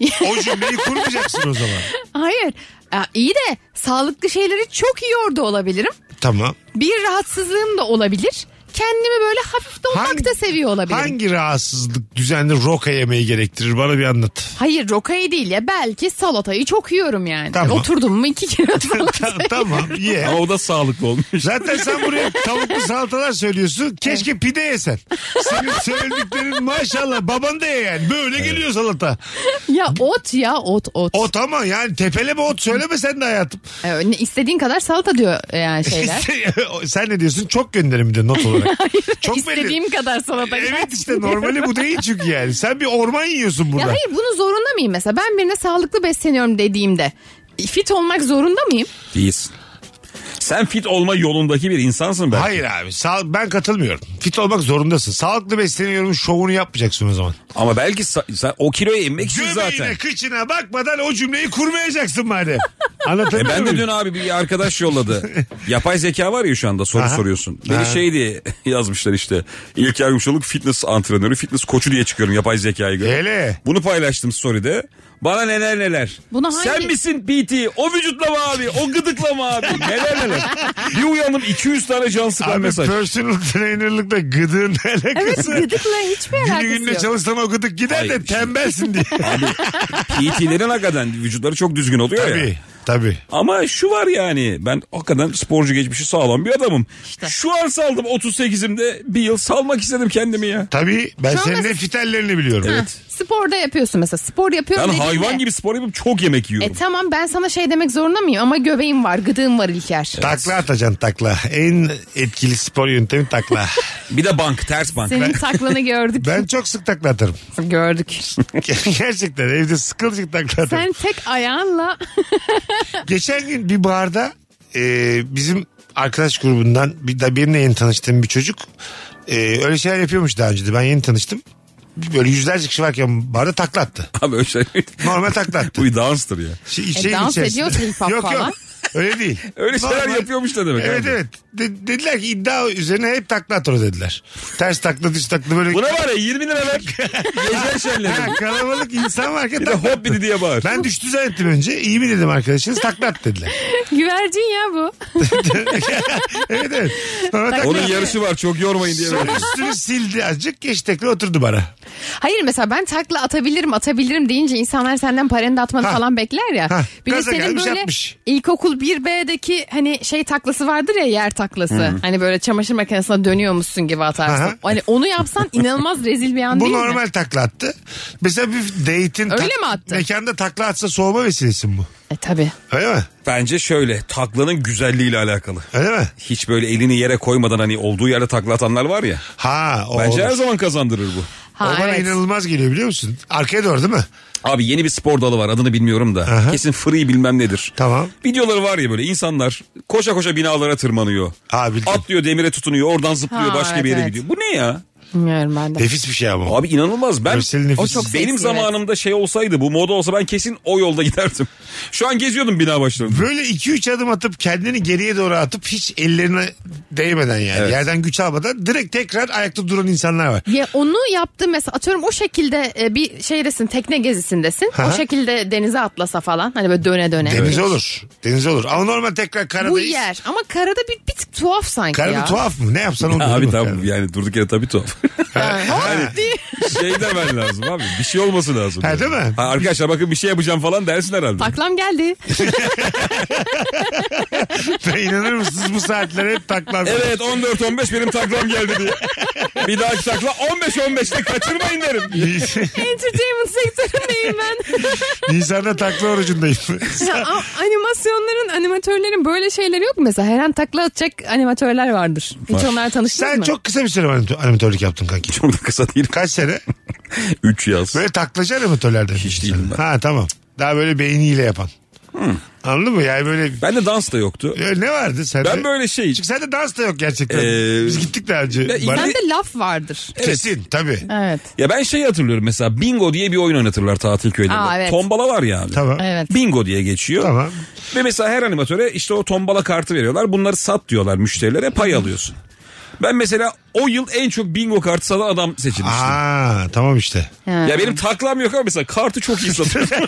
[SPEAKER 3] O cümleyi kurmayacaksın o zaman.
[SPEAKER 5] Hayır. Ya iyi de sağlıklı şeyleri çok yiyor da olabilirim.
[SPEAKER 3] Tamam.
[SPEAKER 5] Bir rahatsızlığım da olabilir. Kendimi böyle hafif donmak
[SPEAKER 3] Hangi-
[SPEAKER 5] da seviyor olabilirim.
[SPEAKER 3] Hangi rahatsızlık düzenli roka yemeyi gerektirir? Bana bir anlat.
[SPEAKER 5] Hayır rokayı değil ya belki salatayı çok yiyorum yani.
[SPEAKER 3] Tamam.
[SPEAKER 5] Oturdum mu iki kere
[SPEAKER 3] Ta-
[SPEAKER 5] falan.
[SPEAKER 3] tamam ye.
[SPEAKER 4] Ama o da sağlıklı olmuş.
[SPEAKER 3] Zaten sen buraya tavuklu salatalar söylüyorsun. Keşke pide yesen. Senin söylediklerin maşallah baban da ye yani. Böyle geliyor salata.
[SPEAKER 5] ya ot ya ot ot.
[SPEAKER 3] Ot ama yani tepeleme ot söyleme sen de hayatım.
[SPEAKER 5] Ee, ne- istediğin kadar salata diyor e, yani şeyler.
[SPEAKER 3] sen ne diyorsun? Çok gönderim bir de not olarak. Çok
[SPEAKER 5] İstediğim
[SPEAKER 3] belli.
[SPEAKER 5] kadar salata.
[SPEAKER 3] Evet
[SPEAKER 5] gelsin
[SPEAKER 3] işte
[SPEAKER 5] diyor.
[SPEAKER 3] normali bu değil çünkü yani. Sen bir orman yiyorsun
[SPEAKER 5] Ya
[SPEAKER 3] burada.
[SPEAKER 5] hayır bunu zorunda mıyım mesela? Ben birine sağlıklı besleniyorum dediğimde fit olmak zorunda mıyım?
[SPEAKER 4] Değilsin. Sen fit olma yolundaki bir insansın ben.
[SPEAKER 3] Hayır abi sağ, ben katılmıyorum. Fit olmak zorundasın. Sağlıklı besleniyorum şovunu yapmayacaksın o zaman.
[SPEAKER 4] Ama belki sa- sen o kiloya inmek için
[SPEAKER 3] Göbeğine
[SPEAKER 4] zaten.
[SPEAKER 3] kıçına bakmadan o cümleyi kurmayacaksın madem. Anlatabiliyor
[SPEAKER 4] E ben de
[SPEAKER 3] muyum?
[SPEAKER 4] dün abi bir arkadaş yolladı. Yapay zeka var ya şu anda soru
[SPEAKER 3] Aha.
[SPEAKER 4] soruyorsun. Beni
[SPEAKER 3] Ha.
[SPEAKER 4] şey diye yazmışlar işte. İlker Gümüşoluk fitness antrenörü, fitness koçu diye çıkıyorum yapay zekaya göre.
[SPEAKER 3] Hele.
[SPEAKER 4] Bunu paylaştım story'de. Bana neler neler.
[SPEAKER 5] Buna hangi-
[SPEAKER 4] Sen misin PT? O vücutla mı abi? O gıdıkla mı abi? Neler neler. Bir uyandım 200 tane can sıkan
[SPEAKER 3] Abi
[SPEAKER 4] mesaj.
[SPEAKER 3] personal trainerlıkla gıdığın ne
[SPEAKER 5] Evet
[SPEAKER 3] alakası?
[SPEAKER 5] gıdıkla hiçbir
[SPEAKER 3] Günü
[SPEAKER 5] alakası
[SPEAKER 3] gününe
[SPEAKER 5] yok.
[SPEAKER 3] çalışsam o gıdık gider
[SPEAKER 4] Hayır,
[SPEAKER 3] de
[SPEAKER 4] şimdi-
[SPEAKER 3] tembelsin diye.
[SPEAKER 4] PT'lerin E hakikaten vücutları çok düzgün oluyor ya.
[SPEAKER 3] tabii tabii.
[SPEAKER 4] Ama şu var yani ben hakikaten sporcu geçmişi sağlam bir adamım. Şu an saldım 38'imde bir yıl salmak istedim kendimi ya.
[SPEAKER 3] Tabii ben
[SPEAKER 5] Şu anda-
[SPEAKER 3] senin ne fitallerini biliyorum.
[SPEAKER 5] Ha, Sporda yapıyorsun mesela. Spor
[SPEAKER 4] Ben
[SPEAKER 5] yapıyorum
[SPEAKER 4] hayvan
[SPEAKER 5] dediğinde-
[SPEAKER 4] gibi spor yapıp çok yemek yiyorum.
[SPEAKER 5] E tamam ben sana şey demek zorunda mıyım? Ama göbeğim var, gıdığım var İlker.
[SPEAKER 3] Takla atacaksın takla. En etkili spor yöntemi takla.
[SPEAKER 4] bir de bank ters bank.
[SPEAKER 5] Senin taklanı gördük.
[SPEAKER 3] ben çok sık takla atarım.
[SPEAKER 5] Gördük.
[SPEAKER 3] Gerçekten evde sıkılacak takla atarım.
[SPEAKER 5] Sen tek ayağınla
[SPEAKER 3] Geçen gün bir barda e, bizim arkadaş grubundan bir da benimle yeni tanıştığım bir çocuk e, öyle şeyler yapıyormuş daha önce de ben yeni tanıştım. Böyle yüzlerce kişi varken barda takla attı.
[SPEAKER 4] Abi öyle şey.
[SPEAKER 3] Normal takla attı.
[SPEAKER 4] Bu bir danstır ya.
[SPEAKER 3] Şey,
[SPEAKER 5] E, dans ediyor hip hop
[SPEAKER 3] yok,
[SPEAKER 5] falan.
[SPEAKER 3] Yok öyle değil.
[SPEAKER 4] Öyle şeyler
[SPEAKER 3] Normal-
[SPEAKER 4] yapıyormuş da demek.
[SPEAKER 3] Evet
[SPEAKER 4] abi.
[SPEAKER 3] evet. De- dediler ki iddia üzerine hep takla atar o dediler. Ters takla düz takla böyle.
[SPEAKER 4] Buna var ya 20 lira ver. Gezer şenleri.
[SPEAKER 3] Ha, kalabalık insan varken
[SPEAKER 4] Bir de
[SPEAKER 3] takla
[SPEAKER 4] hop
[SPEAKER 3] attı.
[SPEAKER 4] biri diye bağır.
[SPEAKER 3] Ben düştü zannettim önce. İyi mi dedim arkadaşınız takla at dediler.
[SPEAKER 5] güvercin ya bu.
[SPEAKER 3] Evet evet. Sonra takla
[SPEAKER 4] Onun yarışı var çok yormayın diye.
[SPEAKER 3] Sonra üstünü sildi azıcık geç tekrar oturdu bana.
[SPEAKER 5] Hayır mesela ben takla atabilirim atabilirim deyince insanlar senden paranı da atmanı
[SPEAKER 3] Ha.
[SPEAKER 5] falan bekler ya.
[SPEAKER 3] Ha.
[SPEAKER 5] Bir de
[SPEAKER 3] Gaza
[SPEAKER 5] senin
[SPEAKER 3] gelmiş,
[SPEAKER 5] böyle
[SPEAKER 3] atmış.
[SPEAKER 5] ilkokul 1B'deki hani şey taklası vardır ya yer taklası. Hani böyle çamaşır makinesine dönüyormuşsun gibi atarsın.
[SPEAKER 3] Aha.
[SPEAKER 5] Hani onu yapsan inanılmaz rezil bir an
[SPEAKER 3] Bu
[SPEAKER 5] değil mi?
[SPEAKER 3] normal takla attı. Mesela bir date'in
[SPEAKER 5] Öyle mi attı?
[SPEAKER 3] mekanda takla atsa soğuma vesilesi mi bu?
[SPEAKER 5] E tabi.
[SPEAKER 3] Öyle mi?
[SPEAKER 4] Bence şöyle taklanın güzelliğiyle alakalı.
[SPEAKER 3] Öyle mi?
[SPEAKER 4] Hiç böyle elini yere koymadan hani olduğu yerde takla atanlar var ya.
[SPEAKER 3] Ha o
[SPEAKER 4] Bence her
[SPEAKER 3] olur.
[SPEAKER 4] zaman kazandırır bu.
[SPEAKER 5] Ha,
[SPEAKER 3] o bana
[SPEAKER 5] evet.
[SPEAKER 3] inanılmaz geliyor biliyor musun? Arkaya doğru değil mi?
[SPEAKER 4] Abi yeni bir spor dalı var adını bilmiyorum da.
[SPEAKER 3] Aha.
[SPEAKER 4] Kesin free bilmem nedir.
[SPEAKER 3] Tamam.
[SPEAKER 4] Videoları var ya böyle insanlar koşa koşa binalara tırmanıyor.
[SPEAKER 3] Ha, bildim.
[SPEAKER 4] Atlıyor demire tutunuyor oradan zıplıyor
[SPEAKER 5] Ha,
[SPEAKER 4] başka
[SPEAKER 5] evet,
[SPEAKER 4] bir yere
[SPEAKER 5] evet.
[SPEAKER 4] gidiyor. Bu ne ya?
[SPEAKER 5] Bilmiyorum ben de.
[SPEAKER 3] Nefis bir şey ama.
[SPEAKER 4] Abi inanılmaz ben
[SPEAKER 3] Görseli nefis.
[SPEAKER 5] O çok seksi,
[SPEAKER 4] benim
[SPEAKER 5] evet.
[SPEAKER 4] zamanımda şey olsaydı bu moda olsa ben kesin o yolda giderdim. Şu an geziyordum bina başlarında.
[SPEAKER 3] Böyle 2-3 adım atıp kendini geriye doğru atıp hiç ellerine değmeden yani
[SPEAKER 4] Evet.
[SPEAKER 3] yerden güç almadan direkt tekrar ayakta duran insanlar var.
[SPEAKER 5] Ya onu yaptım mesela atıyorum o şekilde e, bir şeydesin tekne gezisindesin.
[SPEAKER 3] Aha.
[SPEAKER 5] O şekilde denize atlasa falan hani böyle döne döne.
[SPEAKER 3] Deniz olur. Deniz olur. Ama normal tekrar
[SPEAKER 5] Bu
[SPEAKER 3] karadayız.
[SPEAKER 5] yer ama karada bir, bir tık tuhaf sanki
[SPEAKER 3] Karada
[SPEAKER 5] ya.
[SPEAKER 3] tuhaf mı? Ne yapsan olur. değil
[SPEAKER 4] Abi
[SPEAKER 3] mi?
[SPEAKER 4] tamam
[SPEAKER 3] Karada.
[SPEAKER 4] yani durduk yere tabii tuhaf.
[SPEAKER 3] Hani
[SPEAKER 4] şey demen lazım abi bir şey olması lazım.
[SPEAKER 3] Ha,
[SPEAKER 4] yani.
[SPEAKER 3] değil mi?
[SPEAKER 4] Ha, arkadaşlar bakın bir şey yapacağım falan dersin herhalde.
[SPEAKER 5] Taklam geldi.
[SPEAKER 3] Ben inanır mısınız bu saatlere hep takla atıyorum.
[SPEAKER 4] Evet 14-15 benim taklam geldi diye. Bir dahaki takla 15-15'te kaçırmayın derim.
[SPEAKER 5] Entertainment sektöründeyim ben.
[SPEAKER 3] Nisan'da takla orucundayım.
[SPEAKER 5] Ya, a- animasyonların, animatörlerin böyle şeyleri yok mu mesela? Her an takla atacak animatörler vardır. Hiç onlar tanıştınız
[SPEAKER 3] Sen
[SPEAKER 5] mı?
[SPEAKER 3] çok kısa bir süre animatör- animatörlük yaptın kanki.
[SPEAKER 4] Çok da kısa değil.
[SPEAKER 3] Kaç sene?
[SPEAKER 4] 3 yaz.
[SPEAKER 3] Böyle taklacı animatörlerden.
[SPEAKER 4] Hiç değilim ben. Hmm.
[SPEAKER 3] Ha tamam. Daha böyle beyniyle yapan. Anladın mı? Yani böyle
[SPEAKER 4] Bende dans da yoktu.
[SPEAKER 3] Öyle ne vardı sende?
[SPEAKER 4] Ben böyle şey-
[SPEAKER 3] Çünkü sende dans da yok gerçekten.
[SPEAKER 4] Ee,
[SPEAKER 3] Biz gittik daha önce.
[SPEAKER 4] Ya-
[SPEAKER 3] Bana-
[SPEAKER 5] Ben de laf vardır.
[SPEAKER 3] Kesin tabii.
[SPEAKER 5] Evet.
[SPEAKER 4] Ya ben şeyi hatırlıyorum mesela bingo diye bir oyun oynatırlar tatil köylerinde.
[SPEAKER 5] Aa, evet.
[SPEAKER 4] Tombala var ya abi.
[SPEAKER 3] Tamam.
[SPEAKER 5] Evet.
[SPEAKER 4] Bingo diye geçiyor.
[SPEAKER 3] Tamam.
[SPEAKER 4] Ve mesela her animatöre işte o tombala kartı veriyorlar. Bunları sat diyorlar müşterilere pay alıyorsun. Ben mesela o yıl en çok bingo kartı satan adam seçilmiştim.
[SPEAKER 3] Aa tamam işte.
[SPEAKER 4] Ya benim taklam yok ama mesela kartı çok iyi satıyorum.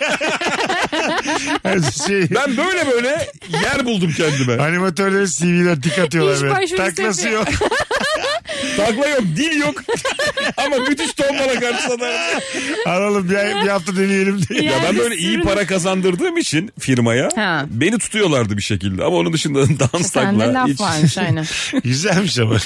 [SPEAKER 3] Her şey,
[SPEAKER 4] ben böyle böyle yer buldum kendime.
[SPEAKER 3] Animatörlerin CV'ler dik atıyorlar.
[SPEAKER 5] İş
[SPEAKER 3] böyle.
[SPEAKER 5] başvurusu
[SPEAKER 3] Taklası
[SPEAKER 5] yapıyor.
[SPEAKER 3] yok.
[SPEAKER 4] Takla yok, dil yok. ama müthiş tombala kartı satarım.
[SPEAKER 3] Aralım bir, ay- bir hafta deneyelim diye.
[SPEAKER 4] Ya ben
[SPEAKER 5] Yani
[SPEAKER 4] böyle iyi
[SPEAKER 5] sürün-
[SPEAKER 4] para kazandırdığım için firmaya
[SPEAKER 5] Ha.
[SPEAKER 4] beni tutuyorlardı bir şekilde. Ama onun dışında dans
[SPEAKER 5] Sende
[SPEAKER 4] takla.
[SPEAKER 5] laf
[SPEAKER 4] hiç-
[SPEAKER 5] varmış aynen.
[SPEAKER 3] Güzelmiş ama.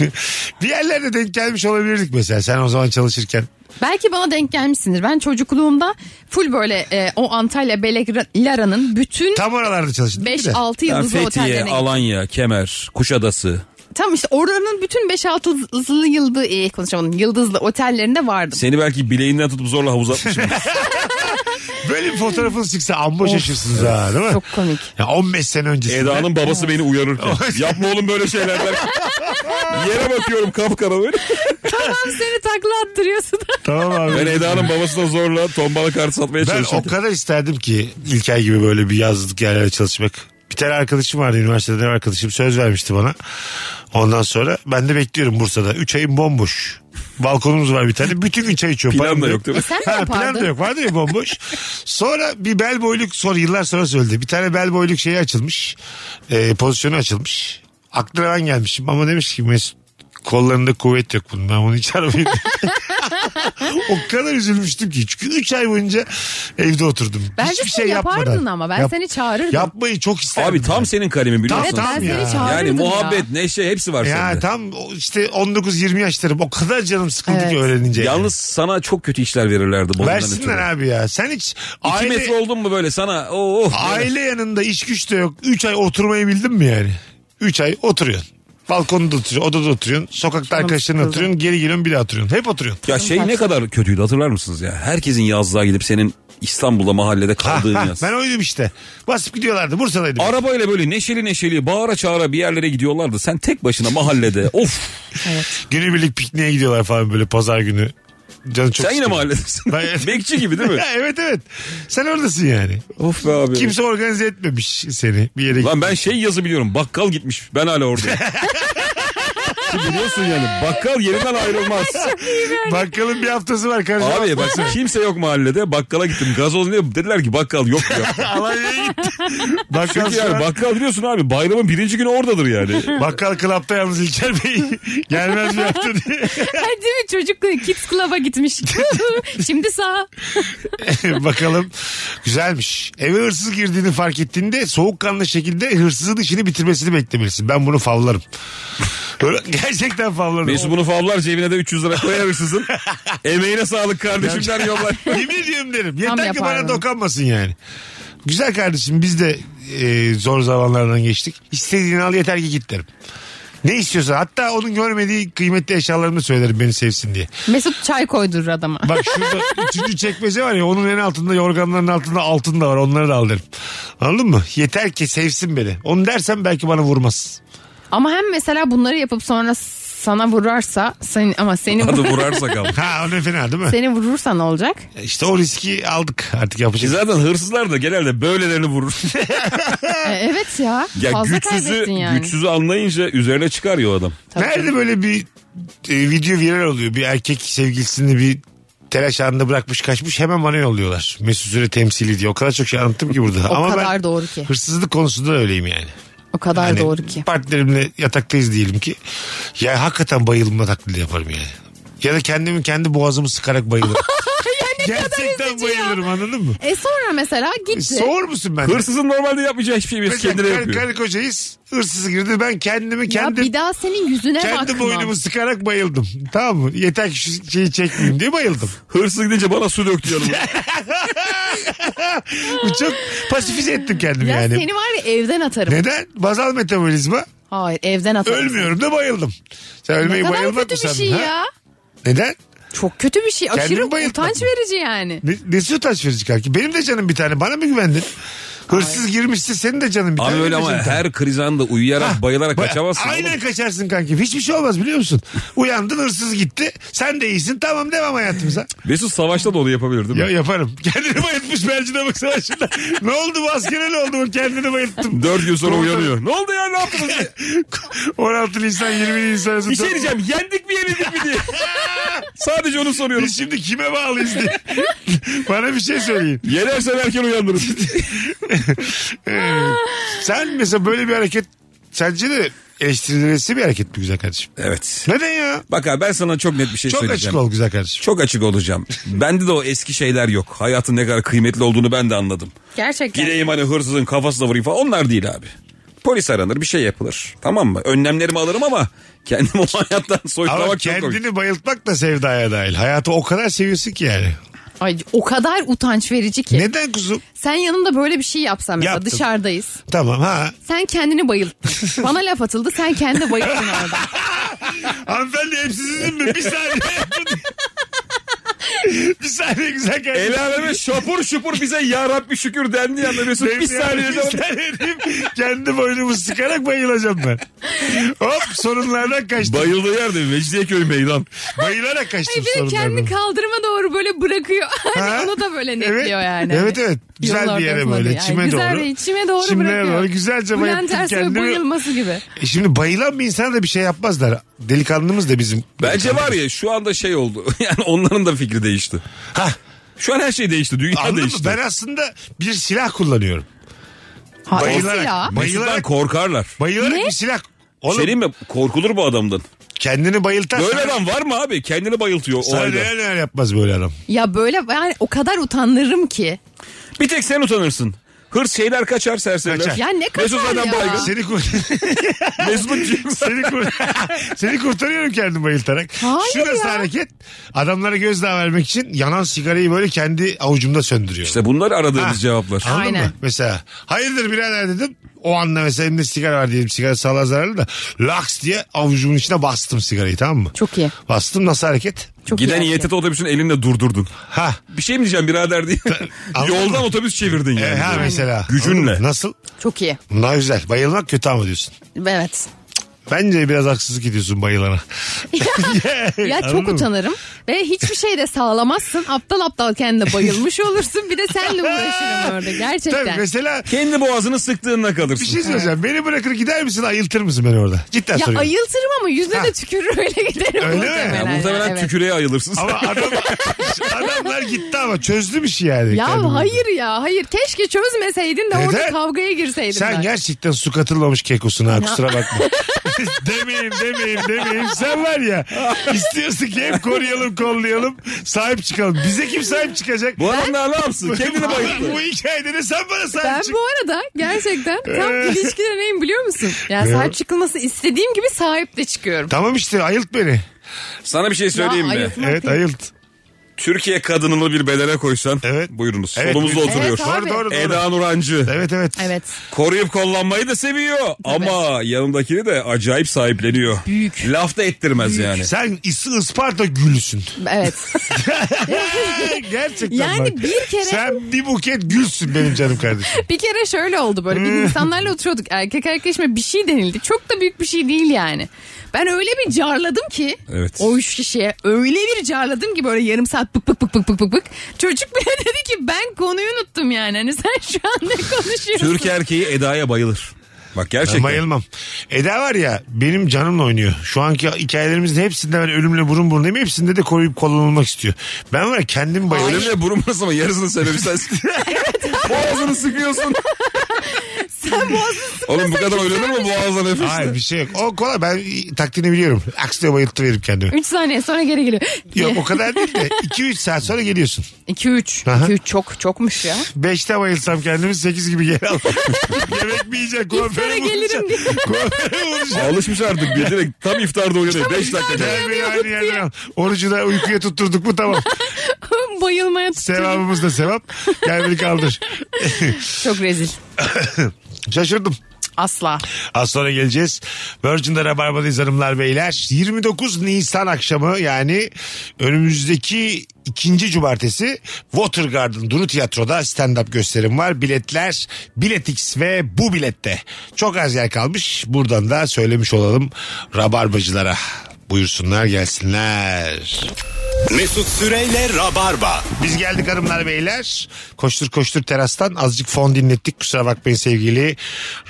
[SPEAKER 3] bir yerlerde denk gelmiş olabilirdik mesela. Sen o zaman çalışırken.
[SPEAKER 5] Belki bana denk gelmişsindir. Ben çocukluğumda full böyle e, o Antalya Beleglara'nın bütün
[SPEAKER 3] Tam oralarda çalıştın değil mi? de?
[SPEAKER 5] 5-6
[SPEAKER 4] Yani
[SPEAKER 5] yıldızlı
[SPEAKER 4] Fethiye,
[SPEAKER 5] otellerine
[SPEAKER 4] Alanya, Kemer, Kuşadası.
[SPEAKER 5] Tam işte oranın bütün 5-6 yıldız, e, konuşamadım, yıldızlı otellerinde vardım.
[SPEAKER 4] Seni belki bileğinden tutup zorla havuza atmışım.
[SPEAKER 3] Böyle bir fotoğrafınız çıksa amma şaşırsınız ha değil mi?
[SPEAKER 5] Çok komik.
[SPEAKER 3] Ya 15 sene öncesinde.
[SPEAKER 4] Eda'nın babası beni uyarırken. Yapma oğlum böyle şeyler. ben- Yere bakıyorum kapkara böyle.
[SPEAKER 5] Tam seni takla attırıyorsun.
[SPEAKER 3] Tamam abi.
[SPEAKER 4] Ben Eda'nın babasına zorla tombala kart satmaya
[SPEAKER 3] Ben o
[SPEAKER 4] çalışırken.
[SPEAKER 3] kadar isterdim ki İlker gibi böyle bir yazlık yerlere çalışmak. Bir tane arkadaşım vardı üniversiteden arkadaşım söz vermişti bana. Ondan sonra ben de bekliyorum Bursa'da. 3 ayım bomboş. Balkonumuz var bir tane. Bütün gün çay içiyorum.
[SPEAKER 4] Plan
[SPEAKER 3] Param
[SPEAKER 4] da yok değil mi?
[SPEAKER 5] Sen ne
[SPEAKER 3] Ha, plan da
[SPEAKER 5] yapardın?
[SPEAKER 3] yok. Vardı ya bomboş. Sonra bir bel boyluk sonra yıllar sonra söyledi. Bir tane bel boyluk şeyi açılmış. Ee, pozisyonu açılmış. Aklına ben gelmişim ama demiş ki Mesut kollarında kuvvet yok bunun ben bunu hiç aramayayım. o kadar üzülmüştüm ki. Çünkü 3 ay boyunca evde oturdum.
[SPEAKER 5] Bence
[SPEAKER 3] Hiçbir
[SPEAKER 5] sen
[SPEAKER 3] şey
[SPEAKER 5] yapardın
[SPEAKER 3] yapmadan.
[SPEAKER 5] ama ben seni çağırırdım.
[SPEAKER 3] Yapmayı çok isterdim.
[SPEAKER 4] Abi tam
[SPEAKER 3] ben.
[SPEAKER 4] senin kalemin biliyor
[SPEAKER 3] Tam-
[SPEAKER 4] musun?
[SPEAKER 5] Evet ben
[SPEAKER 3] Tam ya.
[SPEAKER 5] seni çağırırdım
[SPEAKER 4] Yani
[SPEAKER 5] ya.
[SPEAKER 4] muhabbet, neşe hepsi var
[SPEAKER 3] Ya
[SPEAKER 4] sende.
[SPEAKER 3] tam o işte 19-20 yaşlarım o kadar canım sıkıldı
[SPEAKER 5] Evet.
[SPEAKER 3] ki öğrenince.
[SPEAKER 4] Yalnız sana çok kötü işler verirlerdi bundan
[SPEAKER 3] Versinler
[SPEAKER 4] ötürü.
[SPEAKER 3] abi ya. Sen hiç
[SPEAKER 4] İki
[SPEAKER 3] aile,
[SPEAKER 4] metre oldun mu böyle sana? Oo, oh,
[SPEAKER 3] aile yanında iş güç de yok. 3 ay oturmayı bildin mi yani? 3 ay oturuyorsun. Balkonda oturuyorsun, odada oturuyorsun, sokakta arkadaşlarınla
[SPEAKER 5] sıkıldım.
[SPEAKER 3] oturuyorsun, geri geliyorsun bir daha oturuyorsun. Hep oturuyorsun.
[SPEAKER 4] Ya şey ne kadar kötüydü hatırlar mısınız ya? Herkesin yazlığa gidip senin İstanbul'da mahallede kaldığın
[SPEAKER 3] Ha,
[SPEAKER 4] yaz.
[SPEAKER 3] ben oydum işte. Basıp gidiyorlardı. Bursa'daydım.
[SPEAKER 4] Arabayla böyle neşeli neşeli bağıra çağıra bir yerlere gidiyorlardı. Sen tek başına mahallede of
[SPEAKER 3] Günübirlik pikniğe gidiyorlar falan böyle pazar günü. Canı çok
[SPEAKER 4] sen yine
[SPEAKER 3] sıkılıyor.
[SPEAKER 4] mahalledesin.
[SPEAKER 3] Ben-
[SPEAKER 4] Bekçi gibi değil mi?
[SPEAKER 3] Ya evet evet. Sen oradasın yani.
[SPEAKER 4] of be abi.
[SPEAKER 3] Kimse organize etmemiş seni bir yere.
[SPEAKER 4] Lan ben şey yazı biliyorum bakkal gitmiş ben hala oradayım. Ki Biliyorsun yani bakkal yerinden ayrılmaz.
[SPEAKER 3] Bakkalın bir haftası var kardeşim.
[SPEAKER 4] şey- Abi bak kimse yok mahallede bakkala gittim gazoz ne dediler ki bakkal yok ya.
[SPEAKER 3] Alanya'ya gitti. Bakkal,
[SPEAKER 4] Çünkü yani
[SPEAKER 3] şu an-
[SPEAKER 4] bakkal biliyorsun abi bayramın birinci günü oradadır yani.
[SPEAKER 3] Bakkal klapta yalnız İlker Bey gelmez bir hafta diye.
[SPEAKER 5] Ay, Değil mi çocuk kids club'a gitmiş. Şimdi sağ.
[SPEAKER 3] Bakalım. Güzelmiş. Eve hırsız girdiğini fark ettiğinde soğukkanlı şekilde hırsızın işini bitirmesini beklemelisin. Ben bunu favlarım. Böyle gerçekten favlarım.
[SPEAKER 4] Mesut bunu favlar cebine de 300 lira koyar hırsızın. Emeğine sağlık kardeşim der yollar.
[SPEAKER 3] Yemin ediyorum derim. Yeter ki bana
[SPEAKER 5] yapardım.
[SPEAKER 3] dokanmasın yani. Güzel kardeşim biz de e, zor zamanlardan geçtik. İstediğini al yeter ki git derim. Ne istiyorsa hatta onun görmediği kıymetli eşyalarını söylerim beni sevsin diye.
[SPEAKER 5] Mesut çay koydurur adama.
[SPEAKER 3] Bak şurada üçüncü çekmece var ya onun en altında yorganların altında altın da var onları da al derim. Anladın mı? Yeter ki sevsin beni. Onu dersen belki bana vurmaz.
[SPEAKER 5] Ama hem mesela bunları yapıp sonra sana vurarsa sen, ama seni
[SPEAKER 4] Hadi vurarsak abi.
[SPEAKER 3] Ha o ne fena değil mi?
[SPEAKER 5] seni vurursa ne olacak?
[SPEAKER 3] İşte o riski aldık artık şey
[SPEAKER 4] Ki
[SPEAKER 3] yapacağız.
[SPEAKER 4] zaten hırsızlar da genelde böylelerini vurur.
[SPEAKER 5] E, evet ya.
[SPEAKER 4] ya
[SPEAKER 5] fazla
[SPEAKER 4] güçsüzü,
[SPEAKER 5] kaybettin yani.
[SPEAKER 4] güçsüzü anlayınca üzerine çıkar ya o adam.
[SPEAKER 5] Tabii.
[SPEAKER 3] Nerede böyle bir e, video viral oluyor. Bir erkek sevgilisini bir telaş anında bırakmış kaçmış hemen bana yolluyorlar. Mesut Süre temsili diye. O kadar çok şey anlattım ki burada.
[SPEAKER 5] O
[SPEAKER 3] Ama
[SPEAKER 5] kadar
[SPEAKER 3] ben
[SPEAKER 5] doğru ki.
[SPEAKER 3] hırsızlık konusunda da öyleyim yani.
[SPEAKER 5] O kadar
[SPEAKER 3] Hani
[SPEAKER 5] doğru ki.
[SPEAKER 3] Partnerimle yataktayız diyelim ki. Ya hakikaten bayılma taklidi yaparım yani. Ya da kendimi kendi boğazımı sıkarak bayılırım. Gerçekten
[SPEAKER 5] üzücü ya. Şey-
[SPEAKER 3] bayılırım anladın mı?
[SPEAKER 5] E sonra mesela gitti.
[SPEAKER 3] Soğur musun ben?
[SPEAKER 4] Hırsızın normalde yapmayacağı hiçbir şeyi
[SPEAKER 3] Mesela
[SPEAKER 4] kendine
[SPEAKER 3] kar-
[SPEAKER 4] yapıyor.
[SPEAKER 3] Karı kocayız. Hırsız girdi. Ben kendimi kendi
[SPEAKER 5] ya bir daha senin yüzüne
[SPEAKER 3] kendi
[SPEAKER 5] bakmam.
[SPEAKER 3] boynumu sıkarak bayıldım. Tamam mı? Yeter ki şu şeyi çekmeyeyim diye bayıldım.
[SPEAKER 4] Hırsız gidince bana su döktü yanıma.
[SPEAKER 3] Bu çok pasifize ettim kendimi
[SPEAKER 5] Ya
[SPEAKER 3] yani.
[SPEAKER 5] seni var ya evden atarım.
[SPEAKER 3] Neden? Bazal metabolizma.
[SPEAKER 5] Hayır evden atarım.
[SPEAKER 3] Ölmüyorum da bayıldım. Sen
[SPEAKER 5] Ne
[SPEAKER 3] ölmeyi
[SPEAKER 5] kadar
[SPEAKER 3] bayılmak mı
[SPEAKER 5] kötü bir
[SPEAKER 3] sandın?
[SPEAKER 5] şey
[SPEAKER 3] ha?
[SPEAKER 5] ya.
[SPEAKER 3] Neden?
[SPEAKER 5] Çok kötü bir şey.
[SPEAKER 3] Kendimi
[SPEAKER 5] Aşırı
[SPEAKER 3] bayıltmak
[SPEAKER 5] utanç
[SPEAKER 3] mı?
[SPEAKER 5] verici yani.
[SPEAKER 3] Ne, nesi utanç verici kanki? Benim de canım bir tane. Bana mı güvendin? Hırsız girmişse senin de canın biter.
[SPEAKER 4] Abi öyle ama
[SPEAKER 3] Bizim de.
[SPEAKER 4] her kriz anında uyuyarak bayılarak
[SPEAKER 3] Ba-
[SPEAKER 4] kaçamazsın.
[SPEAKER 3] Aynen
[SPEAKER 4] oğlum.
[SPEAKER 3] kaçarsın kankim. Hiçbir şey olmaz biliyor musun? Uyandın hırsız gitti. Sen de iyisin. Tamam devam hayatımıza.
[SPEAKER 4] Mesut savaşta da onu yapabilir değil mi?
[SPEAKER 3] Ya yaparım. Kendini bayıltmış mercine bak savaşında. ne oldu bu askere ne oldu bu? Kendini bayılttım.
[SPEAKER 4] Dört gün sonra
[SPEAKER 3] Komutan-
[SPEAKER 4] uyanıyor. Ne oldu ya ne yaptınız?
[SPEAKER 3] 16 Nisan 20 Nisan. arası-
[SPEAKER 4] bir şey diyeceğim yendik mi yenildik mi diye. Sadece onu soruyorum.
[SPEAKER 3] Biz şimdi kime bağlıyız diye. Bana bir şey söyleyin.
[SPEAKER 4] Yenersen erken uyandırır.
[SPEAKER 3] Ee, sen mesela böyle bir hareket sence de eleştirilmesi bir hareket mi güzel kardeşim?
[SPEAKER 4] evet.
[SPEAKER 3] Neden ya?
[SPEAKER 4] Bak abi ben sana çok net bir şey
[SPEAKER 3] Çok açık
[SPEAKER 4] söyleyeceğim.
[SPEAKER 3] ol güzel kardeşim.
[SPEAKER 4] Çok açık olacağım. Bende de o eski şeyler yok. Hayatın ne kadar kıymetli olduğunu ben de anladım.
[SPEAKER 5] Gerçekten.
[SPEAKER 4] Gideyim hani hırsızın kafasına vurayım falan. Onlar değil abi. Polis aranır bir şey yapılır. Tamam mı? Önlemlerimi alırım ama kendimi o hayattan
[SPEAKER 3] Ama
[SPEAKER 4] soyutlamak çok komik.
[SPEAKER 3] kendini bayıltmak da sevdaya dahil. Hayatı o kadar seviyorsun ki yani.
[SPEAKER 5] Ay o kadar utanç verici ki.
[SPEAKER 3] Neden kuzum?
[SPEAKER 5] Sen yanımda böyle bir şey yapsan mesela
[SPEAKER 3] Yaptım.
[SPEAKER 5] dışarıdayız.
[SPEAKER 3] Tamam ha.
[SPEAKER 5] Sen kendini bayılttın. Bana laf atıldı sen kendini bayılttın orada.
[SPEAKER 3] Hanımefendi hep sizin mi? Bir saniye. bir saniye güzel kardeşim.
[SPEAKER 4] El aleme şapur şupur bize ya Rabbi şükür dendi anda Mesut bir
[SPEAKER 3] Bir
[SPEAKER 4] saniyede
[SPEAKER 3] saniye diyeyim, kendi boynumu sıkarak bayılacağım ben. Hop sorunlardan kaçtım.
[SPEAKER 4] Bayıldığı yerde Mecidiyeköy meydan.
[SPEAKER 3] Bayılarak kaçtım
[SPEAKER 5] Ay bir de
[SPEAKER 3] sorunlardan.
[SPEAKER 5] kendini kaldırıma doğru böyle bırakıyor.
[SPEAKER 3] Ha?
[SPEAKER 5] Hani onu da böyle netliyor
[SPEAKER 3] evet.
[SPEAKER 5] yani.
[SPEAKER 3] Evet evet. Güzel
[SPEAKER 5] Yollar
[SPEAKER 3] bir yere
[SPEAKER 5] ortasına
[SPEAKER 3] böyle
[SPEAKER 5] diye. Ay,
[SPEAKER 3] çime
[SPEAKER 5] güzel
[SPEAKER 3] doğru.
[SPEAKER 5] bir çime doğru
[SPEAKER 3] Çimlere
[SPEAKER 5] bırakıyor.
[SPEAKER 3] doğru güzelce
[SPEAKER 5] Bülent
[SPEAKER 3] bayılttım
[SPEAKER 5] Ersoy
[SPEAKER 3] kendimi.
[SPEAKER 5] bayılması gibi.
[SPEAKER 3] E şimdi bayılan bir insana da bir şey yapmazlar. Delikanlımız da bizim.
[SPEAKER 4] Bence var ya şu anda şey oldu. Yani onların da fikri değişti.
[SPEAKER 3] Hah,
[SPEAKER 4] Şu an her şey değişti. Dünya
[SPEAKER 3] anladın mı?
[SPEAKER 4] değişti.
[SPEAKER 3] Ben aslında bir silah kullanıyorum.
[SPEAKER 5] Ha,
[SPEAKER 3] Bayılarak.
[SPEAKER 5] silah.
[SPEAKER 4] Mesutlar
[SPEAKER 3] Bayılarak,
[SPEAKER 4] korkarlar.
[SPEAKER 3] bayılarak
[SPEAKER 5] Ne?
[SPEAKER 3] bir silah.
[SPEAKER 4] Oğlum,
[SPEAKER 3] Oğlum
[SPEAKER 4] Şey mi? Korkulur bu adamdan.
[SPEAKER 3] kendini bayıltar.
[SPEAKER 4] Böyle adam var mı abi? Kendini bayıltıyor o
[SPEAKER 3] Sana
[SPEAKER 4] halde.
[SPEAKER 3] neler neler yapmaz böyle adam.
[SPEAKER 5] Ya böyle yani o kadar utanırım ki.
[SPEAKER 4] Bir tek sen utanırsın. Hırs şeyler kaçar serseriler.
[SPEAKER 3] Kaçar.
[SPEAKER 5] Ya ne kadar
[SPEAKER 4] Mesut zaten
[SPEAKER 5] ya.
[SPEAKER 4] baygın.
[SPEAKER 3] Seni, kur-
[SPEAKER 4] Mesut'un
[SPEAKER 3] seni, kur- seni kurtarıyorum kendimi bayıltarak.
[SPEAKER 5] Hayır
[SPEAKER 3] Şu nasıl
[SPEAKER 5] ya.
[SPEAKER 3] hareket? Adamlara gözdağı vermek için yanan sigarayı böyle kendi avucumda söndürüyorum.
[SPEAKER 4] İşte bunlar aradığımız
[SPEAKER 3] Ha.
[SPEAKER 4] cevaplar.
[SPEAKER 3] Anladın
[SPEAKER 5] Aynen.
[SPEAKER 3] mı? Mesela hayırdır birader dedim. O anda mesela elimde sigara var diyelim sigara sağlığa zararlı da laks diye avucumun içine bastım sigarayı tamam mı?
[SPEAKER 5] Çok iyi.
[SPEAKER 3] Bastım nasıl hareket?
[SPEAKER 5] Çok
[SPEAKER 4] Giden
[SPEAKER 5] iyi.
[SPEAKER 4] İETT otobüsünü elinle durdurdun.
[SPEAKER 3] Ha.
[SPEAKER 4] Bir şey mi diyeceğim birader diye.
[SPEAKER 3] Anladın
[SPEAKER 4] Yoldan
[SPEAKER 3] mı?
[SPEAKER 4] otobüs çevirdin yani.
[SPEAKER 3] E, ha mesela.
[SPEAKER 4] Gücünle.
[SPEAKER 3] Anladın mı? Nasıl?
[SPEAKER 5] Çok iyi.
[SPEAKER 3] Bunlar güzel. Bayılmak kötü ama diyorsun.
[SPEAKER 5] Evet.
[SPEAKER 3] Bence biraz haksızlık ediyorsun bayılana.
[SPEAKER 5] Ya
[SPEAKER 3] Anladın
[SPEAKER 5] çok
[SPEAKER 3] mı?
[SPEAKER 5] utanırım. Ve hiçbir şey de sağlamazsın. Aptal aptal kendine bayılmış olursun. Bir de senle uğraşırım orada gerçekten.
[SPEAKER 3] Tabii mesela
[SPEAKER 4] Kendi boğazını sıktığında
[SPEAKER 3] bir
[SPEAKER 4] kalırsın.
[SPEAKER 3] şey söyleyeceğim. Beni bırakır gider misin ayıltır mısın beni orada? Cidden
[SPEAKER 5] ya
[SPEAKER 3] soruyorum.
[SPEAKER 5] ayıltırım ama yüzüne
[SPEAKER 3] Ha.
[SPEAKER 5] de tükürür öyle giderim.
[SPEAKER 3] Öyle mi?
[SPEAKER 4] Ya
[SPEAKER 5] muhtemelen.
[SPEAKER 4] muhtemelen
[SPEAKER 5] Evet.
[SPEAKER 4] tüküreğe ayılırsın.
[SPEAKER 3] Ama adam, adamlar gitti ama çözdü bir şey yani. Kendimi.
[SPEAKER 5] Ya hayır ya hayır keşke çözmeseydin de orada
[SPEAKER 3] Neden?
[SPEAKER 5] kavgaya girseydin.
[SPEAKER 3] Sen
[SPEAKER 5] ben.
[SPEAKER 3] gerçekten su katılmamış kekosun ha kusura bakma. demeyim demeyim demeyim. Sen var ya istiyorsun ki hep koruyalım kollayalım sahip çıkalım. Bize kim sahip çıkacak?
[SPEAKER 4] Bu adam daha ne yapsın? Kendini bayılttı.
[SPEAKER 3] Bu hikayede de sen bana sahip
[SPEAKER 5] Ben
[SPEAKER 3] çık.
[SPEAKER 5] bu arada gerçekten tam ilişkiler neyim biliyor musun? Yani
[SPEAKER 3] Ne?
[SPEAKER 5] sahip çıkılması istediğim gibi sahip de çıkıyorum.
[SPEAKER 3] Tamam işte ayılt beni.
[SPEAKER 4] Sana bir şey söyleyeyim mi?
[SPEAKER 5] ayıltma.
[SPEAKER 3] Evet ayılt.
[SPEAKER 4] Türkiye kadınını bir bedene koysan.
[SPEAKER 3] Evet.
[SPEAKER 4] Buyurunuz.
[SPEAKER 3] Evet,
[SPEAKER 4] Solumuzda
[SPEAKER 3] buyurun.
[SPEAKER 4] oturuyor.
[SPEAKER 5] Evet,
[SPEAKER 3] Doğru
[SPEAKER 5] Abi.
[SPEAKER 3] doğru doğru.
[SPEAKER 4] Eda Nurancı.
[SPEAKER 3] Evet evet.
[SPEAKER 5] Evet
[SPEAKER 4] Koruyup kollanmayı da seviyor. Ama yanındakini de acayip sahipleniyor.
[SPEAKER 5] Büyük.
[SPEAKER 4] Laf da ettirmez yani.
[SPEAKER 3] Sen is- Isparta gülsün.
[SPEAKER 5] evet.
[SPEAKER 3] Gerçekten
[SPEAKER 5] Yani
[SPEAKER 3] bak.
[SPEAKER 5] bir kere-
[SPEAKER 3] Sen bir buket gülsün benim canım kardeşim.
[SPEAKER 5] bir kere şöyle oldu böyle bir
[SPEAKER 4] Hmm.
[SPEAKER 5] insanlarla oturuyorduk erkek arkadaşıma bir şey denildi. Çok da büyük bir şey değil yani. Ben öyle bir carladım ki
[SPEAKER 4] Evet.
[SPEAKER 5] o üç kişiye öyle bir carladım ki böyle yarım saat bık bık bık bık bık bık bık. Çocuk bile dedi ki ben konuyu unuttum yani. Hani sen şu an ne konuşuyorsun?
[SPEAKER 4] Türk erkeği Eda'ya bayılır. Bak gerçekten.
[SPEAKER 3] Ben bayılmam. Eda var ya benim canımla oynuyor. Şu anki hikayelerimizin hepsinde ben ölümle burun burunayım. Hepsinde de koruyup kullanılmak istiyor. Ben var ya kendim bayılıyorum.
[SPEAKER 4] Ölümle burun burası ama yarısının sebebi sensin. Boğazını sıkıyorsun.
[SPEAKER 5] Sen boğazını
[SPEAKER 4] Oğlum bu kadar ölünür mü boğazdan nefes?
[SPEAKER 3] Hayır bir şey yok. O kolay ben taktiğini biliyorum. Aksine bayılttı verip kendimi.
[SPEAKER 5] 3 saniye sonra geri geliyor.
[SPEAKER 3] Yok o kadar değil de 2-3 saat sonra geliyorsun.
[SPEAKER 5] 2 3.
[SPEAKER 3] Aha.
[SPEAKER 5] 2 3 çok çokmuş ya.
[SPEAKER 3] 5'te bayılsam kendimi 8 gibi geri al. Yemek mi yiyecek? Kuaföre
[SPEAKER 5] İftara
[SPEAKER 3] mi
[SPEAKER 5] gelirim diye.
[SPEAKER 3] Kuaföre vuracak.
[SPEAKER 4] Alışmış artık bir direkt tam iftarda uyanıyor. 5 dakika.
[SPEAKER 3] Gel beni aynı yerden al. Orucu da uykuya tutturduk mu tamam.
[SPEAKER 5] Bayılmaya tutuyorum.
[SPEAKER 3] Sevabımız da sevap. Gel beni kaldır.
[SPEAKER 5] Çok rezil.
[SPEAKER 3] Şaşırdım.
[SPEAKER 5] Asla.
[SPEAKER 3] Az sonra geleceğiz. Virgin'de Rabarba'dayız hanımlar beyler. 29 Nisan akşamı yani önümüzdeki ikinci cumartesi Watergarden Duru Tiyatro'da stand-up gösterim var. Biletler Biletix ve bu bilette. Çok az yer kalmış. Buradan da söylemiş olalım Rabarbacılara. Buyursunlar gelsinler.
[SPEAKER 2] Mesut Süreyle Rabarba.
[SPEAKER 3] Biz geldik hanımlar beyler. Koştur koştur terastan azıcık fon dinlettik. Kusura bakmayın sevgili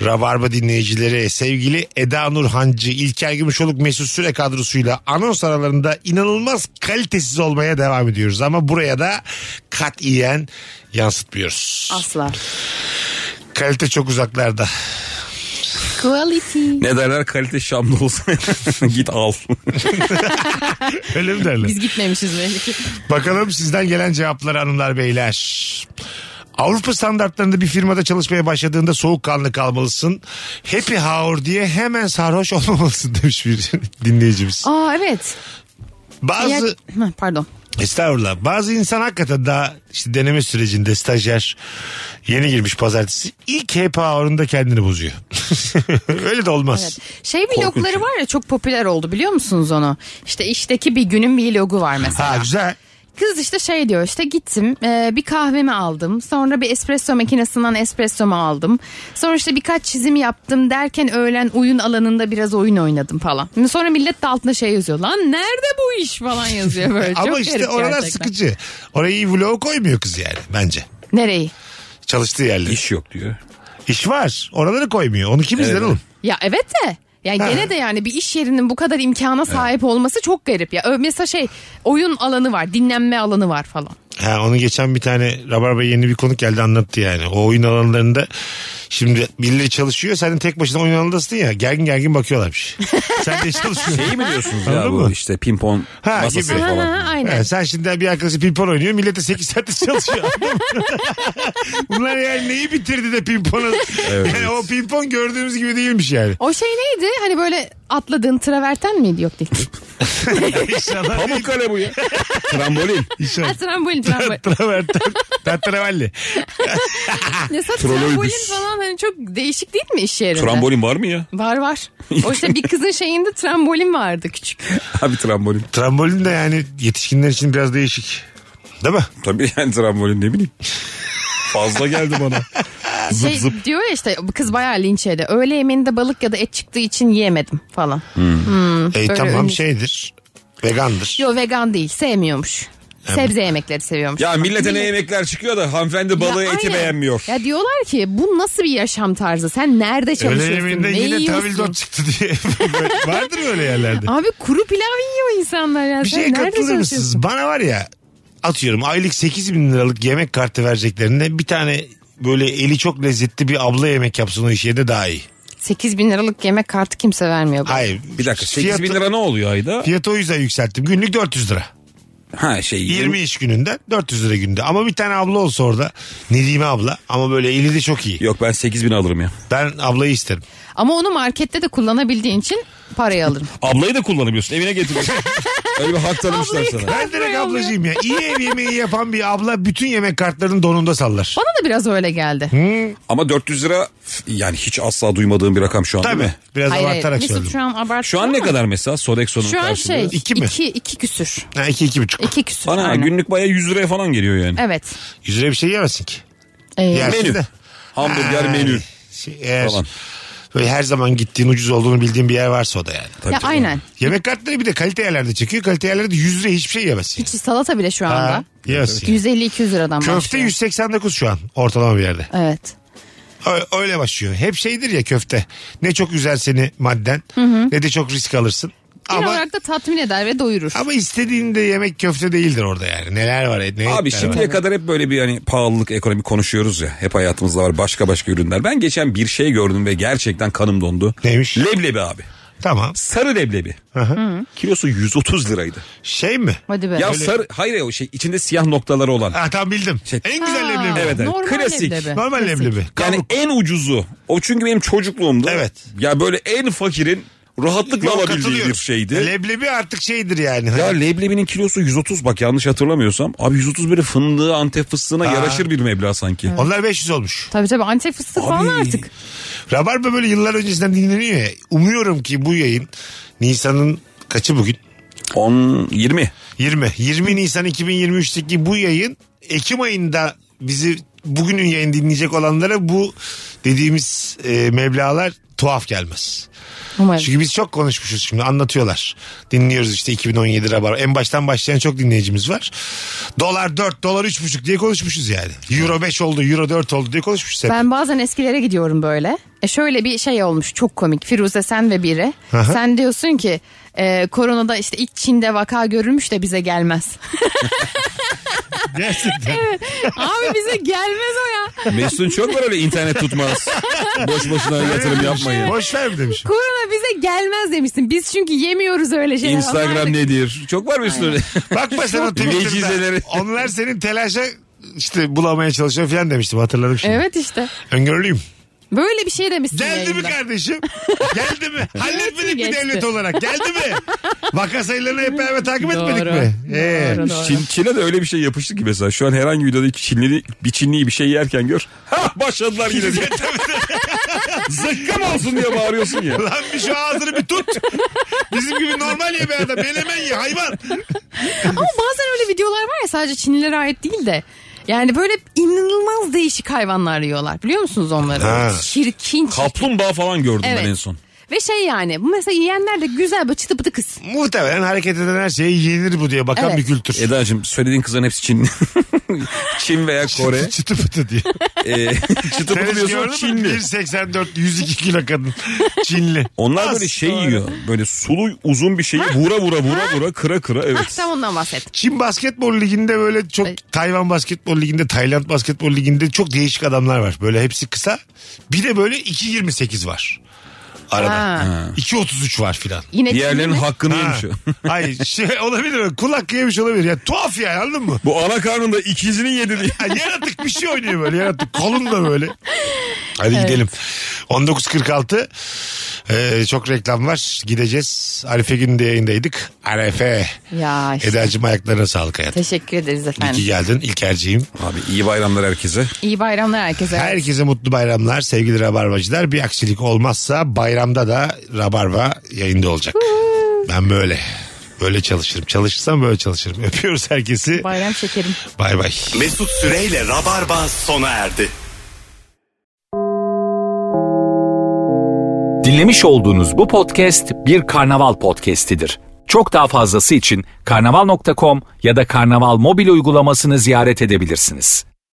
[SPEAKER 3] Rabarba dinleyicileri. Sevgili Eda Nurhancı, İlker Gümüşoluk, Mesut Süre kadrosuyla anons aralarında inanılmaz kalitesiz olmaya devam ediyoruz. Ama buraya da katiyen yansıtmıyoruz.
[SPEAKER 5] Asla.
[SPEAKER 3] Kalite çok uzaklarda.
[SPEAKER 5] Quality.
[SPEAKER 4] Ne derler kalite şamlı olsa git al.
[SPEAKER 3] Öyle mi derler?
[SPEAKER 5] Biz gitmemişiz belli ki.
[SPEAKER 3] Bakalım sizden gelen cevapları hanımlar beyler. Avrupa standartlarında bir firmada çalışmaya başladığında soğukkanlı kalmalısın. Happy hour diye hemen sarhoş olmamalısın demiş bir dinleyicimiz.
[SPEAKER 5] Aa evet.
[SPEAKER 3] Bazı
[SPEAKER 5] Ya- Hı, Pardon.
[SPEAKER 3] Estağfurullah. Bazı insan hakikaten daha işte deneme sürecinde stajyer yeni girmiş pazartesi. ilk happy hour'unda kendini bozuyor. Öyle de olmaz.
[SPEAKER 5] Evet. Şey vlogları var ya çok popüler oldu biliyor musunuz onu? İşte işteki bir günün vlogu var mesela.
[SPEAKER 3] Ha güzel.
[SPEAKER 5] Kız işte şey diyor işte gittim e, bir kahvemi aldım sonra bir espresso makinesinden espressomu aldım sonra işte birkaç çizim yaptım derken öğlen oyun alanında biraz oyun oynadım falan. Sonra millet de altında şey yazıyor lan nerede bu iş falan yazıyor böyle çok
[SPEAKER 3] Ama işte
[SPEAKER 5] garip
[SPEAKER 3] oralar
[SPEAKER 5] gerçekten.
[SPEAKER 3] sıkıcı. Orayı iyi vlog koymuyor kız yani bence.
[SPEAKER 5] Nereyi?
[SPEAKER 3] Çalıştığı yerleri. İş,
[SPEAKER 4] İş yok diyor.
[SPEAKER 3] var. Oraları koymuyor. Onu kim izler oğlum?
[SPEAKER 5] Ya evet de yani
[SPEAKER 3] Ha.
[SPEAKER 5] gene de yani bir iş yerinin bu kadar imkana sahip olması çok garip ya. Ö- Mesela şey oyun alanı var dinlenme alanı var falan.
[SPEAKER 3] Ha, onu geçen bir tane Rabarba yeni bir konuk geldi anlattı yani. O oyun alanlarında şimdi birileri çalışıyor. Sen de tek başına oyun alanındasın ya. Gergin gergin bakıyorlarmış. Sen de çalışıyorsun.
[SPEAKER 4] Neyi mi diyorsunuz
[SPEAKER 3] Anladın
[SPEAKER 4] ya bu
[SPEAKER 3] mı?
[SPEAKER 4] işte pimpon
[SPEAKER 3] Ha,
[SPEAKER 4] masası
[SPEAKER 3] gibi.
[SPEAKER 5] Ha,
[SPEAKER 4] falan.
[SPEAKER 5] ha, aynen.
[SPEAKER 3] Ha, sen şimdi bir arkadaşı pimpon oynuyor. Millete 8 saatte çalışıyor. anladın mı? Bunlar yani neyi bitirdi de pimponu? Yani o pimpon gördüğümüz gibi değilmiş yani.
[SPEAKER 5] O şey neydi? Hani böyle atladığın traverten miydi? Yok değil.
[SPEAKER 3] İnşallah.
[SPEAKER 4] Pamukkale bu ya. Trambolin.
[SPEAKER 5] Ha, trambolin, trambolin.
[SPEAKER 3] Traverten. Tatravalli.
[SPEAKER 5] Mesela
[SPEAKER 4] Trolleybüs.
[SPEAKER 5] trambolin falan hani çok değişik değil mi iş yerinde?
[SPEAKER 4] Trambolin var mı ya?
[SPEAKER 5] Var var. O işte bir kızın şeyinde trambolin vardı küçük.
[SPEAKER 4] Abi trambolin.
[SPEAKER 3] Trambolin de yani yetişkinler için biraz değişik. Değil mi?
[SPEAKER 4] Tabii yani trambolin ne bileyim. Fazla geldi bana. Zıp
[SPEAKER 5] Şey
[SPEAKER 4] zıp.
[SPEAKER 5] diyor ya işte bu kız bayağı linç yedi. Öğle yemeğinde balık ya da et çıktığı için yiyemedim falan.
[SPEAKER 3] E,
[SPEAKER 5] Öyle
[SPEAKER 3] tamam
[SPEAKER 5] ünlü-
[SPEAKER 3] şeydir. Vegandır.
[SPEAKER 5] Yo vegan değil sevmiyormuş. Sebze yemekleri seviyormuş.
[SPEAKER 4] Ya millete ne yemekler çıkıyor da hanımefendi balığı
[SPEAKER 5] Ya
[SPEAKER 4] eti
[SPEAKER 5] aynen.
[SPEAKER 4] beğenmiyor.
[SPEAKER 5] Ya diyorlar ki bu nasıl bir yaşam tarzı? Sen nerede
[SPEAKER 3] Öğle
[SPEAKER 5] çalışıyorsun?
[SPEAKER 3] yemeğinde
[SPEAKER 5] ne
[SPEAKER 3] yine
[SPEAKER 5] yiyorsun?
[SPEAKER 3] tavildot çıktı diye. Böyle- Vardır öyle yerlerde.
[SPEAKER 5] Abi kuru pilav yiyor insanlar ya.
[SPEAKER 3] Bir
[SPEAKER 5] Sen
[SPEAKER 3] şeye
[SPEAKER 5] nerede
[SPEAKER 3] katılır
[SPEAKER 5] çalışıyorsun?
[SPEAKER 3] mısınız? Bana var ya atıyorum aylık 8 bin liralık yemek kartı vereceklerinde bir tane böyle eli çok lezzetli bir abla yemek yapsın o iş yerinde daha iyi.
[SPEAKER 5] 8 bin liralık yemek kartı kimse vermiyor. bana.
[SPEAKER 3] Hayır.
[SPEAKER 4] Bir dakika 8 bin
[SPEAKER 3] Fiyatı-
[SPEAKER 4] lira ne oluyor ayda?
[SPEAKER 3] Fiyatı o yüzden yükselttim. Günlük 400 lira.
[SPEAKER 4] Ha şey
[SPEAKER 3] 20 iş gününde 400 lira günde. Ama bir tane abla olsa orada Nedime abla ama böyle eli de çok iyi.
[SPEAKER 4] Yok ben 8 bin alırım ya.
[SPEAKER 3] Ben ablayı isterim.
[SPEAKER 5] Ama onu markette de kullanabildiğin için parayı alırım.
[SPEAKER 4] Ablayı da kullanabiliyorsun evine getiriyorsun. Öyle bir hak tanımışlar
[SPEAKER 5] Ablayı
[SPEAKER 4] sana.
[SPEAKER 3] Ben direkt ablacıyım ya. İyi ev yemeği yapan bir abla bütün yemek kartlarının donunda sallar.
[SPEAKER 5] Bana da biraz öyle geldi.
[SPEAKER 4] Ama 400 lira f- yani hiç asla duymadığım bir rakam şu an değil
[SPEAKER 3] Tabii.
[SPEAKER 4] mi?
[SPEAKER 3] Biraz
[SPEAKER 5] Hayır, hayır.
[SPEAKER 3] abartarak
[SPEAKER 5] Mesut
[SPEAKER 3] söyledim.
[SPEAKER 5] şu an abartıyor
[SPEAKER 4] Şu an ne
[SPEAKER 5] ama
[SPEAKER 4] kadar mesela Sodexo'nun
[SPEAKER 5] Şu an
[SPEAKER 4] karşılığı?
[SPEAKER 5] şey
[SPEAKER 3] İki
[SPEAKER 5] iki,
[SPEAKER 3] mi?
[SPEAKER 5] iki, küsür.
[SPEAKER 3] Ha, iki, iki buçuk.
[SPEAKER 5] İki küsür.
[SPEAKER 4] Bana
[SPEAKER 5] aynen.
[SPEAKER 4] günlük baya 100 liraya falan geliyor yani.
[SPEAKER 5] Evet.
[SPEAKER 3] Yüz liraya bir şey yemezsin ki.
[SPEAKER 5] Ee,
[SPEAKER 3] Yersin
[SPEAKER 4] Menü.
[SPEAKER 3] de.
[SPEAKER 4] Hamburger
[SPEAKER 3] Ha,
[SPEAKER 4] menü.
[SPEAKER 3] Şey, eğer
[SPEAKER 4] Falan.
[SPEAKER 3] böyle her zaman gittiğin ucuz olduğunu bildiğin bir yer varsa o da yani.
[SPEAKER 4] Tabii
[SPEAKER 5] ya
[SPEAKER 4] tabii.
[SPEAKER 5] aynen.
[SPEAKER 3] Yemek kartları bir de kalite yerlerde çekiyor. Kalite yerlerde 100 liraya hiçbir şey yemezsin.
[SPEAKER 5] Hiç salata bile şu
[SPEAKER 3] Ha,
[SPEAKER 5] anda.
[SPEAKER 3] yemezsin.
[SPEAKER 5] 150-200 liradan
[SPEAKER 3] Köfte
[SPEAKER 5] başlıyor.
[SPEAKER 3] 189 şu an ortalama bir yerde.
[SPEAKER 5] Evet.
[SPEAKER 3] Ö- Öyle başlıyor. Hep şeydir ya köfte. Ne çok üzer seni madden ne de çok risk alırsın.
[SPEAKER 5] Genel
[SPEAKER 3] Ama
[SPEAKER 5] olarak da tatmin eder ve doyurur.
[SPEAKER 3] ama istediğinde yemek köfte değildir orada yani. Neler var? Ne etler
[SPEAKER 4] Abi şimdiye
[SPEAKER 3] var.
[SPEAKER 4] kadar hep böyle bir hani pahalılık ekonomi konuşuyoruz ya. Hep hayatımızda var başka başka ürünler. Ben geçen bir şey gördüm ve gerçekten kanım dondu.
[SPEAKER 3] Neymiş?
[SPEAKER 4] Leblebi abi.
[SPEAKER 3] Tamam.
[SPEAKER 4] Sarı leblebi. Kilosu 130 liraydı.
[SPEAKER 3] Şey mi?
[SPEAKER 5] Hadi be.
[SPEAKER 4] Ya
[SPEAKER 3] Öyle-
[SPEAKER 4] sarı hayır ya, o şey içinde siyah noktaları olan.
[SPEAKER 3] Ah tam bildim.
[SPEAKER 4] Şey-
[SPEAKER 3] En güzel
[SPEAKER 5] Aa,
[SPEAKER 3] leblebi.
[SPEAKER 4] Evet, evet.
[SPEAKER 5] normal
[SPEAKER 4] Klasik.
[SPEAKER 5] leblebi.
[SPEAKER 3] Normal leblebi.
[SPEAKER 4] Yani
[SPEAKER 3] Kavruk.
[SPEAKER 4] en ucuzu. O çünkü benim çocukluğumda.
[SPEAKER 3] Evet.
[SPEAKER 4] Ya böyle en fakirin rahatlıkla
[SPEAKER 3] Yok,
[SPEAKER 4] alabildiği
[SPEAKER 3] katılıyorum.
[SPEAKER 4] bir şeydi.
[SPEAKER 3] Leblebi artık şeydir yani. Hani
[SPEAKER 4] Ya leblebinin kilosu 130 bak yanlış hatırlamıyorsam. Abi 130 böyle fındığı Antep fıstığına yaraşır bir meblağ sanki.
[SPEAKER 3] Onlar 500 olmuş.
[SPEAKER 5] Tabii tabii Antep fıstığı falan artık.
[SPEAKER 3] Rabarba böyle yıllar öncesinden dinleniyor ya. Umuyorum ki bu yayın Nisan'ın kaçı bugün?
[SPEAKER 4] 10 20.
[SPEAKER 3] 20. 20 Nisan 2023'teki bu yayın Ekim ayında bizi bugünün yayın dinleyecek olanlara bu dediğimiz e, meblalar tuhaf gelmez.
[SPEAKER 5] Umarım.
[SPEAKER 3] Çünkü biz çok konuşmuşuz şimdi anlatıyorlar. Dinliyoruz işte 2017 rabar. En baştan başlayan çok dinleyicimiz var. Dolar 4, dolar 3,5 diye konuşmuşuz yani. Euro 5 oldu, euro 4 oldu diye konuşmuşuz hep.
[SPEAKER 5] Ben bazen eskilere gidiyorum böyle. E şöyle bir şey olmuş çok komik. Firuze sen ve biri.
[SPEAKER 3] Aha.
[SPEAKER 5] Sen diyorsun ki e, koronada işte ilk Çin'de vaka görülmüş de bize gelmez.
[SPEAKER 3] Gerçekten.
[SPEAKER 5] Abi bize gelmez o ya.
[SPEAKER 4] Mesut'un çok böyle internet tutmaz. Boş boşuna yatırım yapmayın.
[SPEAKER 3] Boş ver mi demişim.
[SPEAKER 5] Korona bize gelmez demişsin. Biz çünkü yemiyoruz öyle
[SPEAKER 3] şey
[SPEAKER 5] şeyler.
[SPEAKER 4] Instagram nedir? Çok var Mesut'un. öyle.
[SPEAKER 3] Bakma sen o Twitter'da.
[SPEAKER 4] Vecizeleri.
[SPEAKER 3] Onlar senin telaşa işte bulamaya çalışıyor falan demiştim hatırladım şimdi.
[SPEAKER 5] Evet işte.
[SPEAKER 3] Öngörülüyüm.
[SPEAKER 5] Böyle bir şey demişsin.
[SPEAKER 3] Geldi mi
[SPEAKER 5] yayında.
[SPEAKER 3] kardeşim? Geldi mi? Halletmedik
[SPEAKER 5] mi
[SPEAKER 3] mi
[SPEAKER 5] geçti?
[SPEAKER 3] devlet olarak? Geldi mi? Vaka sayılarını hep beraber takip etmedik
[SPEAKER 5] Doğru.
[SPEAKER 3] mi? Ee,
[SPEAKER 5] Doğru, doğru.
[SPEAKER 4] Çin, Çin'e de öyle bir şey yapıştı ki mesela. Şu an herhangi bir videoda iki Çinli, bir Çinliyi bir şey yerken gör. Ha başladılar yine diye. Zıkkım olsun diye bağırıyorsun ya.
[SPEAKER 3] Lan bir şu ağzını bir tut. Bizim gibi normal ye be adam. Menemen ye hayvan.
[SPEAKER 5] Ama bazen öyle videolar var ya sadece Çinlilere ait değil de. Yani böyle inanılmaz değişik hayvanlar yiyorlar. Biliyor musunuz onları?
[SPEAKER 3] Ha.
[SPEAKER 5] Çirkin.
[SPEAKER 4] Kaplumbağa falan gördüm
[SPEAKER 5] Evet.
[SPEAKER 4] ben en son.
[SPEAKER 5] Ve şey yani bu mesela yiyenler de güzel böyle çıtı pıtı kız.
[SPEAKER 3] Muhtemelen hareket eden her şeye yenir bu diye bakan
[SPEAKER 5] Evet.
[SPEAKER 3] bir kültür.
[SPEAKER 4] Eda'cığım söylediğin kızların hepsi Çinli. Çin veya Kore.
[SPEAKER 3] Çıtı pıtı diye.
[SPEAKER 4] Ee, çıtı pıtı
[SPEAKER 3] Tenis
[SPEAKER 4] diyorsun
[SPEAKER 3] gördün mü?
[SPEAKER 4] Çinli.
[SPEAKER 3] 1.84 102 kilo kadın. Çinli.
[SPEAKER 4] Onlar böyle şey yiyor. Böyle sulu uzun bir şeyi vura vura vura vura kıra kıra
[SPEAKER 5] Hah
[SPEAKER 4] evet.
[SPEAKER 5] tam Ah, ondan bahset.
[SPEAKER 3] Çin basketbol liginde böyle çok Tayvan basketbol liginde Tayland basketbol liginde çok değişik adamlar var. Böyle hepsi kısa. Bir de böyle 2.28 var. Arada.
[SPEAKER 5] Ha.
[SPEAKER 3] 2.33 var filan.
[SPEAKER 5] Yine
[SPEAKER 4] Diğerlerinin
[SPEAKER 5] Çinli mi?
[SPEAKER 4] hakkını yemiş o.
[SPEAKER 3] Hayır şey olabilir mi? Kul hakkı yemiş olabilir. Ya tuhaf yani anladın mı?
[SPEAKER 4] Bu ana karnında ikizini yedi diye.
[SPEAKER 3] Ya yaratık bir şey oynuyor böyle yaratık. Kolun da böyle. Hadi gidelim. 19.46. Ee, çok reklam var. Gideceğiz. Arife gününde yayındaydık. Arife.
[SPEAKER 5] Ya işte.
[SPEAKER 3] Eda'cığım ayaklarına sağlık hayatım.
[SPEAKER 5] Teşekkür ederiz
[SPEAKER 3] İyi ki
[SPEAKER 5] efendim.
[SPEAKER 3] geldin İlker'ciğim.
[SPEAKER 4] Abi iyi bayramlar herkese.
[SPEAKER 5] İyi bayramlar herkese.
[SPEAKER 3] Herkese mutlu bayramlar sevgili rabarbacılar. Bir aksilik olmazsa bayramda da rabarba yayında olacak. Ben böyle. Böyle çalışırım. Çalışırsam böyle çalışırım. Öpüyoruz herkesi.
[SPEAKER 5] Bayram şekerim.
[SPEAKER 3] Bay bay.
[SPEAKER 2] Mesut Süreyle Rabarba sona erdi.
[SPEAKER 1] Dinlemiş olduğunuz bu podcast bir karnaval podcastidir. Çok daha fazlası için karnaval.com ya da karnaval mobil uygulamasını ziyaret edebilirsiniz.